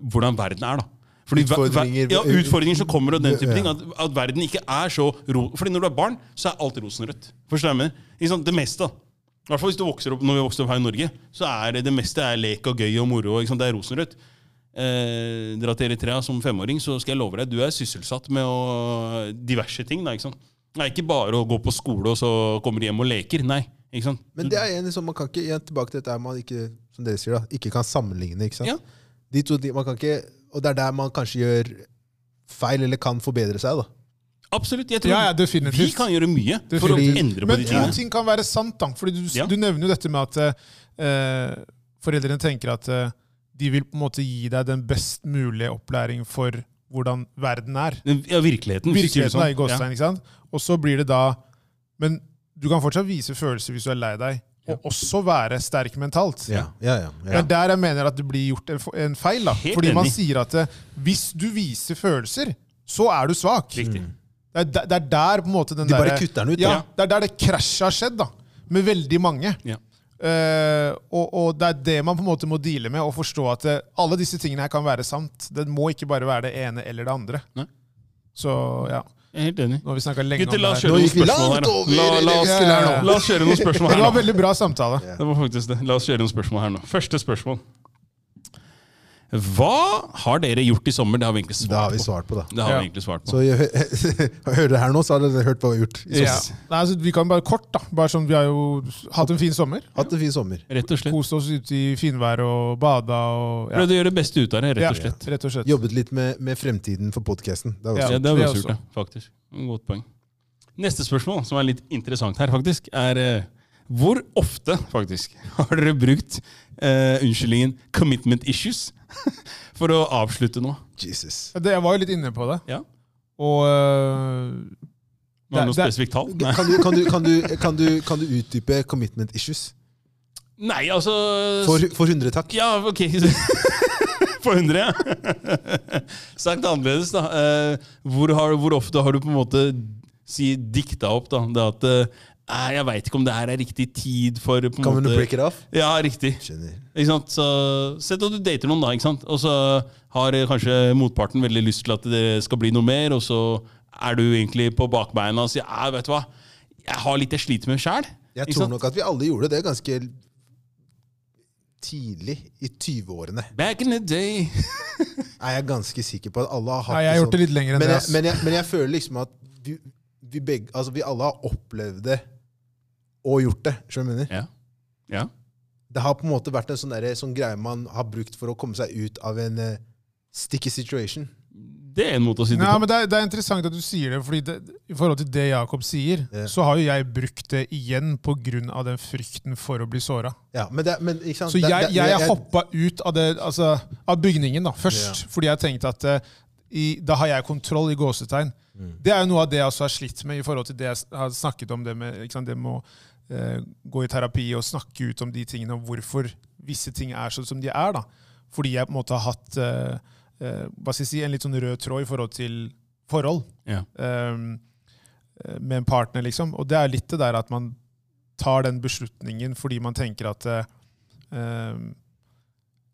C: hvordan verden er. da. Fordi ver- ver-
B: Utfordringer.
C: ja, utfordringer som kommer og den type
B: Ja.
C: ting. At, at verden ikke er så ro... Fordi når du er barn, så er alt rosenrødt. Forstår du hva jeg mener? Ikke sant? Det meste. da. I hvert fall hvis du vokser opp, Når vi vokste opp her i Norge, så er det, det meste er lek og gøy og moro. Ikke sant? Det er rosenrødt. Eh, Dra til Eritrea som femåring, så skal jeg love deg, du er sysselsatt med å, diverse ting. da, ikke sant? Det er ikke bare å gå på skole, og så kommer du hjem og leker. Nei. ikke sant?
B: Men det er igjen liksom, man kan ikke, igjen tilbake til dette her man ikke, som dere sier, da, ikke kan sammenligne. ikke sant?
C: Ja.
B: De to ting, man kan ikke, Og det er der man kanskje gjør feil, eller kan forbedre seg. da.
C: Absolutt. jeg tror
A: Ja, ja, definitivt.
C: Vi kan gjøre mye for å
B: Definitivt.
C: endre på
A: Men
C: de
A: to
C: tingene.
A: ting kan være sant, da. Fordi du,
C: Ja.
A: du nevner jo dette med at eh, foreldrene tenker at eh, de vil på en måte gi deg den best mulige opplæring for hvordan verden er.
C: Ja, virkeligheten. hvis du sier det
A: Virkeligheten er i
C: sånn. Ja.
A: gåstein, ikke sant? Og så blir det da Men du kan fortsatt vise følelser hvis du er lei deg, og også være sterk mentalt.
B: ja, ja,
A: Det er der jeg mener at det blir gjort en, f- en feil. da.
C: Helt
A: Fordi man
C: enig.
A: sier at eh, hvis du viser følelser, så er du svak.
C: Riktig.
B: Mm.
A: Det er, der- det er der på en måte den
B: De bare
A: derre-
B: kutter den ut,
A: Ja,
C: ja.
A: Det er der det krasjet har skjedd, da. Med veldig mange.
C: Ja.
A: Eh, og, og det er det man på en måte må deale med, og forstå at eh, alle disse tingene her kan være sant. Det må ikke bare være det ene eller det andre.
C: Nei.
A: Så ja,
C: Jeg er helt enig.
A: nå har vi snakka lenge
C: Gutter, la
A: om
C: oss
A: det her.
B: Nå
C: kjøre noen
B: gikk vi
C: spørsmål
B: langt
C: her. da.
B: over
C: La,
B: i det
C: la, oss,
B: vi skulle her
A: nå.
C: la oss kjøre noen
A: Men
C: spørsmål her
A: det
C: nå.
A: var veldig bra samtale.
C: Det var faktisk det. La oss kjøre noen spørsmål her nå. Første spørsmål. Hva har dere gjort i sommer? Det har vi egentlig svart
B: Det har vi
C: på.
B: svart på, da.
C: Det har
A: Ja.
C: vi egentlig svart på.
B: Så jeg, hører dere her nå, så har dere hørt hva vi har gjort. i sommer.
A: Ja.
C: Yes.
A: Nei, altså, vi kan bare kort, da. Bare sånn, vi har jo hatt en fin sommer.
B: Hatt en fin sommer.
C: Rett og slett.
A: Kost oss ute i finvær og bada og ja.
C: Prøvde å gjøre det beste ut av det, rett og slett.
A: Ja, rett og slett.
B: Jobbet litt med, med fremtiden for podkasten. Det er også
A: Ja.
C: Ja, det har vi
A: det
C: også
A: også.
C: gjort, ja. Faktisk. Godt poeng. Neste spørsmål, som er litt interessant her, faktisk, er eh, hvor ofte faktisk, har dere brukt eh, unnskyldningen 'commitment issues' for å avslutte noe?
B: Jesus.
A: Ja, det, jeg var jo litt inne på det.
C: Ja.
A: Og øh, Det-
C: Har du noe
A: det-
C: spesifikt tall? Nei.
B: Kan du, kan, du, kan, du, kan, du, kan du utdype commitment issues?
C: Nei, altså
B: For, for 100 takk.
C: Ja, ok. På 100, ja. Sagt annerledes, da. eh, Hvor, har, hvor ofte har du på en måte si, dikta opp da, det at eh, Jeg veit ikke om det her er riktig tid for på en
B: Kan vi
C: måte-
B: break it off?
C: Ja, riktig.
B: Skjønner.
C: Ikke sant? Så, sett at du dater noen, da, ikke sant? og så har eh, kanskje motparten veldig lyst til at det skal bli noe mer, og så er du egentlig på bakbeina og sier «Æ, vet du hva, jeg har litt jeg sliter med sjæl.
B: Jeg
C: Ikke
B: tror
C: sant?
B: nok at vi alle gjorde det ganske tidlig i 20-årene.
C: Back in the day.
B: Er jeg ganske sikker på at alle har hatt
A: Nei, jeg har gjort det
B: sånn.
A: litt lenger enn
B: men
A: det.
B: jeg,
A: ass.
B: men, jeg, men jeg føler liksom at vi, vi, begge, altså vi alle har opplevd det og gjort det. skjønner du hva jeg mener?
C: Ja. ja.
B: Det har på en måte vært en sånn, derre- sånn greie man har brukt for å komme seg ut av en eh, sticky situation.
C: Det er en måte å si det
A: Nei,
C: på.
A: men det er, det er interessant at du sier det, fordi det, i forhold til det Jakob sier,
B: Ja.
A: så har jo jeg brukt det igjen pga. den frykten for å bli såra.
B: Ja, men det, men, ikke sant?
A: Så
B: Det-
A: jeg,
B: det-
A: jeg,
B: jeg-
A: hoppa ut av, det, altså, av bygningen da, først, fordi jeg tenkte at eh, i, da har jeg kontroll i gåsetegn. Det er jo noe av det jeg også har slitt med i forhold til det jeg s- har snakket om, det med, ikke sant, det med å eh, gå i terapi og snakke ut om de tingene, og hvorfor visse ting er sånn som de er. da. Fordi jeg på en måte har hatt eh, eh, hva skal jeg si, en litt sånn rød tråd i forhold til forhold
C: Ja.
A: ehm, med en partner, liksom. Og det er litt det der at man tar den beslutningen fordi man tenker at eh, ehm,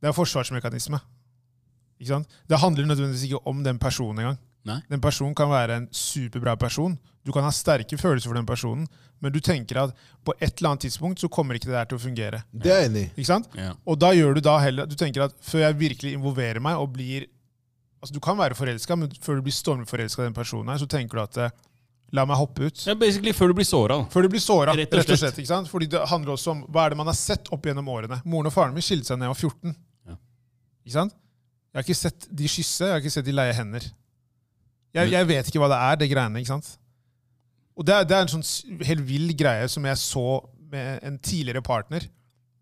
A: Det er forsvarsmekanisme. Ikke sant? Det handler nødvendigvis ikke om den personen engang.
C: Nei.
A: Den personen kan være en superbra person. Du kan ha sterke følelser for den personen, men du tenker at på et eller annet tidspunkt så kommer ikke det der til å fungere.
B: Det er jeg enig i.
A: Ikke sant?
C: Ja.
A: Og da gjør du da heller Du tenker at før jeg virkelig involverer meg og blir Altså Du kan være forelska, men før du blir stormforelska i den personen, her, så tenker du at eh, la meg hoppe ut.
C: ja, basically før du blir såra.
A: Før du blir såra.
C: Rett
A: Rett,
C: og
A: og slett. ikke sant? Fordi det handler også om hva er det man har sett opp gjennom årene. Moren og faren min skilte seg da jeg var 14.
C: Ja.
A: Ikke sant? Jeg har ikke sett de kysse, jeg har ikke sett de leie hender. Jeg, jeg vet ikke hva det er, det greiene. ikke sant? Og det er, det er en sånn s- helt vill greie som jeg så med en tidligere partner.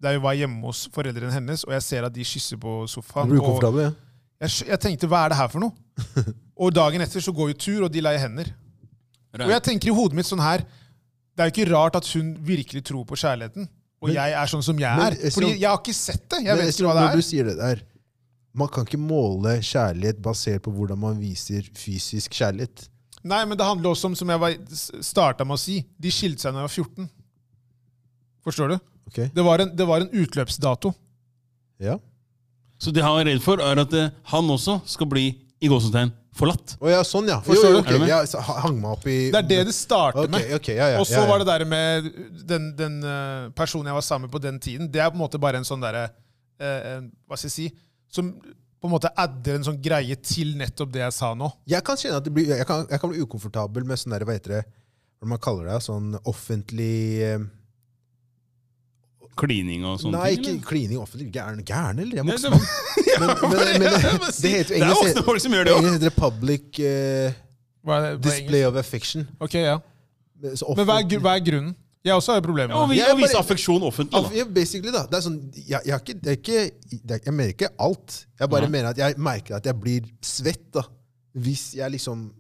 A: Der vi var hjemme hos foreldrene hennes, og jeg ser at de kysser på sofaen.
B: Du blir
A: og
B: ukomfortabel, ja.
A: jeg, skj- jeg tenkte, hva er det her for noe? Og dagen etter så går jo tur, og de leier hender. Og jeg tenker i hodet mitt sånn her Det er jo ikke rart at hun virkelig tror på kjærligheten. Og
B: Men-
A: jeg er sånn som jeg
B: Men,
A: er.
B: Esrom-
A: Fordi jeg har ikke sett det. Jeg
B: Men
A: vet
B: Esrom,
A: ikke hva det
B: Når
A: er.
B: du sier det der, man kan ikke måle kjærlighet basert på hvordan man viser fysisk kjærlighet.
A: Nei, men det handler også om, som jeg starta med å si, de skilte seg da jeg var 14. Forstår du?
B: Ok?
A: Det var en, det var en utløpsdato.
B: Ja.
C: Så det han er redd for, er at eh, han også skal bli i gåsetegn forlatt.
B: Å ja, sånn, ja.
A: Forstår
B: Jo,
A: du?
B: jo, ok,
C: Er du med?
B: ja, så ha- hang meg opp i
A: Det er det det starter
B: Ok,
A: med.
B: ok, ja, ja,
A: Og så
B: ja, ja.
A: var det der med den, den eh, personen jeg var sammen med på den tiden. Det er på en måte bare en sånn derre eh, en- Hva skal jeg si Som på en måte adder en sånn greie til nettopp det jeg sa nå.
B: Jeg kan kjenne at det blir, jeg kan, jeg kan bli ukomfortabel med sånn der, hva heter det, hva man kaller det, sånn offentlig eh,
C: Klining og sånne
B: Nei,
C: ting.
B: ikke klining offentlig. Gæren, gæren eller? Jeg må
C: Nei,
B: ikke
C: det-
B: snakke men, men, men,
C: si,
B: det heter jo
C: det er
B: engelsk
C: ofte folk som gjør det
B: det
C: også.
B: engelsk heter det public eh,
A: Hva er det- hva er
B: display of affection.
A: engelsk? Ok, ja.
B: Så
A: Men hva er,
B: offentlig-
A: gru- hva er grunnen? Jeg også har jo problemer
C: Ja, og
A: med det.
C: vi,
B: Jeg
C: å vise
B: bare-
C: affeksjon offentlig. Da.
B: Ja, basically, da. Det er sånn, jeg, jeg, har ikke, det er ikke, det er, jeg mener ikke alt. Jeg bare
C: Nei.
B: mener at jeg merker at jeg blir svett da, hvis jeg liksom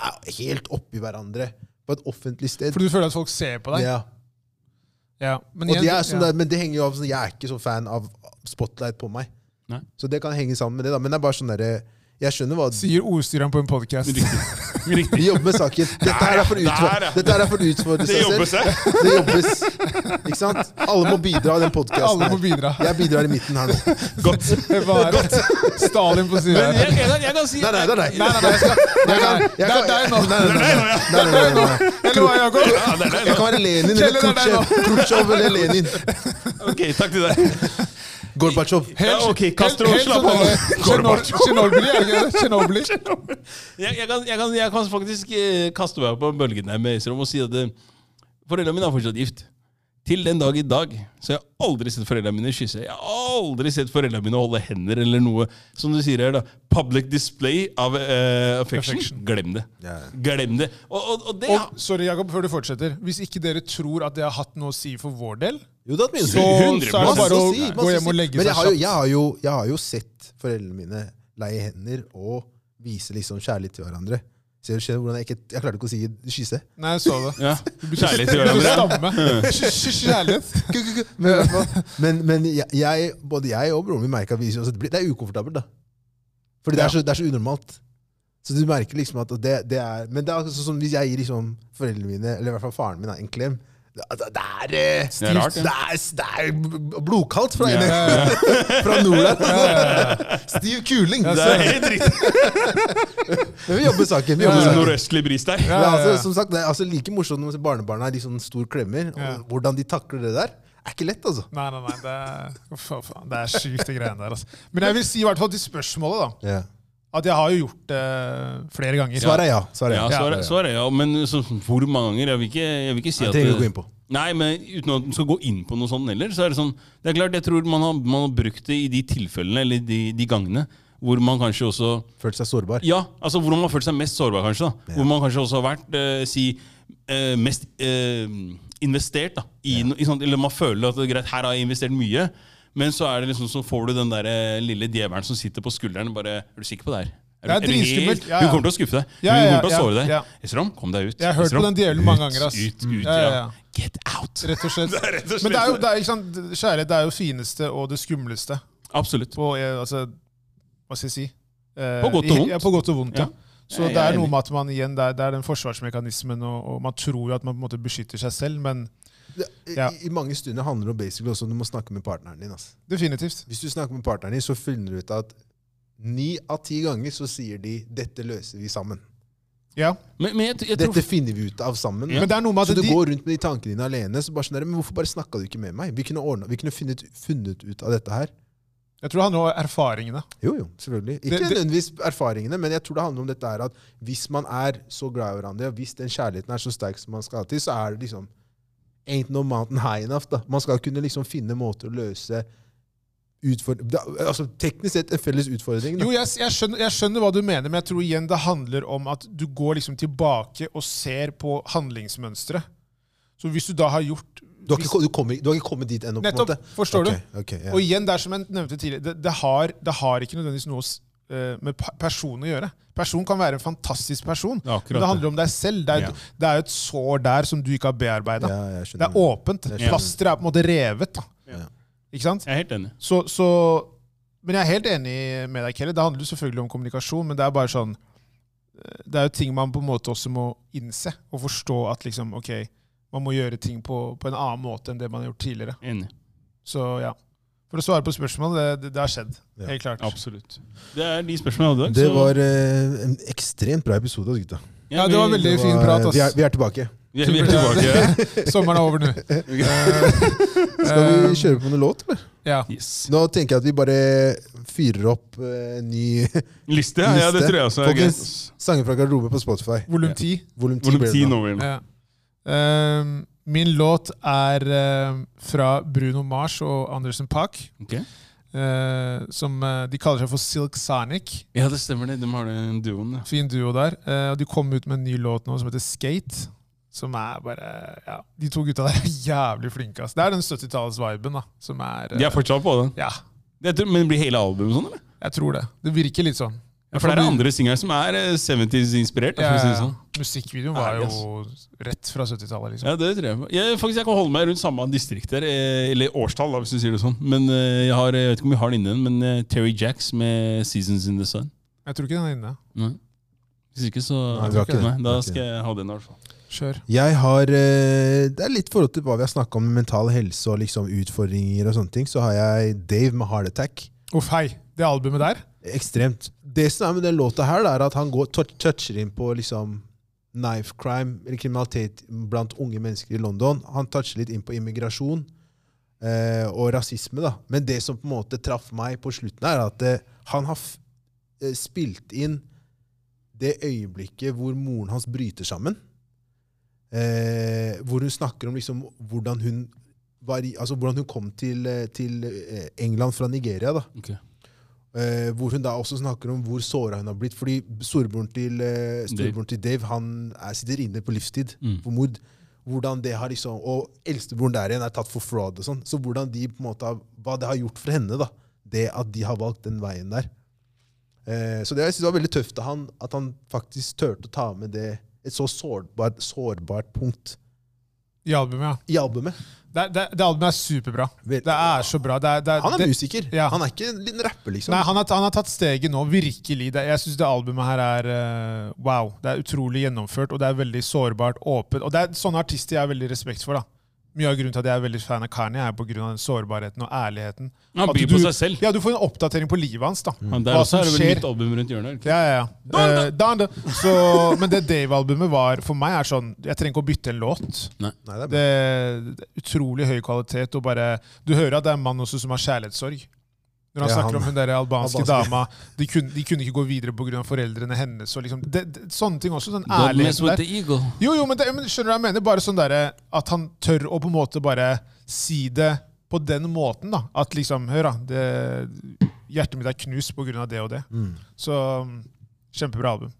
B: er helt oppi hverandre på et offentlig sted.
A: Fordi du føler at folk ser på deg?
B: ja.
A: Ja, men
B: Og
A: igjen-
B: det er sånn
A: ja.
B: der, men det henger jo av sånn, Jeg er ikke så fan av spotlight på meg.
C: Nei.
B: Så det kan henge sammen med det. da, Men det er bare sånn derre Jeg skjønner hva
A: Sier ordstyreren på en podkast.
C: Riktig. Riktig.
B: Vi jobber med saken. Dette her er for å
C: Der, ja.
B: utfordre, dette her er for å utfordre
C: Det
B: seg
C: jobber
B: selv.
C: seg.
B: Det jobbes. Ikke sant? Alle må bidra i den podkasten
A: Alle må
B: her.
A: bidra.
B: Jeg bidrar i midten her nå.
C: Godt.
A: Hva er det? Stalin på sida
C: Men
A: her.
C: jeg, jeg, jeg kan si
B: Nei, nei, nei. nei.
A: Nei, nei, nei, jeg skal, nei, nei,
B: jeg
A: det er
B: kan-
A: deg nå.
B: Nei, nei, nei, nei, nei, nei, nei, nei, nei.
A: Eller hva, Jakob?
C: Ja, det er deg
B: Jeg
C: nå.
B: kan være Lenin
A: Kjell,
B: eller
A: det er deg
B: Khrusjtsjov. Khrusjtsjov eller Lenin.
C: Ok, takk til deg.
B: Gorbatsjov.
C: Ja, ok, Castro,
A: helt- helt
C: slapp
A: sånn
C: av.
A: der- Tsjernobyl- Tsjernobyl, er det ikke det? Tsjernobyl.
C: Jeg, jeg, kan, jeg, kan, jeg kan faktisk eh, kaste meg på bølgen her med Øystein og si at eh, foreldrene mine er fortsatt gift. Til den dag i dag så har jeg aldri sett foreldrene mine kysse. Jeg har aldri sett foreldrene mine holde hender eller noe. Som du sier her, da. Public display av eh, affection.
A: Affection.
C: Glem det.
B: Ja, ja.
C: Glem det. Og, og, og det
A: Og, sorry, Jakob, før du fortsetter. Hvis ikke dere tror at det har hatt noe å si for vår del,
B: Jo, det er mye å si.
A: så,
C: Hundre
A: så er det
C: prosent.
A: bare å
B: Masse å si,
A: gå
B: masse å
A: hjem og
B: si.
A: legge
B: Men
A: seg
B: jeg har, jo,
A: kjapt.
B: jeg, har jo, jeg har jo sett foreldrene mine leie hender og vise liksom kjærlighet til hverandre. Ser du ser du hvordan Jeg ikke, jeg klarte ikke å si kysse.
A: Nei, jeg så det.
C: ja, Kjærlighet til
A: Du
C: hverandre.
A: stammer. Kjærlighet.
B: Men, i hvert fall- men, men jeg- jeg, både jeg og broren min merker at vi, altså, det, blir, det er ukomfortabelt. da. Fordi det er, så, det er så unormalt. Så du merker liksom at det, det er, Men det er altså sånn som hvis jeg gir liksom foreldrene mine, eller i hvert fall faren min, da, en klem, Det, det- det er eh,
C: er rart, ja.
B: det er, det er blodkaldt fra, inne-
A: Ja, ja,
B: fra nord der. Stiv kuling.
C: Det er helt riktig.
B: Men vi jobber saken. Vi
C: Det
B: jobber
C: er
B: saken.
C: Nordøstlig bris der.
B: Ja,
A: ja, ja.
B: altså, som sagt, det er altså, Like morsomt når barnebarna er de sånn stor klemmer. Og
A: Ja.
B: Hvordan de takler det der, er ikke lett, altså.
A: Nei, nei, nei. Det er, Fy faen, det er sjukt, de greiene der. Altså. Men jeg vil si i hvert fall til spørsmålet, da. At jeg har jo gjort det flere ganger.
B: Svaret er ja. Svaret er
C: Ja,
B: ja.
C: så er, det- så er det, ja. Men så, hvor mange ganger? Jeg vil ikke, jeg vil ikke si
B: Det
C: at
B: trenger vi gå inn på.
C: Nei, men uten at man skal gå inn på noe sånt heller, så er det sånn Det er klart, jeg tror man har, man har brukt det i de tilfellene, eller de, de gangene, hvor man kanskje også
B: Følt seg sårbar.
C: Ja, altså hvor man har følt seg mest sårbar, kanskje. da. Hvor man kanskje også har vært eh, si, eh, mest eh, investert. da. I, no- i sånt, eller man føler at det er greit, her har jeg investert mye. Men så er det liksom, så får du den der eh, lille djevelen som sitter på skulderen og bare Er du sikker på det her?
A: Det er
C: du- du
A: dritskummelt,
C: helt-
A: ja, ja.
C: Hun kommer til å skuffe deg.
A: Ja,
C: hun
A: ja,
C: kommer til å
A: ja,
C: såre deg.
A: ja.
C: Esrom, kom deg ut.
A: Jeg har hørt
C: Esrom,
A: på den djevelen mange ganger, ass. Mm.
C: Ut, ut,
A: Ja, ja,
C: ja.
A: ja.
C: Get out!
A: Rett og slett.
C: Det er rett og slett
A: Men det er jo, det er, ikke sant, kjærlighet det er jo fineste og det skumleste
C: Absolutt.
A: på eh, altså, Hva skal jeg si? Eh,
C: På godt og
A: i-
C: vondt.
A: Ja, på godt og vondt, ja.
C: Ja.
A: Så
C: Jeg-
A: det
C: jeg
A: er
C: er
A: noe
C: enig.
A: med at man igjen, det er, det er den forsvarsmekanismen, og, og man tror jo at man på en måte beskytter seg selv, men
B: Det, i,
A: Ja.
B: I mange stunder handler det om basically også om du må snakke med partneren din. Altså.
A: definitivt.
B: Hvis du snakker med partneren din, så finner du ut at ni av ti ganger så sier de 'dette løser vi sammen'.
A: Ja.
C: Men, men jeg, jeg tror
B: Dette finner vi ut av sammen.
A: Men det er noe med
B: Så
A: at
B: du
A: de,
B: går rundt med de tankene dine alene. så bare sånn der, men Hvorfor bare snakka du ikke med meg? Vi kunne, ordnet, vi kunne funnet, funnet ut av dette her.
A: jeg tror det handler om erfaringene.
B: Jo, jo, selvfølgelig. Ikke
A: Det- det-
B: nødvendigvis erfaringene, men jeg tror det handler om dette her at hvis man er så glad i hverandre, og hvis den kjærligheten er så sterk som man skal ha til, så er det liksom Ain't no mountain high enough. da. Man skal kunne liksom finne måter å løse utford- da, altså Teknisk sett en felles utfordring. Da.
A: Jo, jeg, jeg, skjønner, jeg skjønner hva du mener, men jeg tror igjen det handler om at du går liksom tilbake og ser på handlingsmønsteret. Så hvis du da har gjort
B: Du, har ikke, ko- du, kommer, du har ikke kommet dit ennå, på en
A: Nettopp!
B: måte.
A: Forstår du?
B: Ok, ok, ja.
A: Og igjen, det er som jeg nevnte tidligere, det, det, har, det har ikke nødvendigvis noe s- eh, med pe- person å gjøre. Person kan være en fantastisk person,
C: Ja, akkurat
A: men det handler om deg selv. Det er,
C: Ja.
A: det er jo et sår der som du ikke har bearbeida.
B: Ja, jeg
A: det
B: skjønner.
A: er åpent.
B: Jeg skjønner.
A: Plasteret er på en måte revet. Da.
B: Ja.
A: Ikke sant?
C: Jeg er helt enig.
A: Så, så, men jeg er helt enig med deg, Kelly. Det handler jo selvfølgelig om kommunikasjon, men det er bare sånn eh, Det er jo ting man på en måte også må innse og forstå at liksom, ok, man må gjøre ting på, på en annen måte enn det man har gjort tidligere.
C: Enig.
A: Så ja. For å svare på spørsmålet, det, det, det har skjedd.
B: Ja.
A: Helt klart.
C: Absolutt. Det er de spørsmålene jeg hadde i dag.
B: Det
C: så-
B: var eh, en ekstremt bra episode, altså, gutta.
A: Ja, det var
C: vi-
A: veldig
B: Det
A: fin
B: var- eh,
A: prat, ass.
B: Vi er, vi er tilbake.
C: Vi er, vi er tilbake.
A: Sommeren er over nå. Eh,
B: Skal vi kjøre på noen låt, eller?
A: Ja.
C: Yes.
B: Nå tenker jeg at vi bare fyrer opp eh, en ny
C: Liste? Ja, ja, det
B: Liste.
C: tror jeg også er
B: Folkens,
C: greit. ass.
B: Sanger fra garderobe på Spotify.
A: Volum ti.
B: Volum 10
C: Volum
B: ble det
C: 10
B: nå.
C: nå, vel.
A: Ja. Ehm, min låt er ehm, fra Bruno Mars og Anderson Park.
C: Ok.
A: eh, som eh, De kaller seg for Silk Sonic.
C: Ja, det stemmer det. De har den duoen. ja.
A: Fin duo der. Eh, og de kom ut med en ny låt nå som heter Skate. Som er bare ja, De to gutta der er jævlig flinke. ass. Det er den 70-tallets-viben da, som er eh,
C: De er fortsatt på den.
A: Ja,
C: Jeg tror, men blir hele albumet sånn, eller?
A: jeg tror det. Det virker litt sånn.
C: Ja, for det er andre singere som er eh, 70s-inspirert. da, for å si det sånn.
A: Musikkvideoen var
C: Ærlig,
A: jo rett fra 70-tallet, liksom.
C: Ja, det tror jeg. på. Jeg, faktisk, jeg kan holde meg rundt samme distrikt der, eh, eller årstall, da, hvis du sier det sånn. Men eh, jeg, har, jeg vet ikke om vi har den inne, men eh, Terry Jacks med 'Seasons in the Sun'.
A: Jeg tror ikke den er inne.
C: Nei. Hvis ikke, så
B: Nei, vi har ikke
C: Nei,
B: det.
C: Da
B: Vi har ikke
C: skal jeg ha den, i hvert fall.
A: Kjør.
B: Jeg har eh, Det er litt forhold til hva vi har snakka om med mental helse og liksom utfordringer og sånne ting. Så har jeg Dave med Heart Attack.
A: Uff, hei. Det albumet der?
B: Ekstremt. Det som er med den låta her, det er at han går, tou- toucher inn på liksom knife crime, eller kriminalitet blant unge mennesker i London. Han toucher litt inn på immigrasjon eh, og rasisme, da. Men det som på en måte traff meg på slutten, er at eh, han har f eh, spilt inn det øyeblikket hvor moren hans bryter sammen. Eh, hvor hun snakker om liksom hvordan hun var i, altså hvordan hun kom til, eh, til eh, England fra Nigeria. da.
C: Ok.
B: Eh, hvor hun da også snakker om hvor såra hun har blitt. Fordi storebroren til, eh, storebroren til Dave han er, sitter inne på livstid
C: Mm.
B: for mord. Hvordan det har liksom, Og eldstebroren der igjen er tatt for fraud. og sånn, Så hvordan de på en måte har, hva det har gjort for henne, da, det at de har valgt den veien der. Eh, så det, jeg synes det var veldig tøft av han, at han faktisk turte å ta med det et så sårbart, sårbart punkt
A: I albumet, ja.
B: i albumet.
A: Det, det, det albumet er superbra.
B: Vel-
A: Det er så bra. Det, er- det,
B: Han er
A: det,
B: musiker.
A: ja.
B: Han er ikke en liten rapper, liksom.
A: Nei, han har, han har tatt steget nå, virkelig. Det, jeg syns det albumet her er eh, wow. Det er utrolig gjennomført, og det er veldig sårbart, åpent. Og det er sånne artister jeg har veldig respekt for. da. Mye av grunnen til at jeg er veldig fan av Kanye, er på grunn av den sårbarheten og ærligheten.
C: Han
A: At
C: byr
A: du-
C: på seg selv.
A: Ja, Du får en oppdatering på livet hans. da.
C: Men der
A: Hva
C: også
A: som
C: er det vel
A: skjer.
C: nytt album rundt hjørnet. er det ikke?
A: Ja, ja, ja. Eh, Donda. Så, men det Dave-albumet var for meg er sånn Jeg trenger ikke å bytte en låt.
B: Nei, det er bra.
A: Det det er Utrolig høy kvalitet. og bare, Du hører at det er en mann også som har kjærlighetssorg. Når han
B: Ja,
A: snakker
B: han-
A: om den der albanske,
B: albanske.
A: dama de kunne, de kunne ikke gå videre pga. foreldrene hennes. og liksom, det, det, Sånne ting også. Den
C: Don't mess
A: ærligheten der.
C: with the eagle.
A: Jo, jo, men, det, men skjønner du hva jeg mener? Bare sånn der, At han tør å på en måte bare si det på den måten. da, At liksom Hør, da. Det, hjertet mitt er knust pga. det og det.
B: Mm.
A: Så mm, kjempebra album.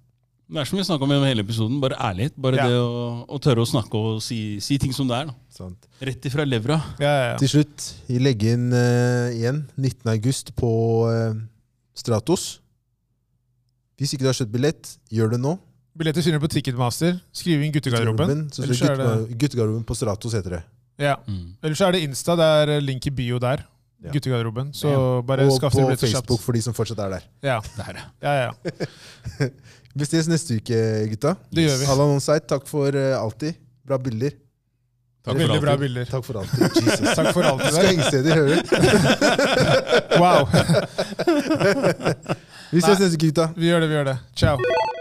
C: Det er som vi snakka om gjennom hele episoden, bare ærlighet. Bare
A: Ja.
C: det å, å tørre å snakke og si, si ting som det er. da.
B: Sant.
C: Rett ifra levra.
A: Ja, ja, ja.
B: Til slutt, vi legger inn eh, igjen 19. august på eh, Stratos. Hvis ikke du har kjøpt billett, gjør det nå.
A: Billetter finner du på Ticketmaster. Skriv inn guttegarderoben.
B: Så
A: Ellers
B: står
A: er det-
B: gutte- Guttegarderoben på Stratos, heter det.
A: Ja.
C: Mm.
A: Eller så er det Insta. Det er eh, link i bio der.
B: Ja.
A: Guttegarderoben. Så
B: Ja.
A: bare
B: og
A: skaff
B: på
A: deg billetter kjapt.
B: Facebook for de som fortsatt er der.
A: Ja,
C: Der, ja.
A: ja, ja.
B: Vi ses neste uke, gutta.
A: Det gjør vi.
B: Allan on site, takk for eh, alltid. Bra bilder.
C: Takk
A: Veldig
C: for
A: bra
C: alltid.
A: bilder.
B: Takk for alltid. Jesus.
A: Takk for alt det der.
B: Stengsteder, hører du?
A: Wow.
B: Vi ses neste uke, gutta.
A: Vi gjør det, vi gjør det. Ciao.